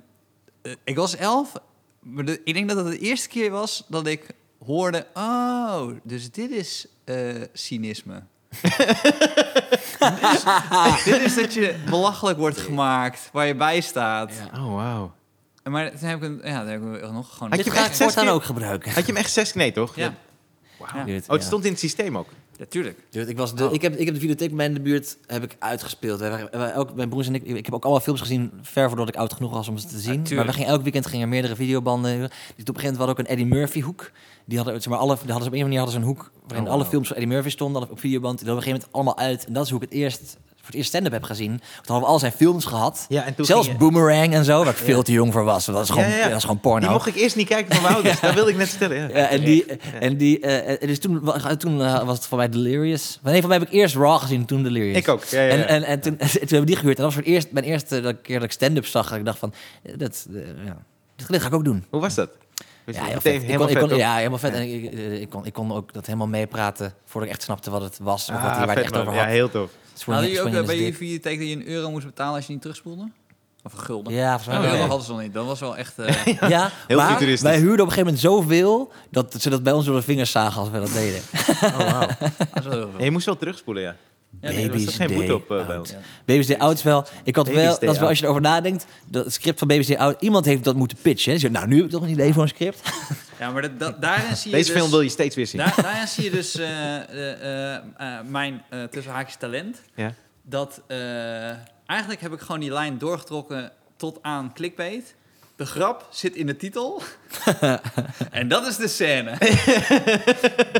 Speaker 3: eh, ik was elf. Maar de- ik denk dat het de eerste keer was dat ik hoorde... Oh, dus dit is eh, cynisme. [laughs] Dus dit is dat je belachelijk wordt gemaakt, waar je bij staat.
Speaker 2: Ja.
Speaker 1: oh wauw.
Speaker 3: En Maar toen heb ik, een, ja, toen heb ik nog gewoon...
Speaker 1: Had
Speaker 2: Dit
Speaker 1: je
Speaker 2: ga
Speaker 1: hem
Speaker 2: ik
Speaker 1: echt zes
Speaker 2: voortaan
Speaker 1: keer-
Speaker 2: ook gebruiken.
Speaker 1: Had je hem echt zes? Nee, toch?
Speaker 3: Ja,
Speaker 1: Wauw.
Speaker 2: Dude,
Speaker 1: Oh, het
Speaker 2: ja.
Speaker 1: stond in het systeem ook.
Speaker 3: natuurlijk.
Speaker 2: Dude, ik, was de,
Speaker 1: Oh.
Speaker 2: ik, heb, ik heb de videotheek bij mij in de buurt heb ik uitgespeeld. Wij waren- wij ook, mijn broers en ik, ik heb ook allemaal films gezien, ver voordat ik oud genoeg was om ze te zien.
Speaker 3: tuurlijk.
Speaker 2: maar we gingen, elk weekend gingen er meerdere videobanden. Dus op een gegeven moment hadden we ook een Eddie Murphy hoek. Die hadden, zeg maar, alle, die hadden ze op een of andere manier hadden ze een hoek waarin
Speaker 1: Oh,
Speaker 2: alle films van Eddie Murphy stonden, alle op videoband. Die hadden we op een gegeven moment allemaal uit. En dat is hoe ik het eerst voor het eerst stand-up heb gezien. Toen hadden we al zijn films gehad.
Speaker 1: Ja, en toen
Speaker 2: Zelfs
Speaker 1: ging je-
Speaker 2: Boomerang en zo, waar ik veel te jong voor was. want Dat is gewoon,
Speaker 1: Ja, ja, ja.
Speaker 2: Dat is gewoon porno.
Speaker 1: Die mocht ik eerst niet kijken van mijn ouders. Dat wilde ik net vertellen. [laughs] Ja.
Speaker 2: [laughs] Ja, en die, en die, eh, en dus toen, wa- toen eh, was het voor mij Delirious. Maar nee, voor mij heb ik eerst Raw gezien, toen Delirious.
Speaker 1: Ik ook. Ja, ja, ja.
Speaker 2: En, en, en toen, [laughs] toen hebben we die gehuurd. En dat was voor het eerst, mijn eerste dat ik- keer dat ik stand-up zag. Dat ik dacht van, eh, dat, eh, ja, dit, dit ga ik ook doen.
Speaker 1: Hoe was dat? Was
Speaker 2: Ja,
Speaker 1: je Dus
Speaker 2: heel
Speaker 1: meteen
Speaker 2: vet. Ik
Speaker 1: helemaal
Speaker 2: kon, ik kon,
Speaker 1: vet,
Speaker 2: ja, helemaal vet. En ik, ik, eh, ik kon, ik kon ook dat helemaal meepraten voordat ik echt snapte wat het was. Of
Speaker 1: toch?
Speaker 2: wat
Speaker 1: Ah,
Speaker 2: hij, waar
Speaker 1: vet,
Speaker 2: het echt
Speaker 1: man.
Speaker 2: over
Speaker 1: Ja,
Speaker 2: had.
Speaker 1: heel tof.
Speaker 2: Het is voor
Speaker 3: Hadden
Speaker 2: niks,
Speaker 3: jullie ook
Speaker 2: voor
Speaker 3: eh,
Speaker 2: je
Speaker 3: bij
Speaker 2: in
Speaker 3: jullie
Speaker 2: de
Speaker 3: videotheek dat je een euro moest betalen als je niet terugspoelde? Of een gulden?
Speaker 2: dik. Ja, volgens mij
Speaker 3: Een
Speaker 2: wel.
Speaker 1: Oh, [laughs]
Speaker 3: euro
Speaker 1: nee.
Speaker 3: hadden ze nog niet. Dat was wel echt... eh,
Speaker 2: Ja,
Speaker 1: Heel
Speaker 2: maar
Speaker 1: futuristisch.
Speaker 2: wij huurden op een gegeven moment zoveel... dat ze dat bij ons door de vingers zagen als we dat deden.
Speaker 3: dat is wel heel veel.
Speaker 1: Ja, je moest wel terugspoelen, ja.
Speaker 3: Ja, nee,
Speaker 1: Er was
Speaker 2: Baby's
Speaker 1: toch geen boete
Speaker 2: day
Speaker 1: op eh, bij
Speaker 2: out.
Speaker 1: ons.
Speaker 2: Baby's Day Out is wel... Ik had
Speaker 1: Baby's
Speaker 2: wel,
Speaker 1: Day
Speaker 2: dat is wel
Speaker 1: Out.
Speaker 2: als je erover nadenkt, dat het script van Baby's Day Out... Iemand heeft dat moeten pitchen. Hè? Zo, nou, nu heb ik toch een idee voor een [laughs] script.
Speaker 3: Ja, maar dat, dat- daarin zie je
Speaker 1: Deze
Speaker 3: dus-
Speaker 1: film wil je steeds weer zien.
Speaker 3: Daar, daarin zie je dus eh, eh, eh, eh, mijn eh tussen haakjes talent.
Speaker 1: Ja.
Speaker 3: Dat eh, eigenlijk heb ik gewoon die lijn doorgetrokken tot aan clickbait. De grap zit in de titel. en dat is de scène.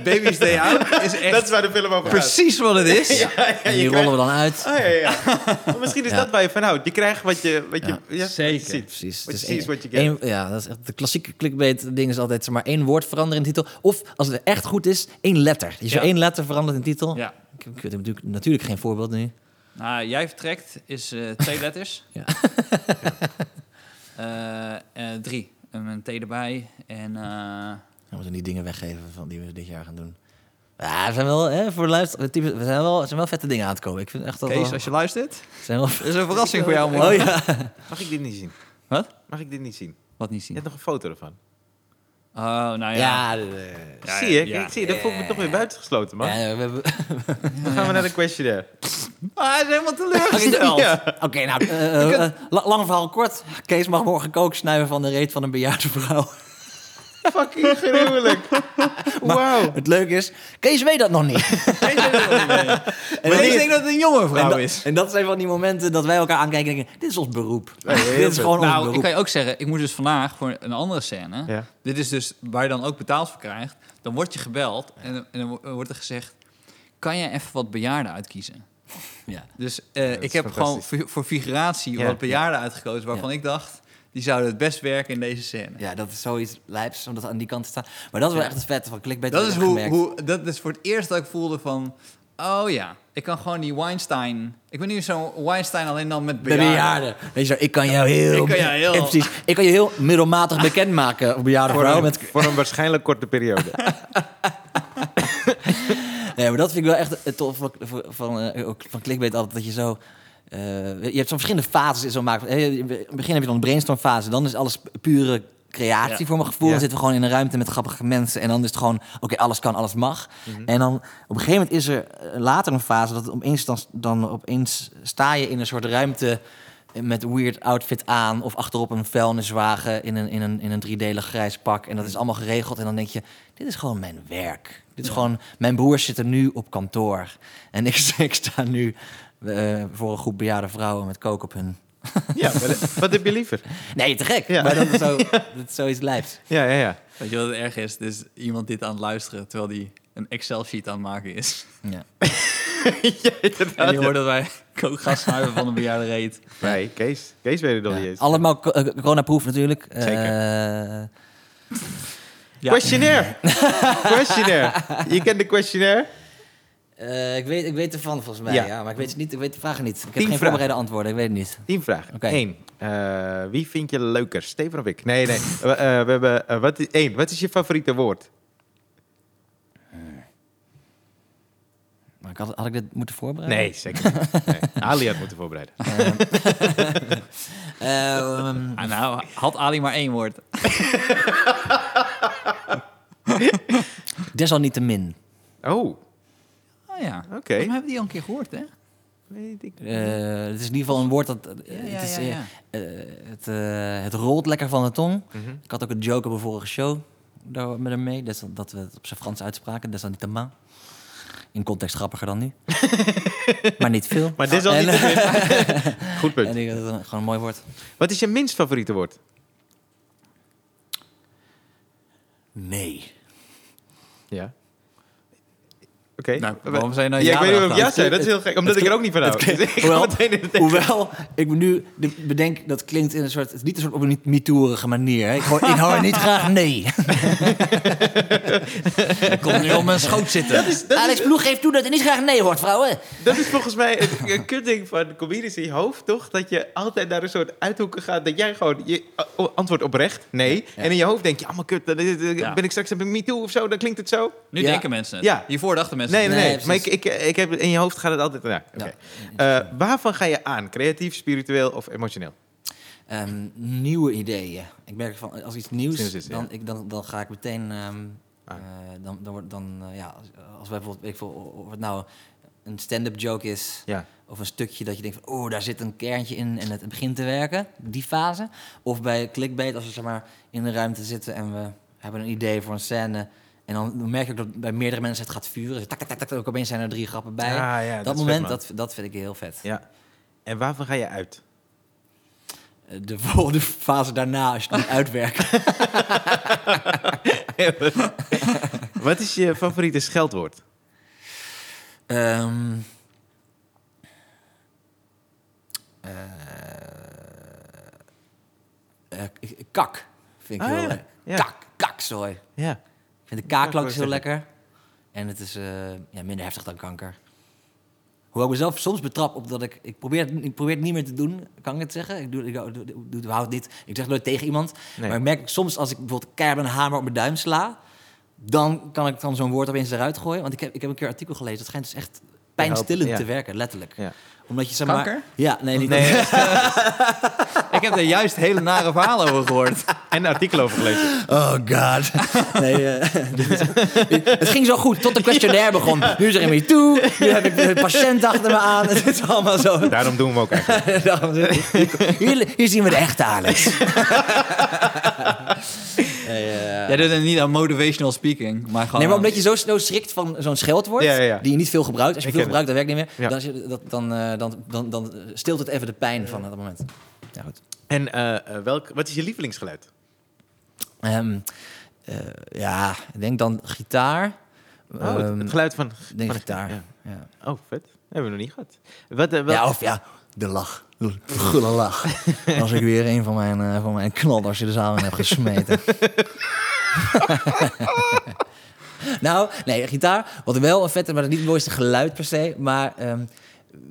Speaker 3: Baby's Day Out is echt
Speaker 1: Dat is waar de film over gaat.
Speaker 3: precies wat het is.
Speaker 2: en die rollen we dan uit.
Speaker 1: Oh, ja, ja, ja. Maar misschien is
Speaker 2: Ja.
Speaker 1: dat waar je van houdt. Je krijgt wat je, wat je, ja, wat
Speaker 2: Ja,
Speaker 1: je
Speaker 3: zeker.
Speaker 1: ziet.
Speaker 2: Precies.
Speaker 1: Precies
Speaker 2: één-
Speaker 1: wat je kent.
Speaker 2: één- ja, dat is echt de klassieke clickbait ding is altijd zeg maar één woord veranderen in de titel. Of als het echt goed is, één letter. Je zo
Speaker 3: Ja.
Speaker 2: één letter verandert in de titel.
Speaker 3: Ja.
Speaker 2: Ik, ik weet natuurlijk, natuurlijk geen voorbeeld nu.
Speaker 3: Nou, jij vertrekt is eh, twee letters.
Speaker 2: Ja.
Speaker 3: [laughs] Eh, eh, drie. En een T erbij. En eh,
Speaker 2: We moeten die dingen weggeven van die we dit jaar gaan doen. Ja, we zijn wel, hè, voor de luister, typisch- we zijn wel, er zijn wel vette dingen aan het komen. Ik vind echt dat
Speaker 3: Kees,
Speaker 2: wel,
Speaker 3: als je luistert.
Speaker 2: zijn wel
Speaker 3: Er is een verrassing voor jou, man.
Speaker 2: Oh ja.
Speaker 1: Mag ik dit niet zien?
Speaker 3: Wat?
Speaker 1: Mag ik dit niet zien?
Speaker 3: Wat niet
Speaker 1: Je
Speaker 3: zien.
Speaker 1: hebt nog een foto ervan.
Speaker 3: Oh, nou [laughs] ja.
Speaker 2: Ja, eh,
Speaker 3: Ja,
Speaker 1: zie je?
Speaker 3: ja.
Speaker 1: Ik zie je. Dat voel ik me toch weer buitengesloten, man.
Speaker 2: ja, we
Speaker 3: [laughs]
Speaker 2: hebben...
Speaker 1: Dan gaan we naar de questionnaire.
Speaker 3: Ah, hij is helemaal
Speaker 2: [laughs]
Speaker 3: teleurgesteld.
Speaker 1: Ja.
Speaker 3: [laughs]
Speaker 2: Oké, nou, eh, eh, la- lang verhaal kort. Kees mag morgen kook snuiven van de reet van een bejaarde vrouw. [laughs]
Speaker 1: Fucking gruwelijk. Wauw.
Speaker 2: Het leuke is, Kees weet dat nog
Speaker 3: [laughs]
Speaker 2: niet.
Speaker 3: Maar ik denk dat het een jonge
Speaker 2: En,
Speaker 3: vrouw
Speaker 2: dat-
Speaker 3: is.
Speaker 2: en dat zijn van die momenten dat wij elkaar aankijken en denken, dit is ons beroep.
Speaker 1: heel
Speaker 2: dit is
Speaker 1: vet.
Speaker 2: gewoon ons
Speaker 3: Nou, ik
Speaker 2: beroep.
Speaker 3: kan je ook zeggen, ik moest dus vandaag voor een andere scène.
Speaker 1: Ja.
Speaker 3: Dit is dus waar je dan ook betaald voor krijgt. Dan word je gebeld en, en dan wo- wordt er gezegd: kan je even wat bejaarden uitkiezen?
Speaker 2: Ja.
Speaker 3: Dus eh,
Speaker 1: dat
Speaker 3: ik
Speaker 1: is
Speaker 3: heb gewoon
Speaker 1: fantastisch.
Speaker 3: voor, voor figuratie
Speaker 1: Ja.
Speaker 3: wat bejaarden uitgekozen waarvan ik dacht, die zouden het best werken in deze scène.
Speaker 2: ja, dat is zoiets lijps, omdat aan die kant te staan. Maar dat is wel echt het vette van clickbait.
Speaker 3: Dat
Speaker 2: heb
Speaker 3: is
Speaker 2: ik
Speaker 3: hoe,
Speaker 2: gemerkt.
Speaker 3: hoe dat is voor het eerst dat ik voelde van. Oh ja, ik kan gewoon die Weinstein. Ik ben nu zo'n Weinstein alleen dan met
Speaker 2: De bejaarden. Weet je, wel, ik kan jou heel...
Speaker 3: Ik kan jou heel-
Speaker 2: Ja, precies. Ik kan je heel middelmatig
Speaker 3: [laughs]
Speaker 2: bekendmaken, op bejaarde
Speaker 1: Voor
Speaker 2: vrouw.
Speaker 1: een,
Speaker 2: Met...
Speaker 1: voor een waarschijnlijk korte periode.
Speaker 2: Nee, maar dat vind ik wel echt eh, tof van, van, van, eh, ook van clickbait altijd, dat je zo... eh, je hebt zo'n verschillende fases in zo'n maken. Eh, In het begin heb je dan de brainstormfase, dan is alles pure creatie
Speaker 3: Ja.
Speaker 2: voor mijn gevoel.
Speaker 1: Ja.
Speaker 2: Dan zitten we gewoon in een ruimte met grappige mensen en dan is het gewoon, oké, alles kan, alles mag.
Speaker 1: Mhm.
Speaker 2: En dan op een gegeven moment is er eh, later een fase dat het opeens dan, dan opeens sta je in een soort ruimte met weird outfit aan of achterop een vuilniswagen in een, in een, in een driedelig grijs pak. En dat
Speaker 1: Mhm.
Speaker 2: is allemaal geregeld. En dan denk je, dit is gewoon mijn werk. Dit is gewoon, mijn broers zitten nu op kantoor. En [laughs] ik, ik sta nu eh, voor een groep bejaarde vrouwen met kook op hun...
Speaker 1: ja, maar dat- wat heb je liever?
Speaker 2: Nee, te
Speaker 1: [laughs]
Speaker 2: gek.
Speaker 1: Ja.
Speaker 2: Maar dat is, zo, dat is zoiets lijps.
Speaker 1: Ja, ja, ja.
Speaker 3: Weet je wat het erg is? Dus iemand dit aan het luisteren terwijl die een Excel-sheet aan het maken is.
Speaker 2: Ja.
Speaker 3: En die hoort dat wij [laughs] kookgas snuiven van een bejaarde reet.
Speaker 1: Nee, Kees. Kees weet het nog
Speaker 2: Ja.
Speaker 1: niet eens.
Speaker 2: Allemaal co- eh, coronaproof natuurlijk. Eh,
Speaker 3: Ja.
Speaker 1: Questionnaire. questionnaire. Je kent de questionnaire?
Speaker 2: eh, ik, weet, ik weet ervan volgens mij,
Speaker 1: Ja.
Speaker 2: ja. maar ik weet, het niet, ik weet de vragen niet. Ik heb
Speaker 1: Tien
Speaker 2: geen
Speaker 1: vragen.
Speaker 2: voorbereide antwoorden, ik weet het niet.
Speaker 1: Tien vragen.
Speaker 2: Oké.
Speaker 1: Eén. Eh, wie vind je leuker, Steven of ik? Nee, nee. we, eh, we hebben, eh, wat, i- één. Wat is je favoriete woord?
Speaker 2: Maar ik had, had ik dit moeten voorbereiden?
Speaker 1: Nee, zeker niet. Nee. Ali had moeten voorbereiden. [laughs]
Speaker 2: Ehm,
Speaker 3: Ah, nou, had Ali maar één woord.
Speaker 2: desalniettemin.
Speaker 1: Oh, oké.
Speaker 3: Oh ja. Maar we hebben die al een keer gehoord, hè?
Speaker 1: Weet ik.
Speaker 2: Eh, het is in ieder geval een woord dat... eh, het, is, eh, eh, het, eh, het rolt lekker van de tong.
Speaker 1: Mhm.
Speaker 2: Ik had ook een joke op een vorige show daar, met hem mee. des- dat we het op zijn Frans uitspraken. Desalniettemin. In context grappiger
Speaker 1: [laughs]
Speaker 2: dan nu. maar niet veel.
Speaker 1: Maar dit is al
Speaker 2: En-
Speaker 1: niet te
Speaker 2: [laughs]
Speaker 1: min. Goed
Speaker 2: En
Speaker 1: punt.
Speaker 2: ik denk dat het een- gewoon een mooi woord.
Speaker 1: Wat is je minst favoriete woord?
Speaker 2: Nee.
Speaker 1: Ja. Oké.
Speaker 3: Nou, waarom zou je nou
Speaker 1: ja,
Speaker 3: ja
Speaker 1: ik weet niet of ik ja
Speaker 3: erachteraan?
Speaker 1: zei. Dat is heel gek. Omdat ik er ook niet van hou. Dus [laughs] ik ga
Speaker 2: hoewel-
Speaker 1: meteen in de tekst.
Speaker 2: Hoewel, ik me nu de- bedenk, dat klinkt in een soort, het is niet een soort op een niet- mitoerige manier. Hè. Ik, hoor, ik hoor niet graag
Speaker 1: [laughs]
Speaker 2: nee.
Speaker 3: Ik kom nu op mijn schoot zitten.
Speaker 2: Alex Ploeg geeft toe dat hij niet graag nee hoort, vrouwen.
Speaker 1: Dat is volgens mij het een kutding van comedies in je hoofd, toch? Dat je altijd naar een soort uithoeken gaat. Dat jij gewoon je a- antwoord oprecht, nee. En in je hoofd denk je, allemaal kut, dan is het-
Speaker 3: Ja.
Speaker 1: ben ik straks een me too of zo? Dan klinkt het zo.
Speaker 3: Nu
Speaker 2: Ja.
Speaker 3: denken mensen het.
Speaker 1: Ja.
Speaker 3: Hiervoor dachten mensen
Speaker 1: Nee,
Speaker 3: het.
Speaker 1: nee,
Speaker 2: Nee,
Speaker 1: nee.
Speaker 2: precies.
Speaker 1: maar ik, ik, ik heb, in je hoofd gaat het altijd. Nou, oké. Eh, waarvan ga je aan? Creatief, spiritueel of emotioneel?
Speaker 2: Ehm, nieuwe ideeën. Ik merk van, als iets nieuws,
Speaker 1: Sinds is, ja.
Speaker 2: dan, ik, dan, dan ga ik meteen... ehm,
Speaker 1: Ah.
Speaker 2: eh, dan, dan, wordt- dan, eh, ja, als, als wij bijvoorbeeld, weet ik veel, of het nou een stand-up joke is...
Speaker 1: Ja.
Speaker 2: Of een stukje dat je denkt van, oh, daar zit een kerntje in en het begint te werken. Die fase. Of bij clickbait, als we zeg maar in de ruimte zitten en we hebben een idee voor een scène. En dan merk ik dat bij meerdere mensen het gaat vuren. Dus tak, tak, tak, tak, ook opeens zijn er drie grappen bij.
Speaker 1: Ah, ja,
Speaker 2: dat,
Speaker 1: dat is
Speaker 2: moment,
Speaker 1: vet, man.
Speaker 2: dat, dat vind ik heel vet.
Speaker 1: ja. En waarvan ga je
Speaker 2: [laughs]
Speaker 1: uit?
Speaker 2: Eh, De [laughs] volgende fase daarna, als je
Speaker 1: [laughs]
Speaker 2: het niet uitwerkt.
Speaker 1: Wat is je favoriete scheldwoord?
Speaker 2: Ehm, eh, eh, kak vind ik
Speaker 1: Ah,
Speaker 2: heel
Speaker 1: ja.
Speaker 2: leuk.
Speaker 1: Ja.
Speaker 2: Kak, kakzooi.
Speaker 1: Ja.
Speaker 2: Ik vind de
Speaker 1: Dat
Speaker 2: kaaklak
Speaker 1: is
Speaker 2: heel
Speaker 1: wel
Speaker 2: lekker. En het is eh, ja, minder heftig dan kanker. Hoewel ik mezelf soms betrap op dat ik... Ik probeer, het- ik probeer het niet meer te doen, kan ik het zeggen? Ik doe, ik, doe, doe- doe- hou het niet. Ik zeg nooit tegen iemand.
Speaker 1: Nee.
Speaker 2: Maar ik merk soms als ik bijvoorbeeld keihard een hamer op mijn duim sla... dan kan ik dan zo'n woord opeens eruit gooien. Want ik heb, ik heb een keer een artikel gelezen. Dat schijnt dus echt pijnstillend
Speaker 1: Ja.
Speaker 2: te werken, letterlijk.
Speaker 1: Ja.
Speaker 2: Omdat je zeg maar...
Speaker 3: Kanker?
Speaker 2: Ja, nee, niet [laughs]
Speaker 1: Nee,
Speaker 3: [laughs] Ik heb er juist hele nare verhalen over gehoord.
Speaker 1: en artikel over gelezen.
Speaker 2: [laughs] Oh god. Nee, eh, [laughs] dit is- het ging zo goed tot de questionnaire begon. Nu is er een toe. Nu heb ik de patiënt achter me aan. Het is allemaal zo.
Speaker 1: Daarom doen we hem ook echt.
Speaker 2: Daarom zit ik- Hier, hier zien we de echte Alex.
Speaker 3: Jij doet het niet aan motivational speaking, maar gewoon...
Speaker 2: eh. Nee, maar omdat je zo snel schrikt van zo'n scheldwoord,
Speaker 1: Ja, ja, ja.
Speaker 2: die je niet veel gebruikt. Als je
Speaker 1: Ik
Speaker 2: veel
Speaker 1: ken het.
Speaker 2: gebruikt, dat werkt niet meer.
Speaker 1: Ja.
Speaker 2: Dan, is je- dat- dan, eh, dan, dan, dan stilt het even de pijn van dat moment. Ja, goed.
Speaker 1: En eh, eh, welk, wat is je lievelingsgeluid?
Speaker 2: Ehm, eh, ja, ik denk dan gitaar.
Speaker 1: Oh, het-
Speaker 2: Ehm,
Speaker 1: het geluid van...
Speaker 2: ik denk
Speaker 1: van-
Speaker 2: gitaar.
Speaker 1: ja.
Speaker 2: Ja.
Speaker 1: Oh, vet. Hebben we nog niet gehad. Wat, eh, wel-
Speaker 2: Ja, of ja, de lach. De gulle lach. Als ik weer een van mijn, eh, van mijn knallers in de zaal in heb gesmeten. [laughs] Nou, nee, gitaar. Wat wel een vette, maar niet het mooiste geluid per se. Maar ehm,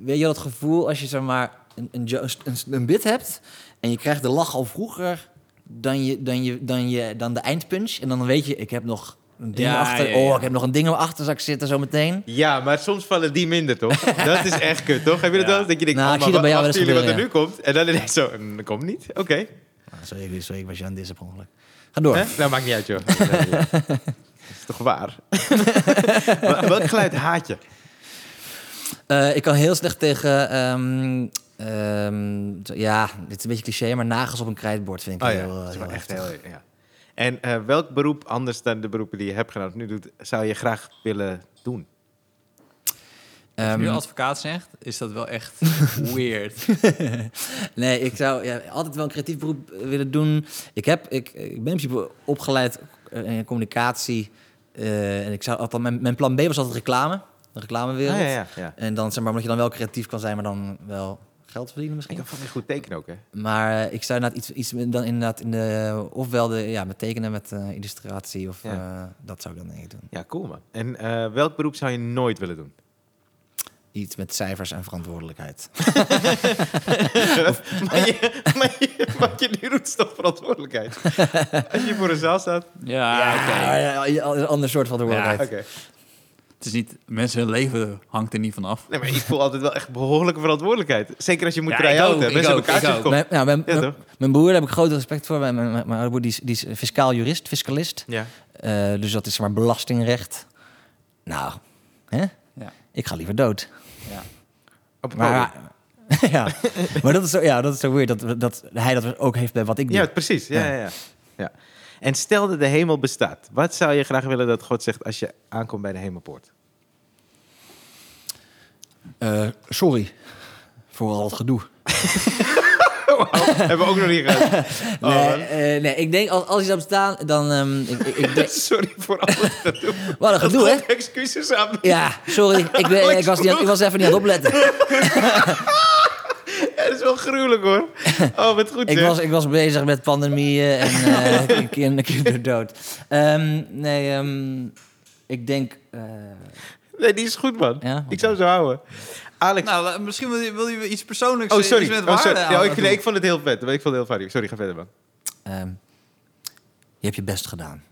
Speaker 2: weet je dat gevoel als je zeg maar een, een, jo- een, een bit hebt en je krijgt de lach al vroeger dan, je, dan, je, dan, je, dan de eindpunch. En dan weet je, ik heb nog een ding
Speaker 3: Ja,
Speaker 2: achter.
Speaker 3: ja, ja.
Speaker 2: Oh, ik heb nog een ding in mijn achterzak zitten zo meteen.
Speaker 1: Ja, maar soms vallen die minder,
Speaker 2: [laughs]
Speaker 1: toch? dat is echt kut, toch? Heb je dat
Speaker 3: Ja.
Speaker 1: wel eens? Dat je denkt,
Speaker 2: Nou,
Speaker 1: oh,
Speaker 2: ik
Speaker 1: maar
Speaker 2: zie dat bij jou
Speaker 1: wacht
Speaker 2: wel eens
Speaker 1: jullie wat er nu
Speaker 2: gebeuren,
Speaker 1: komt. En dan ineens zo, "Mm, dat komt niet. Oké.
Speaker 2: Ah, Sorry, sorry, ik was je aan dit ongeluk. Ga door.
Speaker 1: Hè? Nou, maakt niet uit,
Speaker 2: [laughs]
Speaker 1: joh. dat is toch waar? [laughs] Wel- Welk geluid haat je?
Speaker 2: Eh, ik kan heel slecht tegen. ehm, ehm, zo- ja, dit is een beetje cliché, maar nagels op een krijtbord vind ik
Speaker 1: Oh ja,
Speaker 2: heel, eh,
Speaker 1: dat is wel
Speaker 2: heel
Speaker 1: echt
Speaker 2: heftig.
Speaker 1: heel... Ja. En eh, welk beroep, anders dan de beroepen die je hebt gedaan of nu doet, zou je graag willen doen?
Speaker 3: Als
Speaker 2: Ehm,
Speaker 3: nu advocaat zegt, is dat wel [laughs] echt weird.
Speaker 2: Nee, ik zou ja, altijd wel een creatief beroep eh, willen doen. Ik, heb, ik, ik ben in principe opgeleid eh, in communicatie. eh, en ik zou altijd, mijn, mijn plan B was altijd reclame. De reclamewereld.
Speaker 1: Ah, ja, ja, ja.
Speaker 2: En dan zeg maar, omdat je dan wel creatief kan zijn, maar dan wel geld verdienen
Speaker 1: Ik
Speaker 2: misschien.
Speaker 1: kan fucking goed tekenen ook, hè?
Speaker 2: Maar eh, ik zou inderdaad iets, iets met- dan inderdaad in de, ofwel de, ja, met tekenen, met eh, illustratie of
Speaker 1: Ja.
Speaker 2: eh, dat zou ik dan denk ik doen.
Speaker 1: Ja, cool, man. En eh, welk beroep zou je nooit willen doen? [laughs]
Speaker 2: Iets met cijfers en verantwoordelijkheid.
Speaker 1: maar, je, maar je, wat je nu doet is toch verantwoordelijkheid? Als je voor een zaal staat...
Speaker 3: Ja, oké.
Speaker 2: Ah, ja, ja, een ander soort verantwoordelijkheid.
Speaker 1: Oké.
Speaker 3: Het is niet... Mensen hun leven hangt er niet van af.
Speaker 1: Nee, maar ik voel altijd wel echt behoorlijke verantwoordelijkheid. Zeker als je moet
Speaker 3: Ja, ik ook,
Speaker 1: try-outen.
Speaker 3: ik
Speaker 1: Mensen
Speaker 3: ook,
Speaker 1: hebben kaartjes
Speaker 3: ik ook.
Speaker 1: gekocht.
Speaker 2: Mijn, nou, mijn,
Speaker 1: Ja,
Speaker 2: mijn-
Speaker 1: toch?
Speaker 2: mijn broer daar heb ik groot respect voor. Mijn, mijn, mijn oude broer die is, die is fiscaal jurist, fiscalist.
Speaker 1: Ja.
Speaker 2: Eh, dus dat is zeg maar belastingrecht. Nou, hè?
Speaker 3: Ja.
Speaker 2: ik ga liever dood.
Speaker 3: Ja.
Speaker 1: Op het podium.
Speaker 2: Maar, [laughs] ja. maar dat is zo, ja, dat is zo weird dat, we- dat hij dat ook heeft bij wat ik doe.
Speaker 1: Ja, precies. Ja, ja. Ja, ja. En stel dat de hemel bestaat. Wat zou je graag willen dat God zegt als je aankomt bij de hemelpoort?
Speaker 2: Eh, sorry voor al het gedoe.
Speaker 1: Oh, Hebben we ook nog niet [laughs] gehad. Oh,
Speaker 2: nee, eh, nee, ik denk als, als hij zou bestaan, dan... ehm, ik, ik, ik denk,
Speaker 1: Sorry voor al het gedoe.
Speaker 2: wat
Speaker 1: [laughs]
Speaker 2: een gedoe, Nou, hè?
Speaker 1: God excuses aan me.
Speaker 2: Ja, sorry. Ik, ben, ik, was niet, aan- ik was even niet aan het opletten.
Speaker 1: Ja, [laughs] dat is wel gruwelijk, hoor. Oh, wat [laughs] goed,
Speaker 2: Ik
Speaker 1: zeg.
Speaker 2: was, ik was bezig met pandemieën en
Speaker 1: [laughs]
Speaker 2: eh [laughs] kinder, kinderdood. Ehm, nee, ehm, ik denk... eh,
Speaker 1: Nee, die is goed, man.
Speaker 2: Ja?
Speaker 1: Ik zou ze houden. Alex.
Speaker 3: Nou, la- misschien wil je, wil je iets persoonlijks...
Speaker 1: oh,
Speaker 3: eh,
Speaker 1: sorry.
Speaker 3: Iets met
Speaker 1: Oh,
Speaker 3: waarde
Speaker 1: sorry.
Speaker 3: aan
Speaker 1: Ja, ik,
Speaker 3: wat
Speaker 1: nee, ik vond het heel vet. Ik vond het heel funny. Sorry, ga verder, man.
Speaker 2: ehm, je hebt je best gedaan.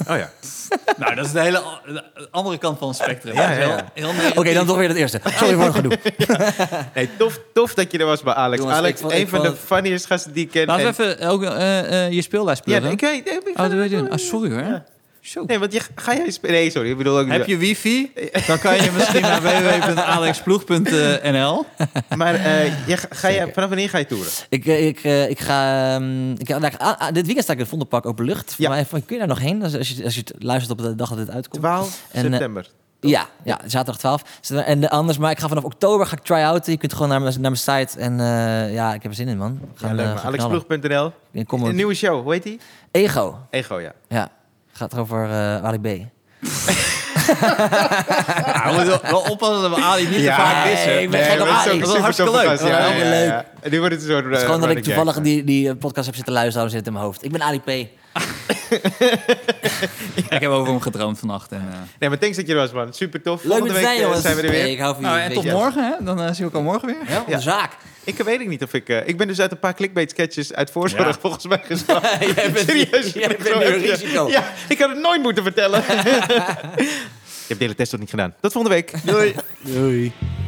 Speaker 1: Oh ja.
Speaker 3: doen. Nou, dat is de hele a- de andere kant van het spectrum.
Speaker 1: Ja,
Speaker 3: Dat is
Speaker 1: ja,
Speaker 3: heel-
Speaker 1: ja.
Speaker 3: heel
Speaker 2: Oké,
Speaker 3: negatief.
Speaker 2: dan toch weer het eerste. Sorry voor het
Speaker 1: [laughs]
Speaker 2: gedoe.
Speaker 1: [laughs] Nee, tof, tof dat je er was bij Alex.
Speaker 2: Jongens,
Speaker 1: Alex,
Speaker 2: ik vond-
Speaker 1: een
Speaker 2: ik
Speaker 1: van
Speaker 2: vond
Speaker 1: de funniest gasten die ik ken.
Speaker 3: Laten we
Speaker 1: En-
Speaker 3: even ook, eh, eh, je speellijst spelen.
Speaker 1: Ja, ik weet... nee, ik-
Speaker 3: Oh, dat wil je doen. Ah, sorry hoor. Zo.
Speaker 1: Nee, want je, ga jij... spe- Nee, sorry. Ik bedoel ook...
Speaker 3: Heb je wifi? Dan kan je misschien naar www.alexploeg.nl.
Speaker 1: Maar eh, je, ga- ga je, vanaf wanneer ga je toeren?
Speaker 2: Ik, eh, ik, eh, ik ga... ehm, ik, ga- nou, ik- ah, ah, dit weekend sta ik in het Vondelpark Openlucht.
Speaker 1: Ja.
Speaker 2: Ja. Maar kun je daar nog heen? Als, als, je, als je het luistert op de dag dat dit uitkomt.
Speaker 1: 12
Speaker 2: En, eh,
Speaker 1: september.
Speaker 2: Ja, ja, zaterdag 12. Zit er- En eh, anders, maar ik ga vanaf oktober ga ik try-outen. Je kunt gewoon naar, mijn- naar mijn site. En eh, ja, ik heb er zin in, man.
Speaker 1: Ja,
Speaker 2: Gaan,
Speaker 1: leuk,
Speaker 2: eh,
Speaker 1: maar
Speaker 2: gaan knallen.
Speaker 1: Alexploeg.nl.
Speaker 2: Ik kom
Speaker 1: Een
Speaker 2: op-
Speaker 1: nieuwe show, hoe heet die?
Speaker 2: Ego.
Speaker 1: Ego, ja.
Speaker 2: Ja, gaat over eh, Ali B.
Speaker 3: Ja, we moeten wel oppassen dat we Ali niet te vaak missen.
Speaker 2: ik ben gek op
Speaker 1: maar het is
Speaker 2: Ali.
Speaker 1: ook
Speaker 2: Dat is
Speaker 1: een
Speaker 3: hartstikke
Speaker 1: supertoffe
Speaker 3: leuk.
Speaker 1: gast, Ja,
Speaker 2: Dat
Speaker 1: ja,
Speaker 2: is
Speaker 1: ja,
Speaker 2: leuk.
Speaker 1: ja. En nu wordt het een soort...
Speaker 2: Het is gewoon dat ik toevallig die, die eh, podcast heb zitten luisteren, zit in mijn hoofd. Ik ben Ali P.
Speaker 3: Ik heb over hem gedroomd vannacht. En, eh,
Speaker 1: Nee, maar thanks dat je er was, man. Super tof.
Speaker 2: Leuk
Speaker 1: Volgende
Speaker 2: met
Speaker 1: week
Speaker 2: zijn,
Speaker 1: eh,
Speaker 2: jongens.
Speaker 1: zijn we er
Speaker 2: Hey,
Speaker 1: weer.
Speaker 2: ik hou van
Speaker 3: nou,
Speaker 2: jullie.
Speaker 3: en tot
Speaker 2: weet je.
Speaker 3: morgen, hè? Dan eh, zie ik elkaar morgen weer.
Speaker 2: Ja, op de
Speaker 1: Ja.
Speaker 2: zaak.
Speaker 1: Ik weet ik niet of ik... eh, ik ben dus uit een paar clickbait sketches uit voorzorg
Speaker 3: Ja.
Speaker 1: volgens mij gestapt.
Speaker 2: [laughs] Jij bent-
Speaker 1: Serieus.
Speaker 2: jij bent
Speaker 1: Zo
Speaker 2: nu een
Speaker 1: heb je-
Speaker 2: risico.
Speaker 1: Ja, ik had het nooit [laughs]
Speaker 2: [laughs]
Speaker 1: moeten vertellen. Je hebt de hele test nog niet gedaan. Tot volgende week. Doei.
Speaker 2: Doei.